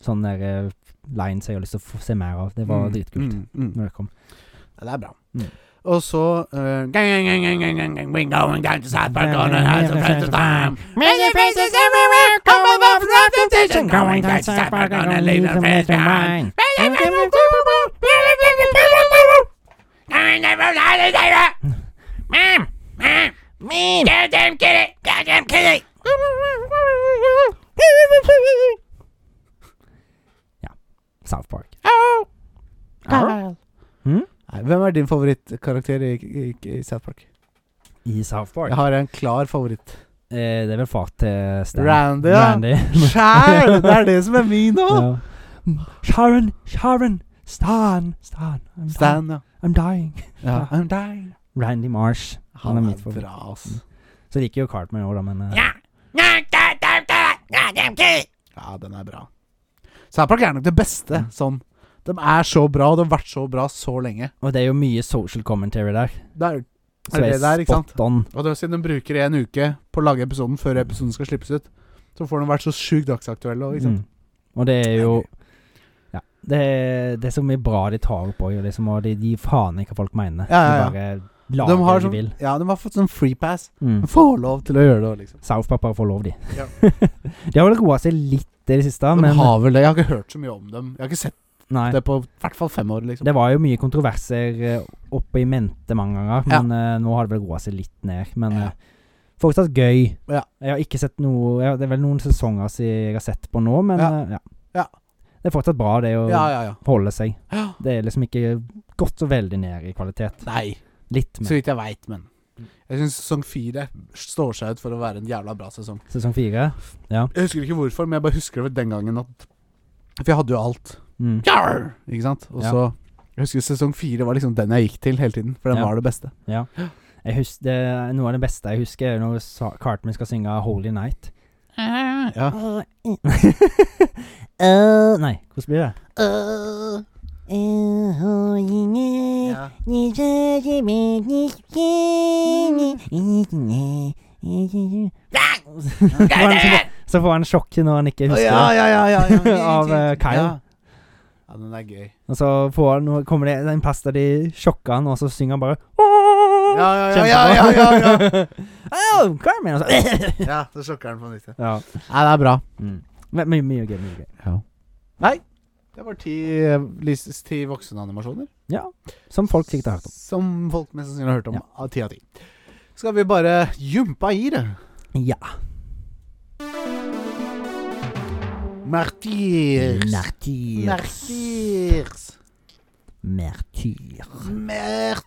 S2: sånne der, eh, lines jeg har lyst til å få se mer av. Det var
S1: Mm,
S2: dritkult
S1: mm, mm.
S2: når det kom.
S1: Ja, det er bra.
S2: Mm.
S1: Og så eh, gang, gang, gang, gang, gang, gang, gang, We're going down to South Park on a house of precious time. Many faces everywhere come above the reputation. Going down to South Park on a leave of precious time.
S4: Goddamn kitty! Goddamn kitty!
S2: South Park.
S4: Kyle.
S2: Mm?
S1: Nei, Hvem er din favorittkarakter i, i, i South Park?
S2: I South Park.
S1: Jeg har en klar favoritt.
S2: Eh, det er vel far til Stan.
S1: Randy, ja.
S2: Randy.
S1: Sjæl! Det er det som er min nå!
S2: <laughs> ja. Sharon, Sharon, Stan, Stan. I'm Dying.
S1: Stan, ja.
S2: I'm dying.
S1: ja. I'm dying.
S2: <laughs> Randy Marsh. Han er
S1: Han
S2: mitt
S1: er
S2: favoritt.
S1: bra, ass.
S2: Så liker jo Cartman òg, da, men eh,
S4: Yeah. No, goddamn kitty! Goddamn kitty!
S1: Ja, den er bra. South Park er nok det beste sånn. De er så bra, og de har vært så bra så lenge.
S2: Og det er jo mye social commentary der.
S1: Det er,
S2: Så
S1: er det
S2: jeg
S1: der, ikke sant?
S2: spot on.
S1: Og det er siden de bruker en uke på å lage episoden før episoden skal slippes ut, så får de vært så sjukt dagsaktuelle. og Ikke sant?
S2: Mm. Og det er jo Ja. Det er, det er så mye bra de tar opp òg, liksom, og de gir faen i hva folk mener.
S1: Ja, ja, ja.
S2: De bare
S1: De,
S2: lager det
S1: har
S2: de
S1: sånn,
S2: vil.
S1: ja, de har fått sånn free pass.
S2: Mm.
S1: De får lov til å gjøre det. liksom
S2: South Park bare får lov, de.
S1: Ja.
S2: <laughs> de har vel roa seg litt i det siste,
S1: De
S2: men
S1: har vel det. Jeg har ikke hørt så mye om dem. Jeg har ikke sett
S2: nei.
S1: det på i hvert fall fem år. liksom
S2: Det var jo mye kontroverser eh, oppe i mente mange ganger,
S1: Ja.
S2: men eh, nå har det vel roa seg litt ned. Men
S1: Ja.
S2: eh, fortsatt gøy.
S1: Ja.
S2: Jeg har ikke sett noe jeg, Det er vel noen sesonger si- jeg har sett på nå, men
S1: Ja.
S2: eh, ja.
S1: Ja.
S2: Det er fortsatt bra, det å
S1: Ja, ja, ja.
S2: holde seg.
S1: ja.
S2: Det er liksom ikke gått så veldig ned i kvalitet.
S1: Nei,
S2: Litt
S1: så
S2: med
S1: vidt jeg veit, men Mm. jeg syns sesong fire står seg ut for å være en jævla bra sesong.
S2: sesong fire.
S1: Jeg husker ikke hvorfor, men jeg bare husker det den gangen at For jeg hadde jo alt.
S2: Mm.
S1: Jarr! Ikke sant? Og
S2: Ja.
S1: så Jeg husker sesong fire var liksom den jeg gikk til hele tiden, for den
S2: Ja.
S1: var det beste.
S2: Jeg hus- det, er noe av det beste jeg husker, er når Sa- Cartman skal synge 'Holy Night'. <laughs>
S1: Ja.
S2: Eh, nei, hvordan blir det?
S1: Ja.
S2: Så får han- Så får han sjokk når han ikke husker
S1: ja,
S2: det.
S1: ja, ja, ja,
S2: <laughs>
S1: ja.
S2: Av, eh, Kyle.
S1: Ja. ja, den er gøy.
S2: Og så får han, nå kommer det det er en plass der de sjokker han, og så synger han bare
S1: Ja, ja, ja, ja, ja,
S2: Kjempebra.
S1: ja, ja.
S2: <laughs> Au, Carmen, og så <laughs>
S1: ja så sjokker den på nytt.
S2: Ja.
S1: Nei, det er bra.
S2: altså. Mm. Men Mye mye gøy. mye gøy
S1: Nei. Det var ti, eh, lis- ti voksenanimasjoner.
S2: Ja. Som folk sikkert har hørt om.
S1: Som folk mest sannsynlig har hørt om.
S2: Ja.
S1: Av ti av ti. Skal vi bare jumpa i det?
S2: Ja.
S1: Martyrs.
S2: Martyr.
S1: Martyrs.
S2: Martyr.
S1: Martyr.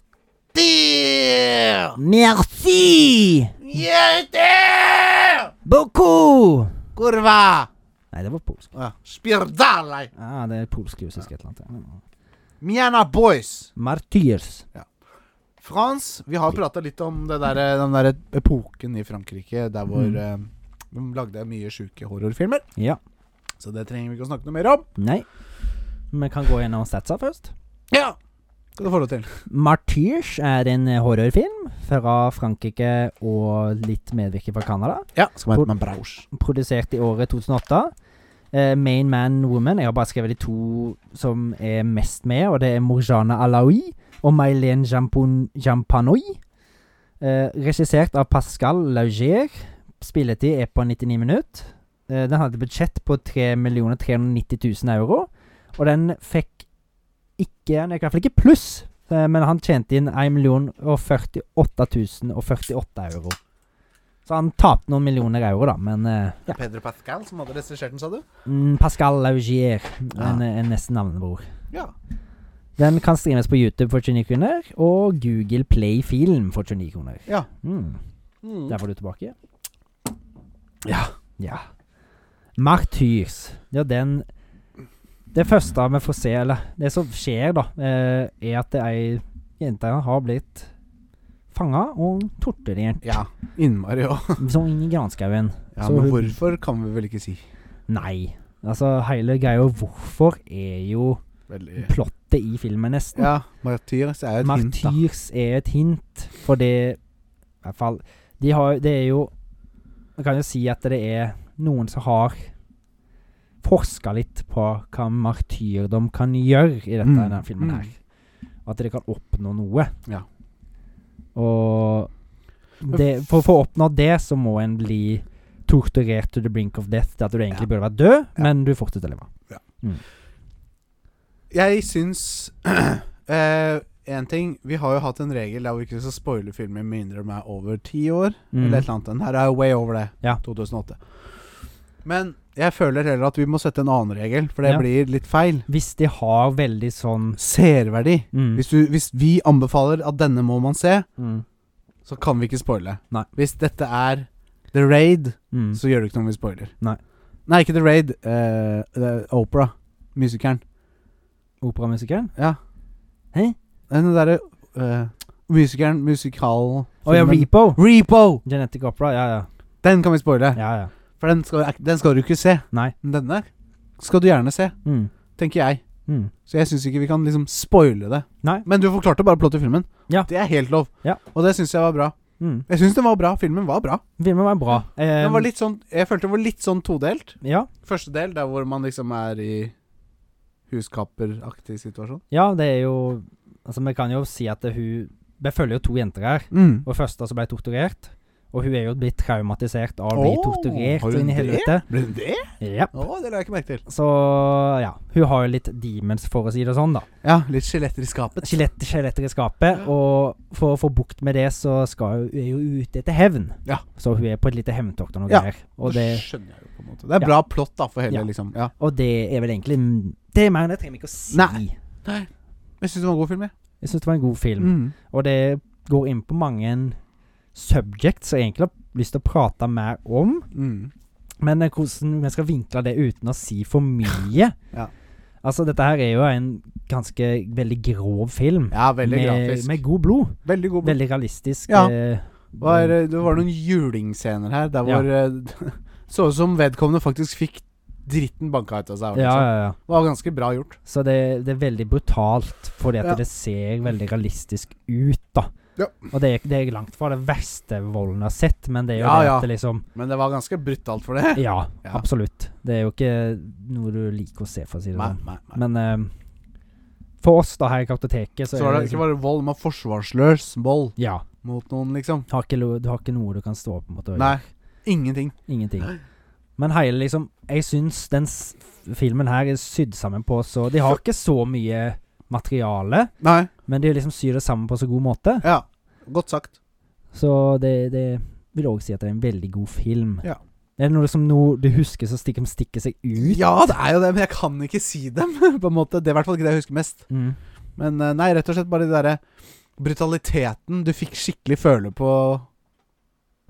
S2: Merci
S1: Hjerte!
S2: beaucoup!
S1: Kurva!
S2: Nei, det var polsk.
S1: Ja. Spirdalaj!
S2: Ah, det er polsk jeg husker et eller annet. Mm.
S1: Miana boys!
S2: Martyrs.
S1: Frans, vi har prata litt om det der, eh, den der epoken i Frankrike der hvor
S2: Mm.
S1: eh, de lagde mye sjuke horrorfilmer.
S2: Ja.
S1: Så det trenger vi ikke å snakke noe mer om.
S2: Nei. Vi kan gå gjennom statsa først.
S1: Ja! Skal du få lov til.
S2: Martyrs er en horrorfilm fra Frankrike og litt medvirket fra Canada.
S1: Ja, skal
S2: Hvor-
S1: man hete Braus.
S2: Produsert i året 2008. Eh, Main Man Woman. Jeg har bare skrevet de to som er mest med, og det er Morjana Alaoui og Mylène Jampon- Jampanoui. Eh, regissert av Pascal Laugier. Spilletid er på 99 minutter. Eh, den hadde budsjett på 3 390 000 euro, og den fikk ikke Den gikk i hvert fall ikke pluss, eh, men han tjente inn 1 048 048 euro. Så han tapte noen millioner euro, da, men eh, ja.
S1: Pedro Pascal som hadde regissert den, sa du?
S2: Mm, Pascal Laugier, en,
S1: Ja.
S2: en nesten navnebror.
S1: Ja.
S2: Den kan streames på YouTube for 29 kroner, og Google Play Film for 29 kroner.
S1: Ja.
S2: Mm.
S1: Mm.
S2: Der var du tilbake.
S1: Ja.
S2: Ja. Martyrs. Ja, den Det første vi får se, eller det som skjer, da, eh, er at det er ei jente har blitt fanga og torturert <laughs>
S1: Ja, innmari òg.
S2: sånn inn i granskauen.
S1: Ja,
S2: Så
S1: men
S2: hun-
S1: hvorfor kan vi vel ikke si.
S2: Nei. Altså, hele greia hvorfor er jo
S1: Veldig
S2: plottet i filmen, nesten.
S1: Ja, Martyrs er jo et hint, da.
S2: Martyrs er et hint, for det I hvert fall De har Det er jo Man kan jo si at det er noen som har forska litt på hva martyrdom kan gjøre i dette,
S1: Mm.
S2: denne filmen her. Og at det kan oppnå noe.
S1: Ja.
S2: Og det, for, for å oppnå det, så må en bli torturert to the brink of death til at du egentlig burde vært død,
S1: Ja.
S2: men du fortsetter å leve.
S1: Jeg syns <clears throat> Én ting Vi har jo hatt en regel der vi ikke skal spoile filmer med mindre de er over ti år.
S2: Mm.
S1: Eller et eller annet. Den her er jo way over det.
S2: Ja.
S1: 2008. Men jeg føler heller at vi må sette en annen regel, for det
S2: Ja.
S1: blir litt feil.
S2: Hvis de har veldig sånn
S1: Seerverdi.
S2: mm,
S1: Hvis, du- hvis vi anbefaler at denne må man se,
S2: mm,
S1: så kan vi ikke spoile.
S2: Nei.
S1: Hvis dette er The Raid,
S2: mm.
S1: så gjør det ikke noe om vi spoiler.
S2: Nei.
S1: Nei, ikke The Raid. eh, eh, Opera. Musikeren.
S2: Operamusikeren?
S1: Ja.
S2: Hæ?
S1: Den derre eh, Musikeren, musikal
S2: Å ja,
S1: filmen.
S2: Repo!
S1: Repo!
S2: Genetic Opera, ja ja.
S1: Den kan vi spoile.
S2: ja, ja.
S1: For den skal, den skal du ikke se.
S2: Nei.
S1: Men Denne skal du gjerne se,
S2: Mm,
S1: tenker jeg.
S2: mm.
S1: Så jeg syns ikke vi kan liksom spoile det.
S2: Nei.
S1: Men du forklarte bare plottet i filmen.
S2: Ja.
S1: Det er helt lov.
S2: Ja.
S1: Og det syns jeg var bra.
S2: Mm.
S1: Jeg syns den var bra. Filmen var bra.
S2: Filmen var bra. Eh,
S1: Den var litt sånn, jeg følte den var litt sånn todelt.
S2: ja,
S1: Første del, der hvor man liksom er i huskapperaktig situasjon.
S2: ja, det er jo Altså, vi kan jo si at det, hun Vi følger jo to jenter her.
S1: Mm.
S2: Og første som ble torturert. Og hun er jo blitt traumatisert av å bli
S1: Åh,
S2: torturert
S1: har hun
S2: inn i
S1: det?
S2: helvete.
S1: Ble den det?
S2: Ja.
S1: Å, det la jeg ikke merke til.
S2: Så ja. Hun har jo litt demons, for å si det sånn, da.
S1: Ja, litt skjeletter i skapet.
S2: Skjelett- Skjeletter i skapet. Og for å få bukt med det, så skal hun, hun er jo ute etter hevn.
S1: Ja.
S2: Så hun er på et lite hevntokt og noe
S1: Ja.
S2: greier. Og
S1: det
S2: det,
S1: skjønner jeg jo, på en måte. Det er
S2: Ja.
S1: bra plott, da, for hele,
S2: Ja.
S1: liksom. Ja.
S2: og det er vel egentlig Det er mer enn det trenger vi ikke å si.
S1: Nei. Jeg syns det var en god film, jeg.
S2: Jeg syns det var en god film.
S1: Mm.
S2: Og det går inn på mange subjects som jeg egentlig har lyst til å prate mer om.
S1: Mm.
S2: Men eh, hvordan vi skal vinkle det uten å si for mye
S1: <laughs> Ja.
S2: Altså, dette her er jo en ganske veldig grov film.
S1: Ja, veldig
S2: med,
S1: grafisk.
S2: Med god blod.
S1: veldig god
S2: Veldig realistisk.
S1: Ja.
S2: eh,
S1: Hva er, det- det var noen julingsscener her der
S2: Ja.
S1: hvor eh, <laughs> Så ut som vedkommende faktisk fikk dritten banka ut av seg. Liksom.
S2: Ja, ja, ja.
S1: Det var ganske bra gjort.
S2: Så det, det er veldig brutalt, fordi at
S1: Ja.
S2: det ser veldig realistisk ut, da.
S1: Ja.
S2: Og det er, det er langt fra det verste volden jeg har sett, men det er jo
S1: Ja,
S2: det
S1: ja.
S2: at det liksom
S1: Men det var ganske brutalt for det.
S2: Ja,
S1: Ja.
S2: absolutt. Det er jo ikke noe du liker å se, for å si det
S1: Nei,
S2: sånn.
S1: nei, nei.
S2: Men eh, for oss da her i kartoteket, så,
S1: Så var
S2: er
S1: det
S2: det
S1: ikke
S2: liksom,
S1: bare vold, men forsvarsløs vold
S2: Ja.
S1: mot noen, liksom.
S2: Har ikke, lo- du har ikke noe du kan stå på, en måte. og
S1: Nei.
S2: gjøre.
S1: Ingenting.
S2: Ingenting. Men hele liksom Jeg syns den s filmen her er sydd sammen på så De har ikke så mye materiale,
S1: Nei.
S2: men de liksom syr det sammen på så god måte.
S1: Ja. Godt sagt.
S2: Så det, det vil òg si at det er en veldig god film.
S1: Ja.
S2: Er det noe som noe du husker som stikker, stikker seg ut?
S1: Ja, det er jo det, men jeg kan ikke si dem, <laughs> på en måte. Det er i hvert fall ikke det jeg husker mest.
S2: Mm.
S1: Men eh, nei, rett og slett bare det derre brutaliteten. Du fikk skikkelig føle på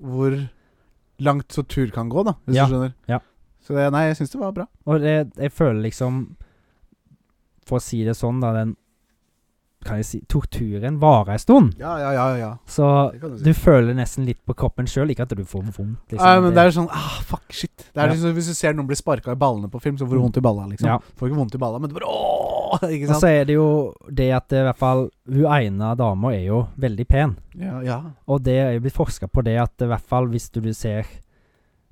S1: hvor langt så tur kan gå, da, hvis
S2: Ja,
S1: du skjønner.
S2: ja.
S1: Så det, nei, jeg syns det var bra.
S2: Og det, jeg føler liksom For å si det sånn, da, den Kan jeg si Torturen varer en stund.
S1: Ja, ja, ja. ja.
S2: Så
S1: Det kan du si.
S2: du føler nesten litt på kroppen sjøl, ikke at du får vondt. Liksom.
S1: Nei, men det er sånn ah, Fuck, shit. Det er
S2: Ja.
S1: liksom, hvis du ser noen bli sparka i ballene på film, så får du
S2: Mm.
S1: vondt i balla, liksom.
S2: Ja.
S1: Får ikke vondt i balla, men du bare ååå, <laughs> ikke
S2: og
S1: sant?
S2: så er det jo det at det, i hvert fall hun ene dama er jo veldig pen.
S1: ja, ja.
S2: Og det er jo blitt forska på det at i hvert fall hvis du ser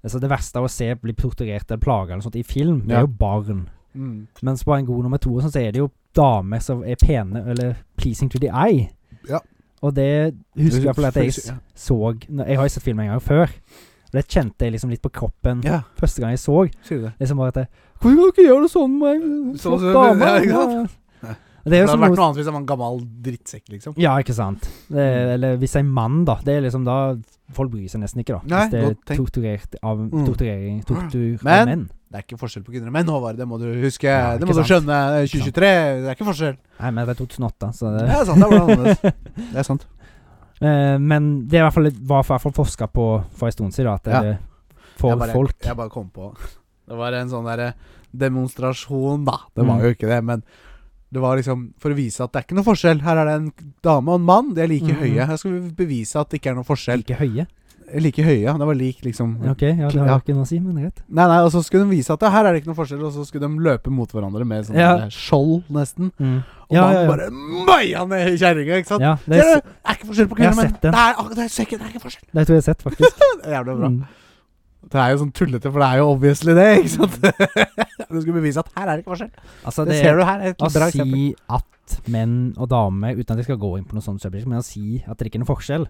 S2: Altså Det verste av å se bli torturert eller plaga eller sånt i film, det
S1: Ja.
S2: er jo barn.
S1: Mm.
S2: Mens på en god nummer to og sånn, så er det jo damer som er pene, eller pleasing to the eye.
S1: Ja.
S2: Og det husker jeg i hvert fall at jeg
S1: Ja.
S2: så når- Jeg har jo sett filmen en gang før. Og Det kjente jeg liksom litt på kroppen
S1: ja,
S2: første gang jeg så.
S1: sier du det.
S2: Liksom bare at jeg, Hvorfor kan du ikke gjøre det sånn med en
S1: Sånn
S2: flott
S1: som- <laughs>
S2: dame?
S1: ja, ikke sant?
S2: Ja. Det er
S1: Det
S2: jo
S1: hadde
S2: som
S1: vært
S2: noe
S1: noe annet hvis jeg var en gammel drittsekk, liksom.
S2: Ja, ikke sant.
S1: Mm.
S2: Det, er- eller hvis en mann, da. Det er liksom da Folk bryr seg nesten ikke, da.
S1: Nei,
S2: hvis det er
S1: godt tenkt.
S2: torturert av
S1: Mm.
S2: torturering, tortur
S1: Men-
S2: av menn.
S1: Det er ikke forskjell på kvinner og menn, Håvard. Det må du huske.
S2: Ja,
S1: det
S2: ikke
S1: må du
S2: sant.
S1: skjønne. 2023, det er ikke forskjell.
S2: Nei, men det er 2008, så det
S1: Det er sant. Det var annerledes. Det er sant.
S2: <laughs> Eh, men det er i hvert fall, var i hvert fall forska på for en stund siden, da, at
S1: Ja.
S2: det får
S1: jeg bare,
S2: folk
S1: Jeg bare kom på Det var en sånn derre demonstrasjon, da. Det
S2: Mm.
S1: var jo ikke det, men det var liksom for å vise at det er ikke noe forskjell. Her er det en dame og en mann, de er like
S2: Mhm.
S1: høye. Her skal vi bevise at det ikke er noe forskjell.
S2: like høye.
S1: Like høye, ja. Det var lik, liksom.
S2: Ok, ja, det har
S1: Ja.
S2: jo ikke noe å si, men greit.
S1: Nei, nei, og så skulle de vise at det, her er det ikke noe forskjell, og så skulle de løpe mot hverandre med sånn
S2: Ja.
S1: derre skjold, nesten. Og
S2: Ja,
S1: da
S2: ja, ja.
S1: bare meia ned kjerringa, ikke sant.
S2: ja, det,
S1: Det
S2: er,
S1: er, det er ikke forskjell på
S2: Jeg har
S1: kvinner og menn.
S2: sett den.
S1: <laughs> Det er, ak- det, er ikke- det er ikke forskjell.
S2: det tror jeg jeg har sett, faktisk.
S1: Det er Jævlig bra.
S2: Mm.
S1: Det er jo sånn tullete, for det er jo obviously det, ikke sant? <laughs> du skulle bevise at her er det ikke forskjell.
S2: Altså,
S1: Det,
S2: det,
S1: ser du her. er Et
S2: å
S1: bra eksempel.
S2: si at menn og damer, uten at jeg skal gå inn på noe sånt subject, men å si at det ikke er noen forskjell,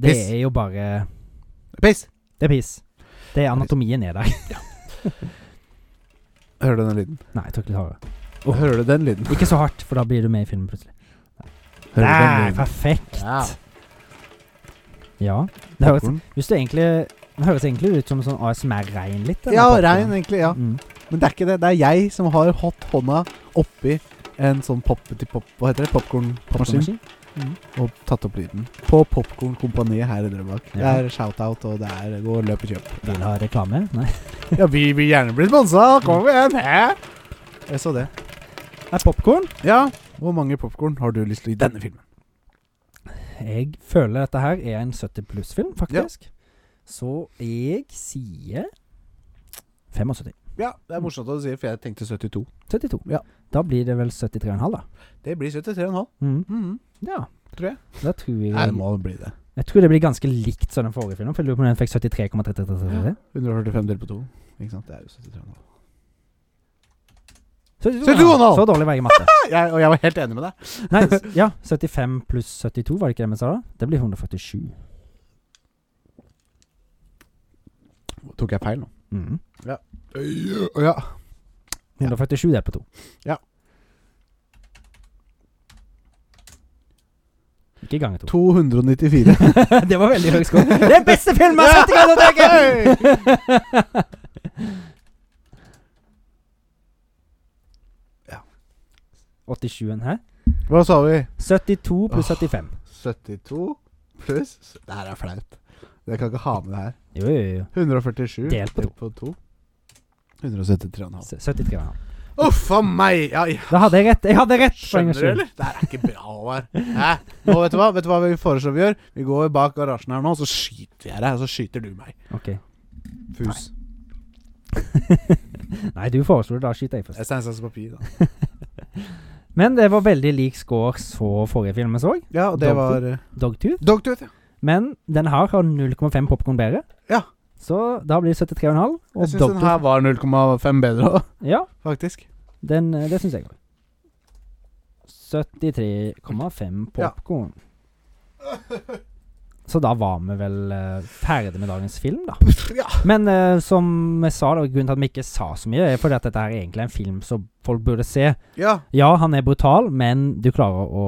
S2: det
S1: Piss.
S2: er jo bare
S1: Piss!
S2: Det er piss. Det er anatomien er der. <laughs>
S1: Hører du den lyden?
S2: Nei, jeg tok litt hardere.
S1: Hører du den lyden?
S2: Ikke så hardt, for da blir du med i filmen plutselig.
S1: Hører du den
S2: Der,
S1: lyden?
S2: perfekt!
S1: Ja.
S2: Ja. Det høres,
S1: Popcorn.
S2: hvis du egentlig, det høres egentlig ut som sånn ASMR-regn litt. eller
S1: Ja,
S2: popcorn.
S1: rein, egentlig. ja
S2: Mm.
S1: Men det er ikke det. Det er jeg som har hatt hånda oppi en sånn pop-til-pop Hva heter det? Popkornmaskin.
S2: Popcornmaskin.
S1: og tatt opp lyden. På Popkornkompaniet her i Drøbak. Det
S2: Ja.
S1: er shout-out, og det er gå og løp og kjøp.
S2: Vil ha reklame? Nei.
S1: Ja, vi vil gjerne bli sponsa! Kom igjen! Hæ? Jeg så det.
S2: Er popkorn?
S1: Ja, hvor mange popkorn har du lyst til å gi denne filmen?
S2: Jeg føler dette her er en 70 pluss-film, faktisk. Så jeg sier 75.
S1: Ja, det er morsomt at du sier, for jeg tenkte 72.
S2: 72.
S1: Ja.
S2: Da blir det vel 73,5, da.
S1: Det blir 73,5.
S2: Mm.
S1: Mhm.
S2: Ja.
S1: Tror jeg.
S2: Da tror jeg,
S1: Nei, det må bli det.
S2: jeg tror det blir ganske likt som den forrige filmen, for jeg lurer på om den fikk 73,33.
S1: 145 delt på 2. Ikke sant? Det er jo 73,5.
S2: 72,5! Så dårlig var jeg i matte.
S1: Jeg, og jeg var helt enig med deg.
S2: Nei, s- ja. 75 pluss 72, var det ikke det vi sa da? Det blir 147.
S1: Tok jeg feil nå?
S2: Mm.
S1: Ja.
S2: 147 delt på to.
S1: Ja.
S2: Ikke ganger to.
S1: 294.
S2: <laughs> det var veldig høy score. Det er beste filmen jeg har sett i Kartoteket!
S1: Ja.
S2: 87 Hæ?
S1: Hva sa vi?
S2: 72 pluss
S1: Åh.
S2: 75.
S1: 72 pluss Det her er flaut. Jeg kan ikke ha med det her.
S2: Jo, jo, jo.
S1: 147
S2: Delt på
S1: på 2. 173,5.
S2: S- 73.
S1: Uff a meg! Ja, ja.
S2: Da hadde jeg rett! Jeg hadde rett! for en
S1: Skjønner
S2: gangs
S1: du,
S2: skyld.
S1: eller? Det her er ikke bra, Håvard. Hæ? Nå, vet du hva Vet du hva vi foreslår vi gjør? Vi går bak garasjen her nå, så skyter jeg deg, og så skyter du meg.
S2: Ok.
S1: Fus.
S2: Nei, du foreslo det. Da skyter jeg først.
S1: Jeg Stein, saks, papir, da.
S2: Men det var veldig lik score så forrige film vi så,
S1: Ja, og det var eh,
S2: Dogtooth.
S1: Dogtooth, ja.
S2: Men den her har 0,5 popkorn bedre.
S1: Ja.
S2: Så da blir det 73,5.
S1: Jeg
S2: Og
S1: syns den her
S2: Dogtooth
S1: var 0,5 bedre òg,
S2: Ja,
S1: faktisk.
S2: den, eh, det syns jeg òg. 73,5
S1: Ja.
S2: popkorn. Så da var vi vel eh, ferdig med dagens film, da.
S1: <laughs> Ja.
S2: Men eh, som vi sa, da, grunnen til at vi ikke sa så mye, er fordi at dette her er egentlig en film som folk burde se.
S1: ja.
S2: Ja, han er brutal, men du klarer å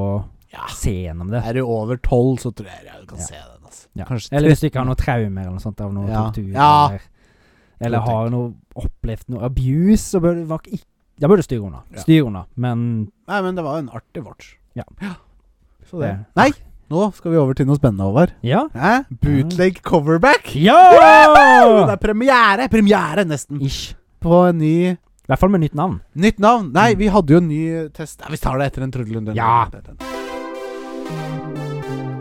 S1: Ja.
S2: se gjennom det.
S1: Er du over 12, så tror jeg jeg kan
S2: Ja.
S1: se den. Altså.
S2: Ja.
S1: Kanskje
S2: Eller hvis du ikke har noe traumer eller noe sånt av noe
S1: Ja.
S2: tortur.
S1: Ja.
S2: Eller, eller har noe opplevd noe abuse, så bør du nok ikke Da bør du styre unna.
S1: Ja.
S2: Styr unna, men
S1: Nei, men det var jo en artig watch.
S2: Ja.
S1: Så det.
S2: Det-
S1: Nei, nå skal vi over til noe spennende, Håvard.
S2: Ja!
S1: Hæ? Bootleg coverback! Woo! Det
S2: Ja!
S1: er premiere! Premiere, nesten.
S2: Ish.
S1: På en ny
S2: I hvert fall med nytt navn.
S1: Nytt navn. Nei, vi hadde jo en ny eh, test. Nei, vi tar det etter en trudelunden.
S2: Ja.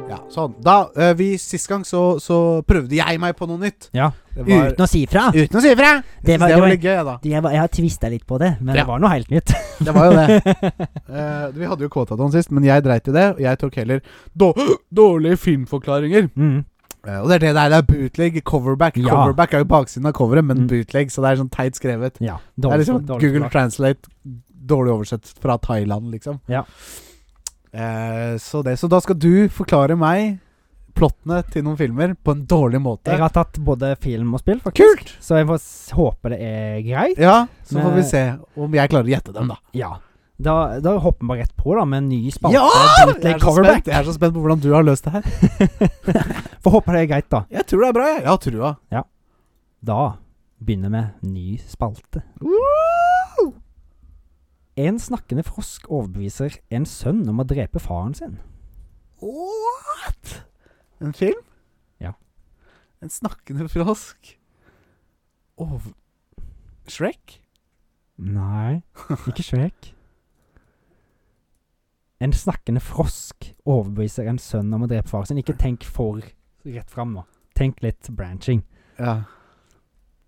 S1: Ja, sånn. Da, eh, vi Sist gang så, så prøvde jeg meg på noe nytt.
S2: Ja.
S1: Det var,
S2: Uten å si fra.
S1: uten å si ifra!
S2: Det
S1: Det
S2: var,
S1: var
S2: det
S1: litt gøy, da.
S2: var, jeg, var, jeg har tvista litt på det, men
S1: Ja.
S2: det var noe helt nytt. <laughs>
S1: Det var jo det. Eh, vi hadde jo Kåtaton sist, men jeg dreit i det. Og jeg tok heller då dårlige filmforklaringer.
S2: Mm.
S1: Eh, og det er det der, det er bootleg, coverback.
S2: Ja.
S1: Coverback er jo baksiden av coveret, men
S2: Mm.
S1: bootleg, så det er sånn teit skrevet.
S2: Ja.
S1: Det
S2: Dårlig,
S1: er liksom
S2: dårlig
S1: Google
S2: forklart.
S1: Translate, dårlig oversett fra Thailand, liksom.
S2: Ja.
S1: Eh, så, det, så da skal du forklare meg plottene til noen filmer på en dårlig måte.
S2: Jeg har tatt både film og spill, faktisk.
S1: Kult!
S2: Så jeg får s- håpe det er greit.
S1: Ja, så
S2: Men-
S1: får vi se om jeg klarer å gjette dem, da.
S2: Ja. Da, da hopper vi bare rett på da med en ny spalte.
S1: Ja! Jeg
S2: Bootleg
S1: er, så
S2: coverback.
S1: spent. jeg er så spent på hvordan du har løst det her.
S2: Får håpe det er greit, da.
S1: Jeg tror det er bra, jeg. Jeg har trua.
S2: Da begynner vi ny spalte. En snakkende frosk overbeviser en sønn om å drepe faren sin.
S1: What? En film?
S2: Ja.
S1: En snakkende frosk? Over... Shrek?
S2: Nei, <laughs> ikke Shrek. En snakkende frosk overbeviser en sønn om å drepe faren sin. Ikke tenk for rett fram nå. Tenk litt branching.
S1: Ja.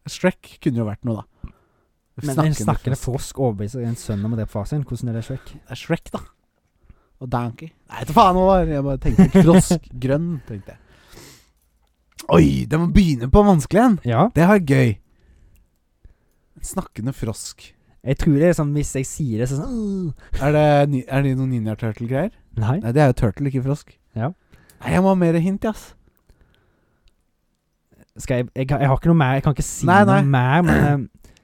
S1: Shrek kunne jo vært noe, da.
S2: Men en snakkende frosk overbeviser en sønn om å drepe faren sin. Hvordan er det Shrek?
S1: Det er Shrek, da. <laughs> Og Donkey. Nei, vet du faen hva det var. Jeg bare tenkte frosk. grønn, tenkte jeg. Oi, den må begynne på en vanskelig en!
S2: Ja.
S1: Det har vært gøy. En snakkende frosk.
S2: Jeg tror det er sånn hvis jeg sier det, så er det sånn «Åh».
S1: Er det, ni- er det noen Ninja Turtle-greier?
S2: Nei.
S1: Nei, det er jo turtle, ikke frosk.
S2: Ja.
S1: Nei, jeg må ha mer hint, ass.
S2: Skal jeg, jeg, jeg har ikke noe mer. Jeg kan ikke si
S1: Nei, nei.
S2: noe mer, men eh,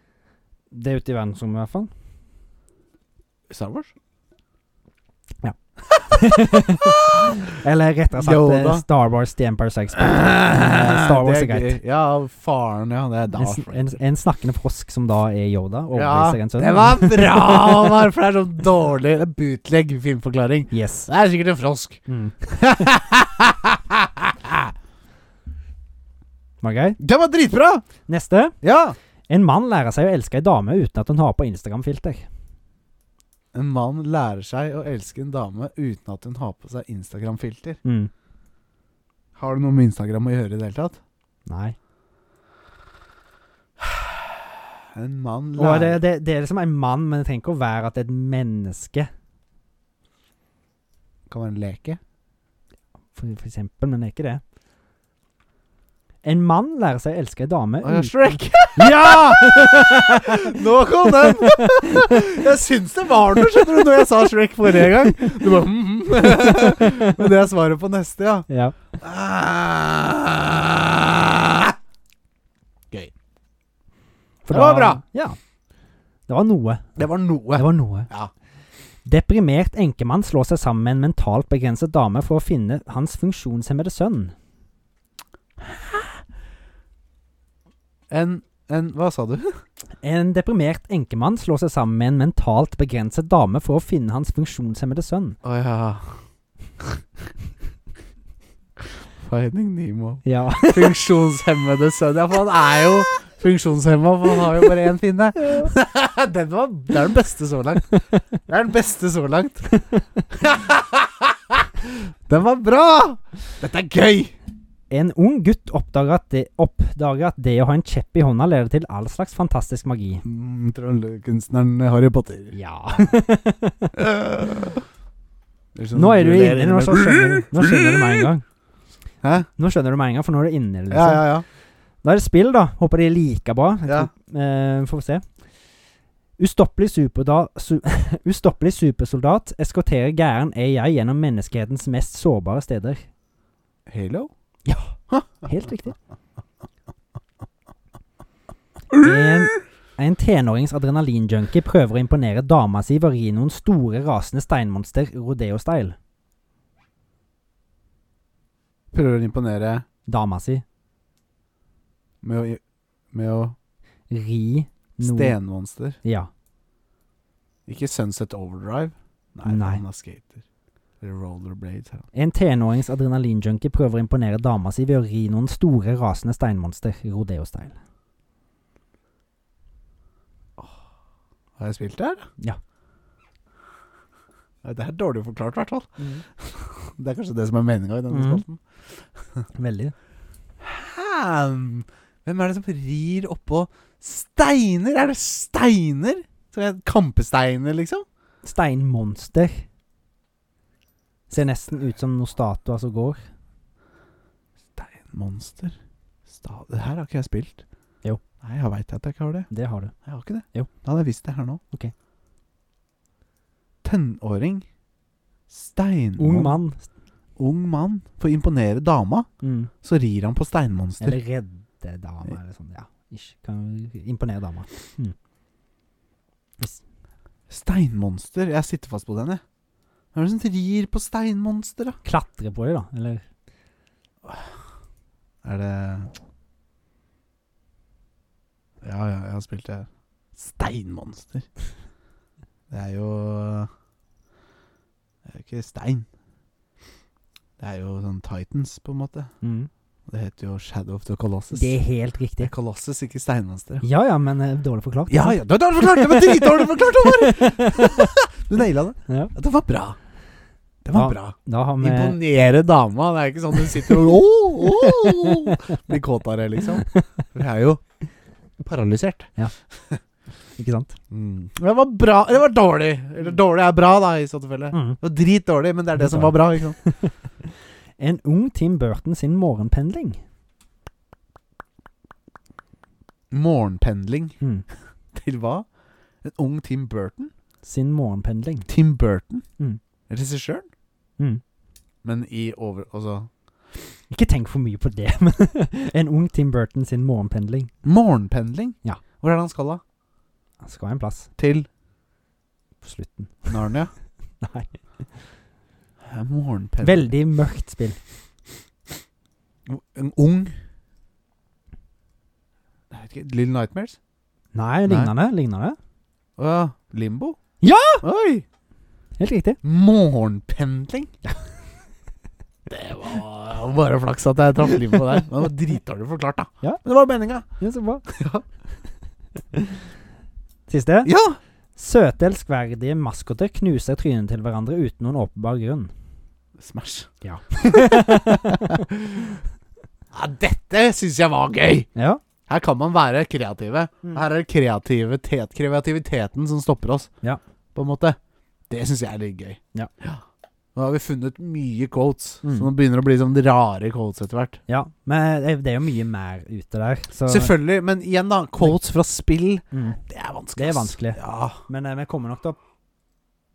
S2: det er ute i verdensrommet, i hvert fall.
S1: Star Wars?
S2: Eller rettere sagt
S1: Yoda.
S2: eh, Star Wars The Empire Strikes Back. Eh,
S1: <laughs>
S2: Star
S1: Star
S2: Wars er greit.
S1: Ja, faren, ja. <laughs> Det er
S2: En,
S1: Darth
S2: sn-
S1: Vader.
S2: en, en snakkende frosk som da er Yoda.
S1: Ja,
S2: overbeviser en sønn.
S1: det var bra, Omar, for det er sånn dårlig Det er bootleg filmforklaring.
S2: <laughs> Yes.
S1: Det er sikkert en frosk.
S2: Mm.
S1: det
S2: <laughs> Var det grei?
S1: var dritbra!
S2: Neste.
S1: Ja.
S2: En mann lærer seg å elske ei dame uten at hun har på Instagram-filter.
S1: En mann lærer seg å elske en dame uten at hun har på seg Instagram-filter.
S2: Mm.
S1: Har det noe med Instagram å gjøre i det hele tatt?
S2: Nei.
S1: En mann
S2: Og det,
S1: lærer
S2: det, det er liksom en mann, men det trenger ikke å være at det er et menneske,
S1: Kan være en leke.
S2: for, for eksempel, men det er ikke det. En mann lærer seg å elske ei dame
S1: Å ja,
S2: uten-
S1: <laughs> Shrek!
S2: Ja!
S1: Nå kom den! <laughs> Jeg syns det var noe, skjønner du, når jeg sa Shrek forrige gang. Du bare mm, <laughs> mm. Men det er svaret på neste, ja.
S2: <laughs> ja.
S1: Ah. Gøy.
S2: for
S1: Det var
S2: da-
S1: bra.
S2: Ja. Det var noe.
S1: Det var noe.
S2: Det var noe.
S1: Ja.
S2: Deprimert enkemann slår seg sammen med en mentalt begrenset dame for å finne hans funksjonshemmede sønn.
S1: En, en Hva sa du?
S2: En deprimert enkemann slår seg sammen med en mentalt begrenset dame for å finne hans funksjonshemmede sønn.
S1: Å ja. Finding Nemo.
S2: Ja.
S1: Funksjonshemmede sønn. Ja, for han er jo funksjonshemma, for han har jo bare én pinne. <laughs> den var, det er den beste så langt. Det er den beste så langt. <laughs> den var bra! Dette er gøy!
S2: <laughs> En ung gutt oppdager at, det, oppdager at det å ha en kjepp i hånda leder til all slags fantastisk magi.
S1: Mm, Trollekunstneren Harry Potter.
S2: Ja. <laughs> Nå
S1: <laughs> Nå
S2: er du inne, nå så
S1: <laughs>
S2: skjønner, du- nå skjønner du med en gang.
S1: Hæ?
S2: Nå skjønner du med en gang, for nå er du inne. Liksom.
S1: Ja, ja, ja.
S2: Da er det spill, da. Håper de er like bra. Jeg
S1: Ja.
S2: tror- eh, får vi se. Ustoppelig, superda, su <laughs> Ustoppelig supersoldat eskorterer gæren AI gjennom menneskehetens mest sårbare steder.
S1: Halo?
S2: Helt riktig. En, en tenårings adrenalinjunkie prøver å imponere dama si ved å ri noen store, rasende steinmonster rodeo-style.
S1: Prøver å imponere
S2: Dama si
S1: med å, med å
S2: ri noen
S1: Stenmonster.
S2: Ja.
S1: Ikke Sunset Overdrive.
S2: Nei.
S1: han er skater. Eller Rollerblades. Ja.
S2: En tenårings adrenalinjunkie prøver å imponere dama si ved å ri noen store, rasende steinmonster rodeo-style.
S1: Har jeg spilt det her? da?
S2: Ja.
S1: Nei, Det er dårlig forklart, i hvert fall. Det er kanskje det som er meninga i denne
S2: Mhm.
S1: spalten.
S2: Veldig.
S1: Hæm! Hvem er det som rir oppå steiner? Er det steiner? Som er Kampesteiner, liksom?
S2: Steinmonster. Ser nesten ut som noen statuer som går.
S1: Monster. Sta det her har ikke jeg spilt.
S2: Jo.
S1: Nei, jeg veit at jeg ikke har det.
S2: Det har du.
S1: Jeg har ikke det.
S2: Jo.
S1: Da hadde jeg visst det her nå.
S2: Ok.
S1: Tenåring. Steinmann.
S2: Ung mann.
S1: Ung mann. For å imponere dama,
S2: Mm.
S1: så rir han på steinmonster.
S2: Eller redde dama, eller sånn. Ja. Ish. Kan imponere dama.
S1: Steinmonster. Jeg sitter fast på den, jeg. Hvem er det som rir på steinmonster, da?
S2: Klatre på dem, da. Eller
S1: Er det Ja, ja, jeg har spilt det. her. Steinmonster. Det er jo Det er jo ikke stein. Det er jo sånn Titans, på en måte. Det heter jo Shadow of the Colossus.
S2: Mm. Det er helt
S1: Det
S2: riktig.
S1: er Colossus, ikke steinmonster.
S2: Ja ja, men eh, dårlig forklart.
S1: Ja, ja, det var dårlig forklart! Det var dritdårlig forklart! Håvard! Du naila det.
S2: <laughs> Ja.
S1: Ja, Det var bra. Det var
S2: Ja,
S1: bra.
S2: Da har vi
S1: Imponere dama. Det er ikke sånn hun sitter og åh, åh, blir kåt av det, liksom. For jeg er jo paralysert. <laughs>
S2: Ikke sant?
S1: Mm. Det var bra. Eller det var dårlig. Eller dårlig er bra, da, i så tilfelle.
S2: Mm.
S1: Det var dritdårlig, men det er det som var bra. ikke sant?
S2: En ung Tim Burton sin morgenpendling.
S1: <laughs> Morgenpendling.
S2: Mm.
S1: Til hva? En ung Tim Burton?
S2: Sin morgenpendling.
S1: Tim Burton?
S2: Mm.
S1: Regissøren?
S2: Mm.
S1: Men i over... Altså
S2: Ikke tenk for mye på det, <laughs> men en ung Tim Burton sin morgenpendling.
S1: Morgenpendling?
S2: Ja.
S1: Hvor er det han skal, da?
S2: Han skal ha en plass
S1: Til
S2: på slutten.
S1: Narnia?
S2: <laughs> Nei.
S1: Ja, Morgenpendling
S2: Veldig mørkt spill.
S1: En ung Jeg vet ikke Little Nightmares?
S2: Nei, lignende. Lignende.
S1: Å ja. Limbo?
S2: Ja!
S1: Oi!
S2: Helt riktig.
S1: Morgenpendling? <laughs> Det var bare flaks at jeg traff limbo der. Men Det var dritdårlig forklart, da.
S2: Ja.
S1: Men det var meninga.
S2: Ja, så
S1: <laughs>
S2: bra.
S1: Ja.
S2: <laughs> Siste.
S1: Ja!
S2: Søte, elskverdige maskoter knuser trynet til hverandre uten noen åpenbar
S1: <laughs>
S2: grunn.
S1: Smash.
S2: Ja.
S1: Ja, dette syns jeg var gøy!
S2: Ja.
S1: Her kan man være kreative.
S2: Mm.
S1: Her er det kreativitet, kreativiteten som stopper oss,
S2: Ja.
S1: på en måte. Det syns jeg er litt gøy.
S2: Ja.
S1: Nå har vi funnet mye quotes,
S2: Mm.
S1: så nå begynner det å bli sånn rare quotes etter hvert.
S2: ja. Men det det er jo mye mer ute der, så
S1: Selvfølgelig, men igjen, da. Quotes fra spill,
S2: mm.
S1: det er vanskelig.
S2: Det er
S1: ass.
S2: vanskelig.
S1: Ja.
S2: Men eh, vi kommer nok til å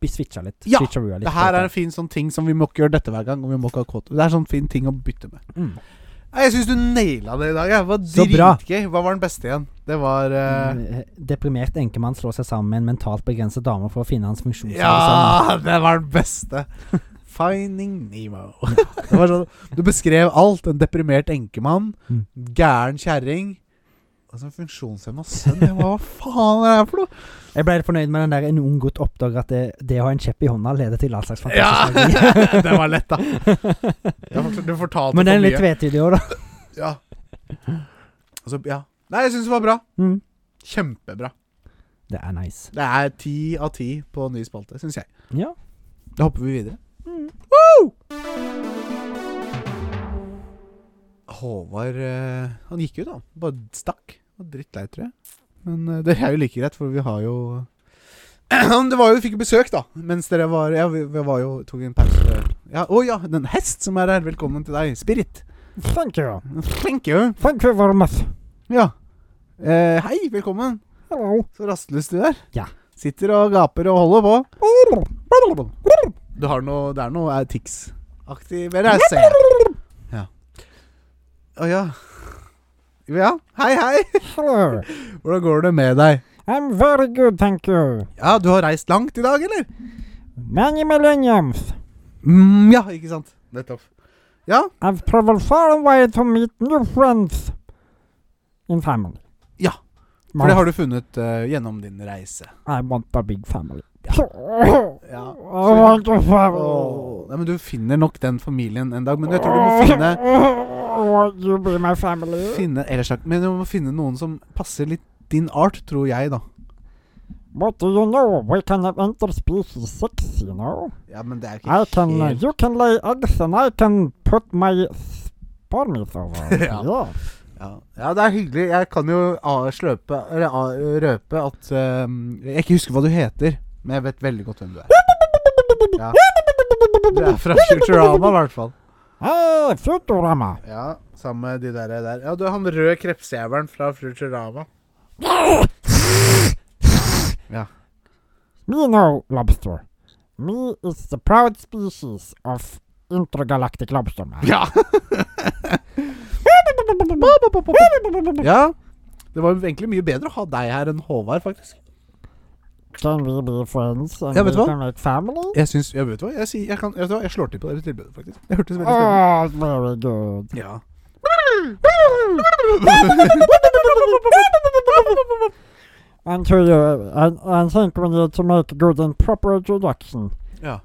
S2: bli switcha litt.
S1: Ja,
S2: Switcheroo litt
S1: Det her er en fin sånn ting som vi må ikke gjøre dette hver gang. Og vi må ikke ha quote. Det er sånn fin ting å bytte med.
S2: mm.
S1: Nei, Jeg syns du naila det i dag. Jeg. Det var
S2: Så bra.
S1: dritgøy. Hva var den beste igjen? Det var eh,
S2: Eh, Deprimert enkemann slår seg sammen med en mentalt begrenset dame for å finne hans funksjonshemmede sønn.
S1: Ja, det var den
S2: <laughs>
S1: beste. Finding Nemo. <laughs> det var sånn, du beskrev alt. En deprimert enkemann,
S2: Mm.
S1: gæren kjerring Altså en funksjonshemma sønn. Jeg bare, Hva faen er det her for noe?
S2: Jeg ble litt fornøyd med den der en ung gutt oppdager at det, det å ha en kjepp i hånda leder til all slags
S1: Ja, <laughs>
S2: fantastisk
S1: det var lett,
S2: <laughs>
S1: da. Jeg fort- Du fortalte
S2: Men den er
S1: for
S2: litt
S1: mye.
S2: tvetydig òg, da.
S1: Ja. Altså, ja. Nei, jeg syns det var bra.
S2: Mm.
S1: Kjempebra.
S2: Det er nice.
S1: Det er ti av ti på ny spalte, syns jeg.
S2: Ja.
S1: Da hopper vi videre.
S2: Mm.
S1: Håvard eh, Han gikk jo, da. Bare stakk. Det var Drittlei, tror jeg. Men eh, det er jo like greit, for vi har jo <clears throat> Men Det var jo, Vi fikk jo besøk, da, mens dere var Ja, vi, vi var jo tok en pause. Ja, Å ja, den hest som er her. Velkommen til deg, Spirit.
S2: Thank you.
S1: Thank you.
S2: Thank you very much.
S1: Ja. Eh, hei, velkommen.
S2: Hello.
S1: Så rastløs du er.
S2: Ja.
S1: Sitter og gaper og holder på. Du har noe Det er noe eh, tics-aktig ved deg, ser jeg. Ja. Å ja. Ja, hei, hei.
S2: Hello.
S1: Hvordan går det med deg?
S2: I'm very good, thank you.
S1: Ja, du har reist langt i dag, eller?
S2: Many millenniums.
S1: Mm, ja, ikke sant. Nettopp. Ja.
S2: I've traveled far away to meet new friends in family.
S1: Ja, For det har du funnet eh, gjennom din reise.
S2: I want a big family.
S1: Ja.
S2: I want a
S1: Åh,
S2: family.
S1: Nei, men Du finner nok den familien en dag, men jeg tror du må finne
S2: Won't you be my family?
S1: Finne, eller sagt, men du må finne noen som passer litt din art, tror jeg, da.
S2: What do you know? We can have interspecies sex, you know?
S1: Ja, men det er ikke
S2: I can, uh,
S1: helt
S2: you can lay eggs and I can put my spermies over.
S1: <laughs> Ja. ja. ja, det er hyggelig. Jeg kan jo a- sløpe Eller a- røpe at eh, Jeg ikke husker hva du heter, men jeg vet veldig godt hvem du er. Ja. Du er fra Futurama, i hvert fall.
S2: Hei, Futurama.
S1: Ja, sammen med de der, der. Ja, du er han røde krepsjævelen fra Futurama.
S2: Me no lobster. Me is the proud species of intergalactic lobster man.
S1: Ja. ja. Det var jo egentlig mye bedre å ha deg her enn Håvard, faktisk.
S2: <laughs> Can we be friends and
S1: Ja,
S2: we
S1: vet du hva?
S2: can make family?
S1: Jeg syns Jeg vet hva, jeg, sier, jeg, kan, vet du hva, jeg slår til på det tilbudet, faktisk. Det hørtes veldig spennende ut. <laughs>
S2: Oh, very good.
S1: Ja.
S2: And to you, I, I think we need to make a good and proper introduction.
S1: ja.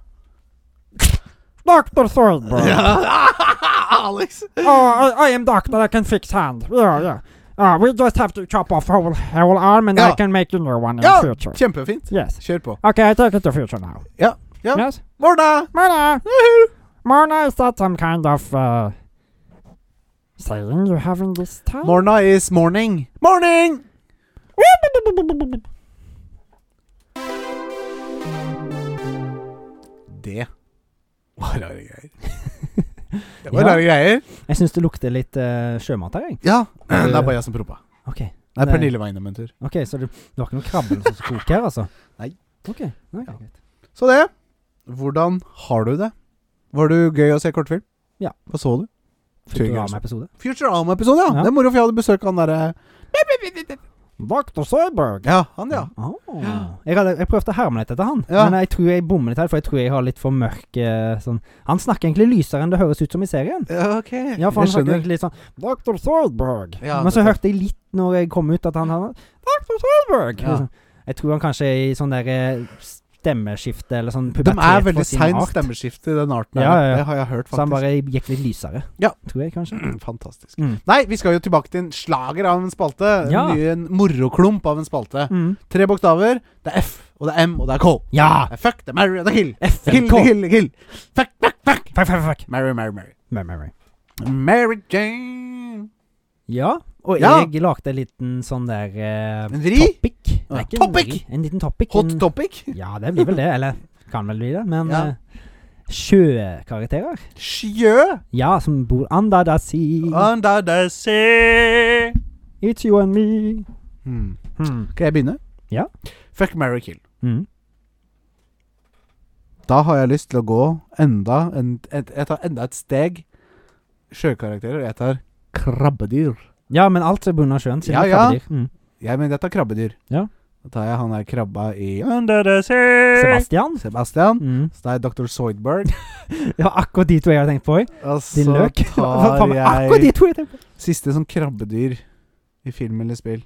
S1: <laughs>
S2: Dr. Thornburg.
S1: Alex.
S2: <laughs> oh, I, I am doctor. I can fix hand. Yeah, yeah. Uh, we just have to chop off whole whole arm, and I
S1: Yeah.
S2: can make a new one in
S1: Yeah.
S2: future.
S1: Kjempefint.
S2: Yes.
S1: Kjør på.
S2: Okay, I take it to future now.
S1: Ja. Ja.
S2: Yes.
S1: Morna!
S2: Mona,
S1: Woohoo!
S2: Mona, is that some kind of uh, saying you have in this town?
S1: Morna is morning. Morning! Det var rare greier. Det var
S2: Ja.
S1: rare greier.
S2: Jeg syns det lukter litt uh, sjømat her, jeg.
S1: Ja. Det er bare jeg som proppa.
S2: Ok.
S1: Nei,
S2: Nei.
S1: Pernille var innom en tur.
S2: OK, så det, det var ikke noen krabbe eller noe som koker her, altså?
S1: Nei.
S2: OK. Nei, greit.
S1: Så det. Hvordan har du det? Var det gøy å se kortfilm?
S2: Ja.
S1: Hva så du?
S2: Futurama-episode.
S1: Futurama-episode, ja.
S2: Ja.
S1: Det er moro, for jeg hadde besøk av han derre
S2: Dr. Søberg.
S1: Ja, han, ja.
S2: Oh. Jeg, hadde, jeg prøvde å herme litt etter han,
S1: Ja.
S2: men jeg tror jeg bommer litt her, for jeg tror jeg har litt for mørk eh, sånn Han snakker egentlig lysere enn det høres ut som i serien.
S1: ja ok.
S2: Ja, for han
S1: jeg
S2: snakker
S1: skjønner.
S2: egentlig litt sånn Dr. Søberg.
S1: Ja,
S2: men så
S1: nettopp.
S2: hørte jeg litt når jeg kom ut, at han hadde Dr. Søberg.
S1: Ja.
S2: Liksom. Jeg tror han kanskje er i sånn der eh, stemmeskifte eller sånn
S1: De
S2: pubertet
S1: er
S2: for
S1: veldig
S2: sin
S1: sein
S2: art.
S1: stemmeskifte i den arten. her.
S2: Ja, ja, ja.
S1: Det har jeg hørt,
S2: Så
S1: faktisk.
S2: han bare gikk litt lysere.
S1: Ja.
S2: Tror jeg, kanskje.
S1: Fantastisk.
S2: Mm.
S1: Nei, vi skal jo tilbake til en slager av en spalte.
S2: Ja.
S1: En, ny, en moroklump av en spalte.
S2: Mm.
S1: Tre bokstaver. Det er F, og det er M, og det er K.
S2: Ja!
S1: Det er Fuck, det er Mary, og det er Kill. Kill,
S2: FNK.
S1: kill, kill. Fuck, fuck, fuck.
S2: Fuck, fuck, fuck.
S1: Mary, Mary, Mary.
S2: Mary, Mary.
S1: Mary Jane.
S2: Ja, og
S1: Ja.
S2: jeg lagde en liten sånn der eh,
S1: En vri?
S2: Topic. Det
S1: Ja.
S2: er ikke
S1: Topic!
S2: En, vri, en liten topic.
S1: Hot
S2: en,
S1: topic.
S2: Ja, det blir vel det. Eller kan vel bli det. Men
S1: Ja.
S2: eh, sjøkarakterer.
S1: Sjø.
S2: Ja, som bor under the
S1: Mm.
S2: sea.
S1: Under the sea.
S2: It's you and me.
S1: Hmm.
S2: Hmm.
S1: Skal jeg begynne?
S2: Ja.
S1: Fuck, Mary, kill.
S2: Mm.
S1: Da har jeg lyst til å gå enda en, et, Jeg tar enda et steg. Sjøkarakterer. Jeg tar krabbedyr.
S2: Ja, men alt er bundet av sjøen. siden
S1: Ja,
S2: det er
S1: ja.
S2: krabbedyr. Mm.
S1: Jeg mener jeg tar krabbedyr.
S2: Ja.
S1: Da tar jeg han der krabba i Under the sea.
S2: Sebastian.
S1: Sebastian.
S2: Mm.
S1: Så tar jeg Dr.
S2: <laughs>
S1: Zoidberg.
S2: Ja, akkurat de to jeg har tenkt på. jeg.
S1: Og
S2: Din
S1: så
S2: løk. <laughs>
S1: tar
S2: Faen meg, Akkurat de
S1: jeg
S2: to jeg tenkte på.
S1: siste sånn krabbedyr i film eller spill.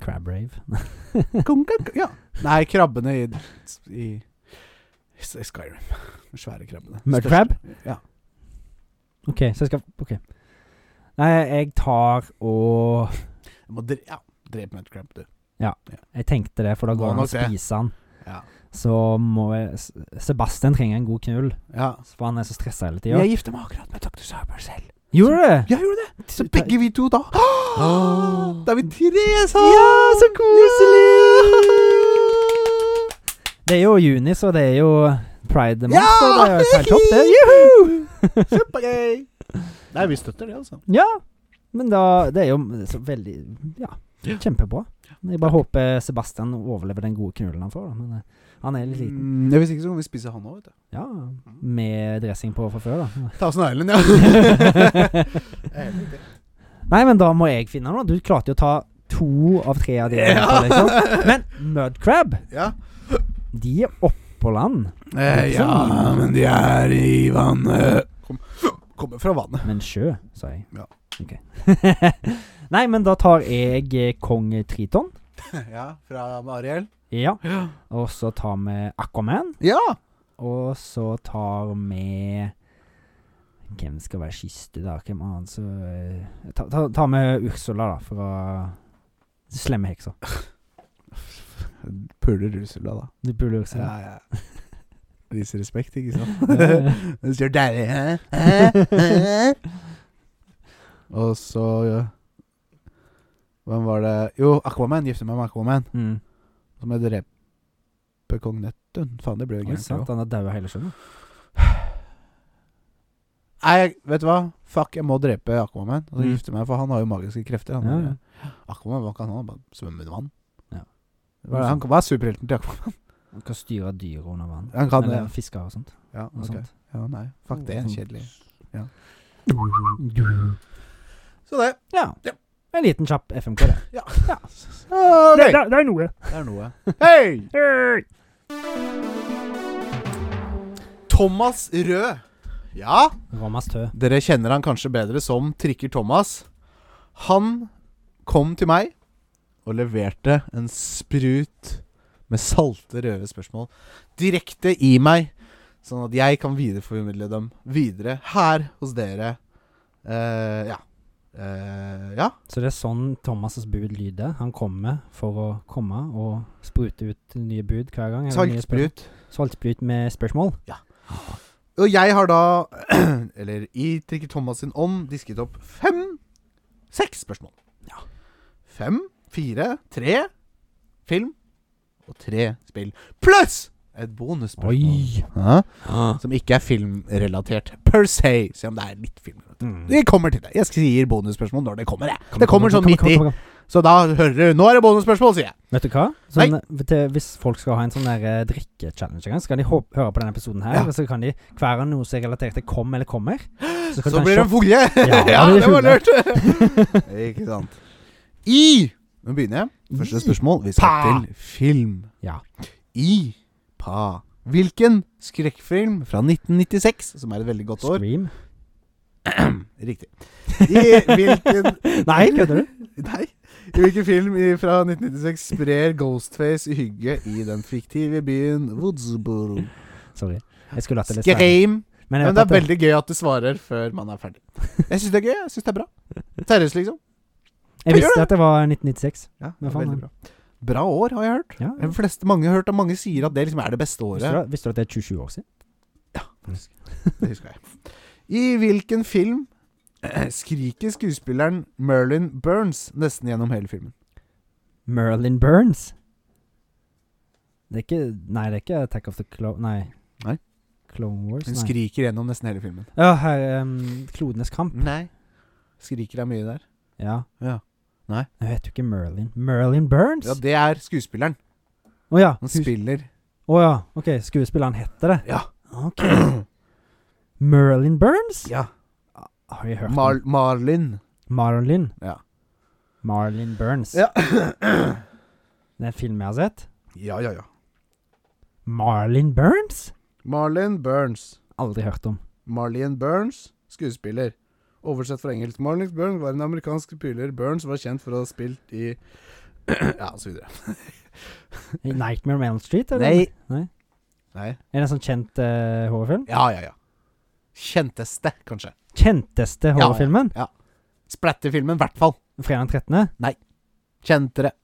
S2: Crab Rave.
S1: Kong, kong, kong, ja. Nei, krabbene i, i, i Skyrim. De svære krabbene.
S2: Mud
S1: Største.
S2: crab?
S1: Ja.
S2: OK, så jeg skal OK. Nei, jeg tar og
S1: Jeg må dre ja. Drep mud crab, du.
S2: Jeg tenkte det, for da
S1: Må
S2: går han
S1: nok
S2: og spiser han.
S1: Ja.
S2: Så må jeg S- Sebastian trenger en god knull,
S1: ja.
S2: for han er så stressa hele tida.
S1: Jeg gifter meg akkurat med Dr. Sarber selv.
S2: Gjorde du det?
S1: Jeg gjorde det! Så
S2: Ta-
S1: begge vi to, da.
S2: Åh.
S1: Da er vi tre sammen!
S2: Ja, så
S1: koselig!
S2: Det er jo juni, så det er jo pride month.
S1: Ja!
S2: Så det
S1: <laughs>
S2: er jo helt topp, det. Juhu! <laughs>
S1: Supergøy! Nei, vi støtter det, altså.
S2: ja. Men da Det er jo så veldig Ja, kjempebra. Jeg bare håper Sebastian overlever den gode knullen han får. Da. Men eh, han er litt liten.
S1: Mm, hvis ikke så kan vi spise han òg, vet du.
S2: Ja, med dressing på fra før,
S1: <laughs>
S2: da.
S1: Ta oss en Island, ja.
S2: Nei, men da må jeg finne noe. Du klarte jo å ta to av tre av de. jeg sa, Liksom. Men mudcrab,
S1: ja.
S2: de er oppå land.
S1: Eh, ja, men de er i vannet. Kom, kommer fra vannet.
S2: Men sjø, sa jeg.
S1: Ja.
S2: Ok. <laughs> Nei, men da tar jeg eh, kong Triton.
S1: <laughs> Ja, fra Ariel.
S2: Ja. Og så tar vi Aquaman.
S1: Ja!
S2: Og så tar vi Hvem skal være siste, da? Hvem annen så eh, Ta, ta, ta med Ursula, da, fra Slemme heksa.
S1: Puler Ursula, da.
S2: Du burde Ursula.
S1: Ja, ja. <laughs> Viser respekt, ikke <laughs> sant?
S2: Ja.
S1: Hvis you're daddy, hæ? Hæ? Hæ? <laughs> Og så ja. Hvem var det Jo, Aquaman. Gifte meg med Aquaman.
S2: <laughs> mm.
S1: Så må jeg drepe kong Neptun. Faen, det ble jo
S2: Oi,
S1: gærent. det
S2: sant,
S1: også.
S2: han har daua hele sjøen. da.
S1: Nei, jeg- vet du hva? Fuck, jeg må drepe Aquaman. Og så
S2: Mm.
S1: gifte meg, for han har jo magiske krefter. Han
S2: Ja,
S1: der. Aquaman, hva kan han? Bare svømme under vann?
S2: Ja.
S1: Hva, er det? han, hva er superhelten til Aquaman?
S2: Han kan styre dyr under vann.
S1: Han kan
S2: Eller
S1: det.
S2: fisker og sånt.
S1: Ja,
S2: Og
S1: ok.
S2: sånt.
S1: ja, nei. Fuck det.
S2: Sånn.
S1: Kjedelig. Så det.
S2: Ja.
S1: Ja.
S2: En liten kjapp FMK, det.
S1: Ah,
S3: Det,
S1: gøy.
S3: det, det er noe.
S1: Det er noe. Hei!
S3: Hey.
S1: Thomas Rød. Ja?
S2: Ramas tø.
S1: Dere kjenner han kanskje bedre som Trikker Thomas. Han kom til meg og leverte en sprut med salte, røde spørsmål direkte i meg, sånn at jeg kan videreformidle dem videre her hos dere. Eh, ja. Eh, ja.
S2: Så det er sånn Thomas' bud lyder. Han kommer for å komme og sprute ut nye bud hver gang. eller nye spørsmål.
S1: Saltsprut.
S2: Saltsprut med spørsmål.
S1: Og jeg har da, <clears throat> eller i Trikker Thomas sin ånd, disket opp fem seks spørsmål.
S2: Ja.
S1: Fem, fire, tre film og tre spill. Pluss et bonusspørsmål.
S2: Oi!
S1: Ja,
S3: Ah.
S1: som ikke er filmrelatert per se, selv om det er litt film. Vi kommer til det. Jeg sier bonusspørsmål når det kommer. Jeg. Det kommer sånn midt i. Så da hører du Nå er det bonusspørsmål, sier jeg.
S2: Vet du hva? Sånn, til, hvis folk skal ha en sånn der eh, drikke-challenge, en gang, så kan de hå- høre på denne episoden her.
S1: Ja.
S2: Og så kan de hver av noe som er relatert til kom eller kommer. Så, kan
S1: Så
S2: de
S1: blir det en folje!
S2: Ja,
S1: <laughs> ja,
S2: det blir
S1: det var
S2: fullt.
S1: lurt! <laughs>
S2: <laughs>
S1: Ikke sant. I Nå begynner jeg. Første spørsmål. Vi skal
S2: Pa.
S1: til film.
S2: Ja.
S1: I Pa. Hvilken skrekkfilm fra 1996, som er et veldig godt år
S2: Scream.
S1: Riktig. I hvilken
S2: <laughs> Nei, kødder du?
S1: Nei. I hvilken film i- fra 1996 sprer Ghostface hygge i den fiktive byen Woodsboro?
S2: Sorry. Jeg skulle hatt det litt større.
S1: Scream.
S2: Men,
S1: Men
S2: jeg vet
S1: det er
S2: at
S1: veldig gøy at du svarer før man er ferdig. Jeg syns det er gøy. Jeg syns det er bra. Seriøst, liksom.
S2: Jeg
S1: Gjør
S2: visste at det var 1996.
S1: Ja,
S2: Men
S1: det er
S2: faen,
S1: veldig bra. Bra år, har jeg hørt.
S2: Ja,
S1: De fleste, mange har hørt, og mange sier at det liksom er det beste
S2: Visste,
S1: året.
S2: du, visste du at det er 27 år siden?
S1: Det husker jeg. I hvilken film eh, skriker skuespilleren Merlin Burns nesten gjennom hele filmen?
S2: Merlin Burns. Det er ikke Nei, det er ikke Attack of the Clo... Nei.
S1: Nei.
S2: Clone Wars?
S1: Hun
S2: Nei.
S1: skriker gjennom nesten hele filmen.
S2: Ja, her, em, Klodenes kamp.
S1: Nei. Skriker er mye der.
S2: Ja.
S1: Ja. Nei.
S2: Jeg vet jo ikke Merlin. Merlin Burns?
S1: Ja, det er skuespilleren.
S2: Å ja.
S1: Han
S2: Hus-
S1: spiller
S2: Å ja. Ok, skuespilleren heter det.
S1: Ja. <clears throat>
S2: Ok. Merlin Burns?
S1: Ja.
S2: Har jeg hørt
S1: Mar
S2: om
S1: Marlin.
S2: Marlin?
S1: Ja.
S2: Marlin Burns. <clears throat>
S1: Ja.
S2: Det er en film jeg har sett.
S1: ja, ja, ja.
S2: Marlin Burns?
S1: Marlin Burns.
S2: Aldri hørt om.
S1: Marlene Burns, skuespiller. Oversett fra engelsk. Marlene Burns var en amerikansk spiller. Burns var kjent for å ha spilt i <clears throat> Ja, og så videre.
S2: Nightmare on Elm Street? Eller?
S1: Nei.
S2: Nei.
S1: Nei.
S2: Er det en sånn kjent eh, horrorfilm?
S1: Ja, ja, ja. Kjenteste, kanskje.
S2: Kjenteste horrorfilmen?
S1: Splatterfilmen, i hvert fall.
S2: Fredag den 13.
S1: Kjentere.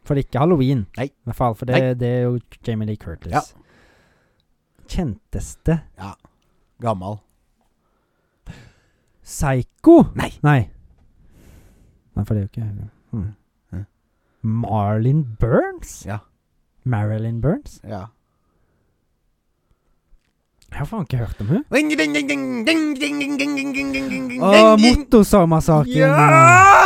S2: For det er ikke halloween.
S1: Nei.
S2: I hvert fall, for det,
S1: Nei.
S2: det er jo Jamie Lee Curtis.
S1: Ja.
S2: Kjenteste
S1: Gammal.
S2: Psycho?
S1: Nei.
S2: Nei, Nei, for det er jo ikke hmm.
S1: Hæ?
S2: Marlin Burns?
S1: Ja.
S2: Marilyn Burns?
S1: Ja.
S2: Jeg har faen ikke hørt om hun
S1: Ding, ding, ding, ding, ding, ding, ding, ding, ding, ding, ding, ding, ding,
S2: Å,
S1: ding.
S2: Motorsagmasaken!
S1: Ja!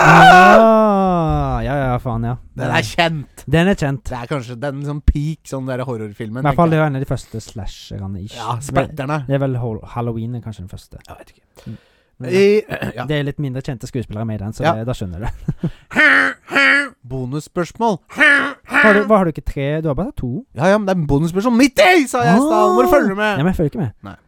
S2: Ah, ja, ja, faen, ja.
S1: Den er kjent.
S2: Den er kjent.
S1: Det er kanskje den som peak, sånn der horrorfilmen.
S2: I hvert fall
S1: tenker
S2: det
S1: jeg.
S2: var en av de første slasherne. ish.
S1: Ja,
S2: det,
S1: splatterne.
S2: det er vel hol- halloween er kanskje den første.
S1: Jeg vet ikke.
S2: Men
S1: I, ja.
S2: Det er litt mindre kjente skuespillere med i den, så
S1: Ja.
S2: det, da skjønner du.
S1: Bonusspørsmål.
S2: Har du, hva, har du ikke tre? Du har bare to?
S1: Ja, ja, men det er bonusspørsmål midt i, sa jeg i stad. Må du følge
S2: Ja,
S1: med?
S2: men jeg følger ikke med.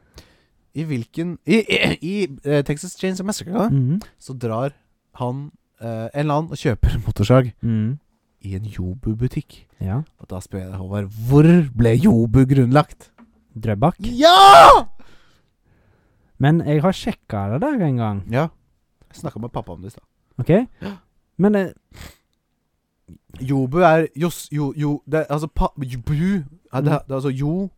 S1: I hvilken I, i, i eh, Texas Chains Massacre
S2: Mm.
S1: så drar han eh, en eller annen og kjøper en motorsag
S2: Mm.
S1: i en Jobu-butikk.
S2: Ja.
S1: Og da spør jeg deg, Håvard, hvor ble Jobu grunnlagt?
S2: Drøbak.
S1: Ja!
S2: Men jeg har sjekka det der en gang,
S1: Ja. Jeg snakka med pappa om det i stad.
S2: OK? Men eh,
S1: Jobu er Jos... Jo... jo det er, altså pa... Bu er det, det er altså Jo...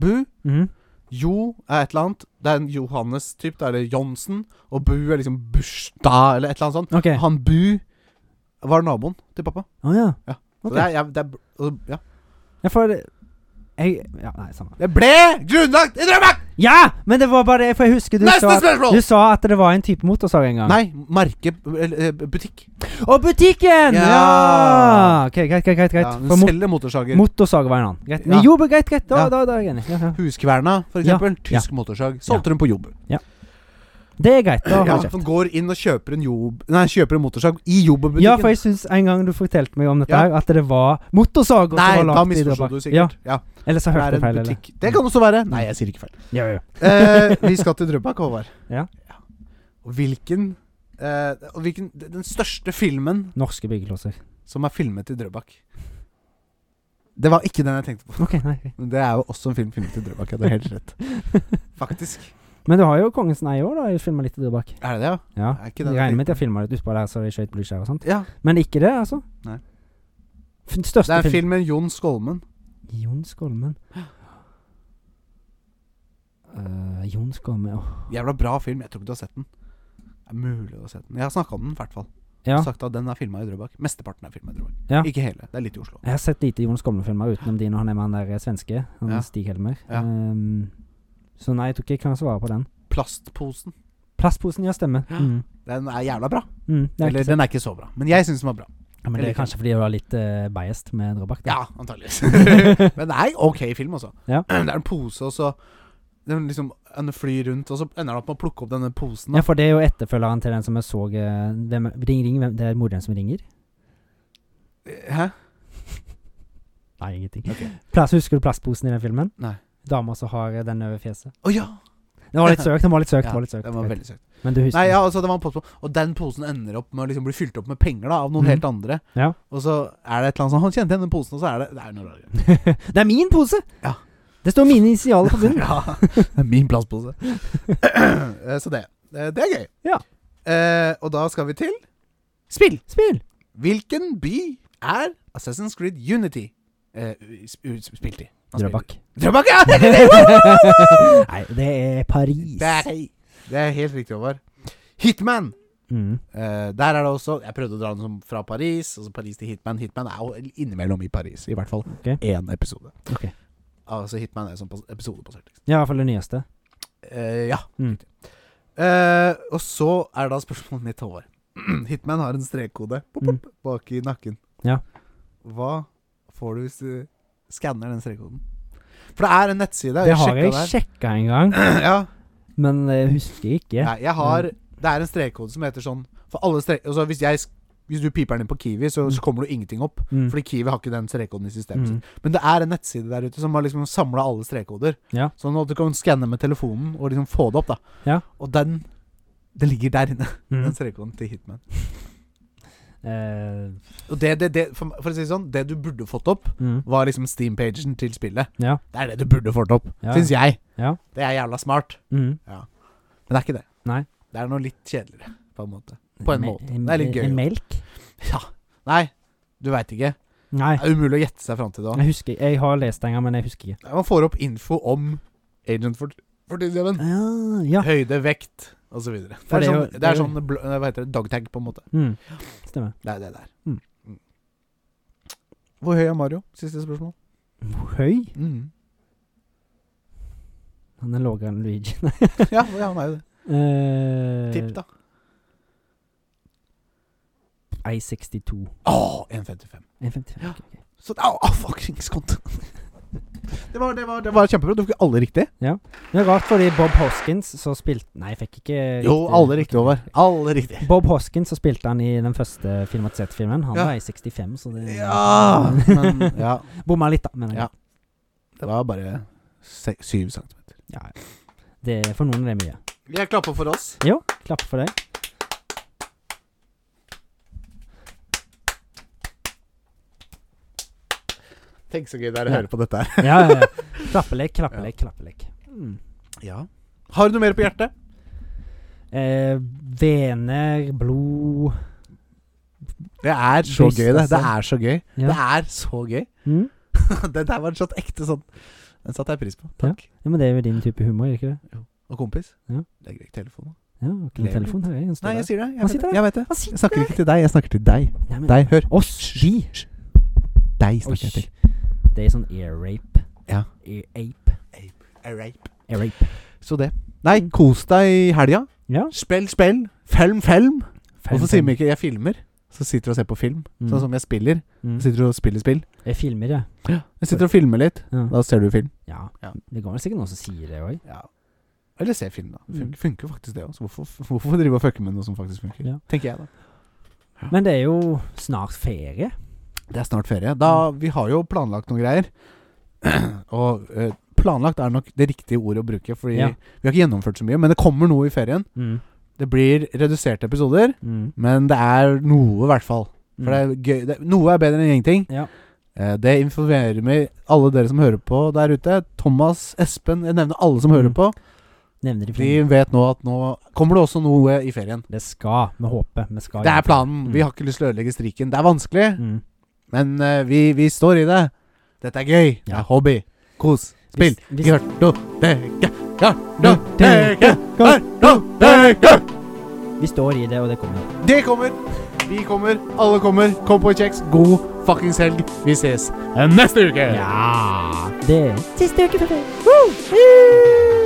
S1: Bu?
S2: mm.
S1: Jo er et eller annet. Det er en Johannes-typ. Da er det Johnsen. Og Bu er liksom bursdag, eller et eller annet sånt.
S2: OK. Å
S1: Han Bu var naboen til pappa.
S2: ja.
S1: Ja. Så
S2: Ok.
S1: det er, jeg, det er, og- ja.
S2: Ja, for det- jeg Ja, nei, samme.
S1: Det ble grunnlagt i Drøbak!
S2: Ja! Men det var bare det, for jeg husker du
S1: Neste
S2: sa, at,
S1: spørsmål!
S2: du sa at det var en type motorsag en gang.
S1: Nei, merke eller, eh, butikk.
S2: Og butikken!
S1: Ja.
S2: Ja! Ok, greit, greit, greit. greit.
S1: Ja,
S2: for
S1: den
S2: mot
S1: selger motorsager.
S2: motorsag var en annen. Greit.
S1: Ja.
S2: Jo, men greit, greit. Da,
S1: Ja.
S2: da, da er jeg enig. Ja, ja.
S1: Huskverna, for
S2: Ja.
S1: eksempel. Tysk motorsag. Solgte den på jobb.
S2: Det er greit. Da har
S1: Ja,
S2: jeg
S1: som
S2: kjeft.
S1: går inn og kjøper en jobb Nei, kjøper en motorsag i jobb-butikken.
S2: Ja, for jeg syns en gang du fortalte meg om dette,
S1: Ja.
S2: her at det var motorsager
S1: Nei,
S2: som var
S1: da
S2: lagd i
S1: misforsto
S2: Drøbak.
S1: du
S2: Ja,
S1: sikkert. Ja,
S2: eller så
S1: det
S2: hørte
S1: er
S2: jeg
S1: en
S2: feil. Eller?
S1: butikk. Det kan også være. Nei, jeg sier ikke
S2: <laughs>
S1: feil.
S2: Ja, ja.
S1: Eh, vi skal til Drøbak, Håvard.
S2: Ja.
S1: Og hvilken, eh, og hvilken Den største filmen
S2: Norske byggeklosser.
S1: som er filmet i Drøbak. Det var ikke den jeg tenkte på.
S2: Ok, nei.
S1: Men det er jo også en film filmet i Drøbak. Ja, det er helt
S2: <laughs>
S1: rett. Faktisk.
S2: Men du har jo Kongens nei òg, da. Jeg filma litt i Drøbak.
S1: Er det det, ja?
S2: Ja.
S1: Er ikke
S2: Jeg
S1: den
S2: regner med at jeg filma litt utpå der, så jeg skjøt blyskjær og sånt.
S1: Ja.
S2: Men ikke det, altså.
S1: Nei.
S2: F-
S1: Det
S2: Største
S1: er en
S2: film
S1: film med Jon Skolmen.
S2: Jon Skolmen. Eh, Jon Skolmen åh.
S1: Jævla bra film. Jeg tror ikke du har sett den. Det er mulig du har sett den. Jeg har snakka om den, i hvert fall.
S2: Ja.
S1: sagt at den er filma i Drøbak. Mesteparten er filma i Drøbak.
S2: Ja.
S1: Ikke hele. Det er litt i Oslo.
S2: Jeg har sett lite Jon Skomle-filmer utenom de når han er med han der eh, svenske, han
S1: Ja.
S2: Stig Helmer.
S1: Ja.
S2: Ehm, så nei, jeg tror ikke jeg kan svare på den.
S1: Plastposen.
S2: Plastposen, ja, stemmer. Mm.
S1: Den er jævla bra.
S2: Mm, det er
S1: Eller
S2: ikke så-
S1: den er ikke så bra, men jeg syns den var bra.
S2: ja, men det er kanskje fordi du var litt eh, biased med Drøbak? da.
S1: Ja, <laughs> antageligvis. men det er en ok film, altså.
S2: Ja.
S1: <clears throat> Det er en pose, og så den liksom den flyr rundt, og så ender den opp med å plukke opp denne posen.
S2: <laughs> Ja,
S1: Da.
S2: for det er jo etterfølgeren til den som jeg så eh, hvem, Ring, ring, hvem, det er moren som ringer?
S1: Hæ?
S2: Nei, ingenting.
S1: Ok.
S2: Plass, husker du plastposen i den filmen?
S1: Nei.
S2: Dama som har eh, den over fjeset.
S1: Å ja!
S2: Den var litt søkt, den var litt søkt.
S1: Ja,
S2: den var litt søkt
S1: Den var
S2: vet.
S1: veldig søt.
S2: Men du husker
S1: Nei, ja, altså, det var en pose, og den posen ender opp med å liksom bli fylt opp med penger da av noen
S2: Mhm.
S1: helt andre.
S2: Ja. <laughs>
S1: Og så er det et eller annet sånn Han kjente igjen den posen, og så er det Det er noe rart.
S2: Det er min pose!
S1: Ja.
S2: Det står mine initialer på bunnen.
S1: <laughs> Ja, det er min plastpose. <clears throat> Eh, så det. eh, Det er gøy.
S2: Ja.
S1: Eh, og da skal vi til spill.
S2: Spill!
S1: Hvilken by er Assassin's Creed Unity eh, s- ut- spilt i? Man spiller-
S2: Drøbak.
S1: Drøbak, ja! <laughs> Det er det!
S2: <laughs> Nei, det er Paris.
S1: Det er- Det er helt riktig, Håvard. Hitman.
S2: Mm.
S1: Eh, der er det også Jeg prøvde å dra den som fra Paris, og så Paris til Hitman. Hitman er jo innimellom i Paris. I hvert fall
S2: Ok.
S1: én episode.
S2: Ok.
S1: Altså Hitman er sånn pas- episodebasert. Liksom.
S2: Ja, i hvert fall det nyeste.
S1: Eh, ja.
S2: Mm.
S1: riktig. Eh, og så er da spørsmålet mitt, Håvard. <clears throat> Hitman har en strekkode pop, pop, bak i nakken.
S2: Mm. Ja.
S1: Hva får du hvis du skanner den strekkoden? For det er en nettside. og
S2: Det har
S1: sjekket
S2: jeg sjekka en gang,
S1: der. <clears throat> ja.
S2: men jeg husker ikke.
S1: Nei, jeg har
S2: Mm.
S1: Det er en strekkode som heter sånn For alle strek... Altså hvis jeg sk- hvis du piper den inn på Kiwi, så, så kommer det jo ingenting opp.
S2: Mm.
S1: Fordi Kiwi har ikke den strekkoden i systemet
S2: Mm.
S1: sitt. Men det er en nettside der ute som har liksom samla alle strekkoder.
S2: Ja.
S1: Sånn at du kan skanne med telefonen og liksom få det opp, da.
S2: Ja.
S1: Og den Den ligger der inne,
S2: Mm.
S1: den strekkoden til Hitman.
S2: Eh,
S1: Og det, det, det for, for å si det sånn, det du burde fått opp,
S2: mm.
S1: var liksom Steam-pagen til spillet.
S2: Ja.
S1: Det er det du burde fått opp,
S2: Ja.
S1: syns jeg.
S2: Ja.
S1: Det er jævla smart.
S2: Mm.
S1: Men det er ikke det.
S2: Nei.
S1: Det er noe litt kjedeligere, på en måte. På en
S2: Me-
S1: måte. Det er litt gøy.
S2: En melk?
S1: Ja. Nei, du veit ikke.
S2: Nei.
S1: Det er umulig å gjette seg fram til det. da.
S2: Jeg husker Jeg har lest den en gang, men jeg husker ikke.
S1: Man får opp info om Agent for- 47. Ah,
S2: ja.
S1: Høyde, vekt osv. Det,
S2: For
S1: er
S2: det er jo-
S1: sånn- det er
S2: det er jo-
S1: sånn bl- eh, Hva heter det? Dogtag, på en måte.
S2: Mm. Stemmer.
S1: Det er det der.
S2: Mm.
S1: Mm. Hvor høy er Mario? Siste spørsmål.
S2: Høy?
S1: Mm.
S2: Han er lavere enn Luigi.
S1: <laughs>
S2: <laughs>
S1: Ja, ja, han er jo det.
S2: Eh,
S1: Tipp, da.
S2: 1,62.
S1: Å, 1,55.
S2: 1,55.
S1: Ja.
S2: ok, ok.
S1: Så Au, au, fuckings kont. <laughs> Det var, det, var, det var kjempebra. Du fikk alle riktig.
S2: Det er rart, fordi Bob Hoskins så spilte Nei, jeg fikk ikke
S1: Jo, alle riktig, Håvard. Alle riktig.
S2: Bob Hoskins så spilte han i den første filmatiserte filmen. Han
S1: Ja.
S2: var 1,65, så det
S1: Ja! Men <laughs> ja,
S2: <laughs> Bomma litt, da, men
S1: Ja. det var bare se- syv centimeter.
S2: Ja, ja. Det, for noen er det mye.
S1: Jeg klapper for oss.
S2: Jo, klapp for
S1: <laughs>
S2: deg.
S1: Tenk så gøy det er
S2: å
S1: å
S2: høre
S1: høre på dette her.
S2: Ja, ja, ja. Klappelek, klappelek, klappelek. Mm.
S1: Ja. Har du noe mer på hjertet?
S2: Eh, vener, blod
S1: Det er så
S2: Bryst,
S1: gøy, det. Det
S2: altså.
S1: er så gøy.
S2: Ja.
S1: Det er så gøy. <laughs>
S2: mm.
S1: det der var en sånn ekte sånn Den satte jeg pris på. Takk.
S2: Ja, Men det er jo din type humor, er det ikke det?
S1: Og kompis.
S2: Ja.
S1: Legger ikke telefonen.
S2: Ja, har ikke noen
S1: Lever
S2: telefon hører jeg. Den står
S1: Nei, jeg
S2: der.
S1: sier det.
S2: Han
S1: Jeg vet
S2: sitter
S1: det.
S2: der.
S1: Jeg, vet det.
S2: Han sitter
S1: jeg snakker ikke til deg, jeg snakker til deg.
S2: Nei, men-
S1: Deg, hør.
S2: Oss, vi.
S1: Deg
S2: Oi.
S1: snakker jeg til.
S2: Det er sånn air rape.
S1: Ja.
S2: Air ape. Air rape.
S1: Så det. Nei, kos deg i helga.
S2: Ja.
S1: Spill, spill. Film, film.
S2: Feil,
S1: Hvorfor
S2: feil.
S1: sier vi ikke 'jeg filmer'? Så sitter du og ser på film.
S2: Mm.
S1: Sånn som jeg spiller.
S2: Mm.
S1: Så sitter du og spiller spill.
S2: Jeg filmer, ja.
S1: Jeg sitter og filmer litt.
S2: Ja.
S1: Da ser du film.
S2: ja.
S1: Ja.
S2: Det går vel sikkert noen som sier det òg.
S1: Ja. Eller se film, da. Fun
S2: Mm.
S1: Funker faktisk det også. Hvorfor, <laughs> hvorfor drive og fucke med noe som faktisk funker?
S2: Ja.
S1: Tenker jeg, da.
S2: Men det er jo snart ferie.
S1: Det er snart ferie. Da,
S2: Mm.
S1: Vi har jo planlagt noen greier. <clears throat> Og eh, planlagt er nok det riktige ordet å bruke, fordi
S2: Ja.
S1: vi har ikke gjennomført så mye. Men det kommer noe i ferien.
S2: Mm.
S1: Det blir reduserte episoder,
S2: Mm.
S1: men det er noe, i hvert fall. For det
S2: Mm.
S1: er gøy. Det, noe er bedre enn ingenting.
S2: Ja.
S1: Eh, det informerer vi alle dere som hører på der ute. Thomas, Espen, jeg nevner alle som hører
S2: Mm.
S1: på.
S2: Nevner
S1: De
S2: de flere.
S1: vet nå at nå kommer det også noe i ferien.
S2: Det skal vi håpe. Vi skal
S1: Det er
S2: gjøre.
S1: planen. Vi
S2: Mm.
S1: har ikke lyst til å ødelegge striken. Det er vanskelig,
S2: Mm.
S1: men eh, vi, vi står i det. Dette er gøy. Det
S2: Ja.
S1: er hobby. Kos. Spill.
S2: Hvis- hvis-
S1: Kartoteket.
S2: Kartoteket.
S1: Kartoteket. Kartoteket.
S2: Vi står i det, og det kommer.
S1: Det kommer. Vi kommer. Alle kommer. Kom på kjeks. God fuckings helg. Vi ses neste uke!
S2: Ja, det
S5: Siste uke for meg. Woo! Woo!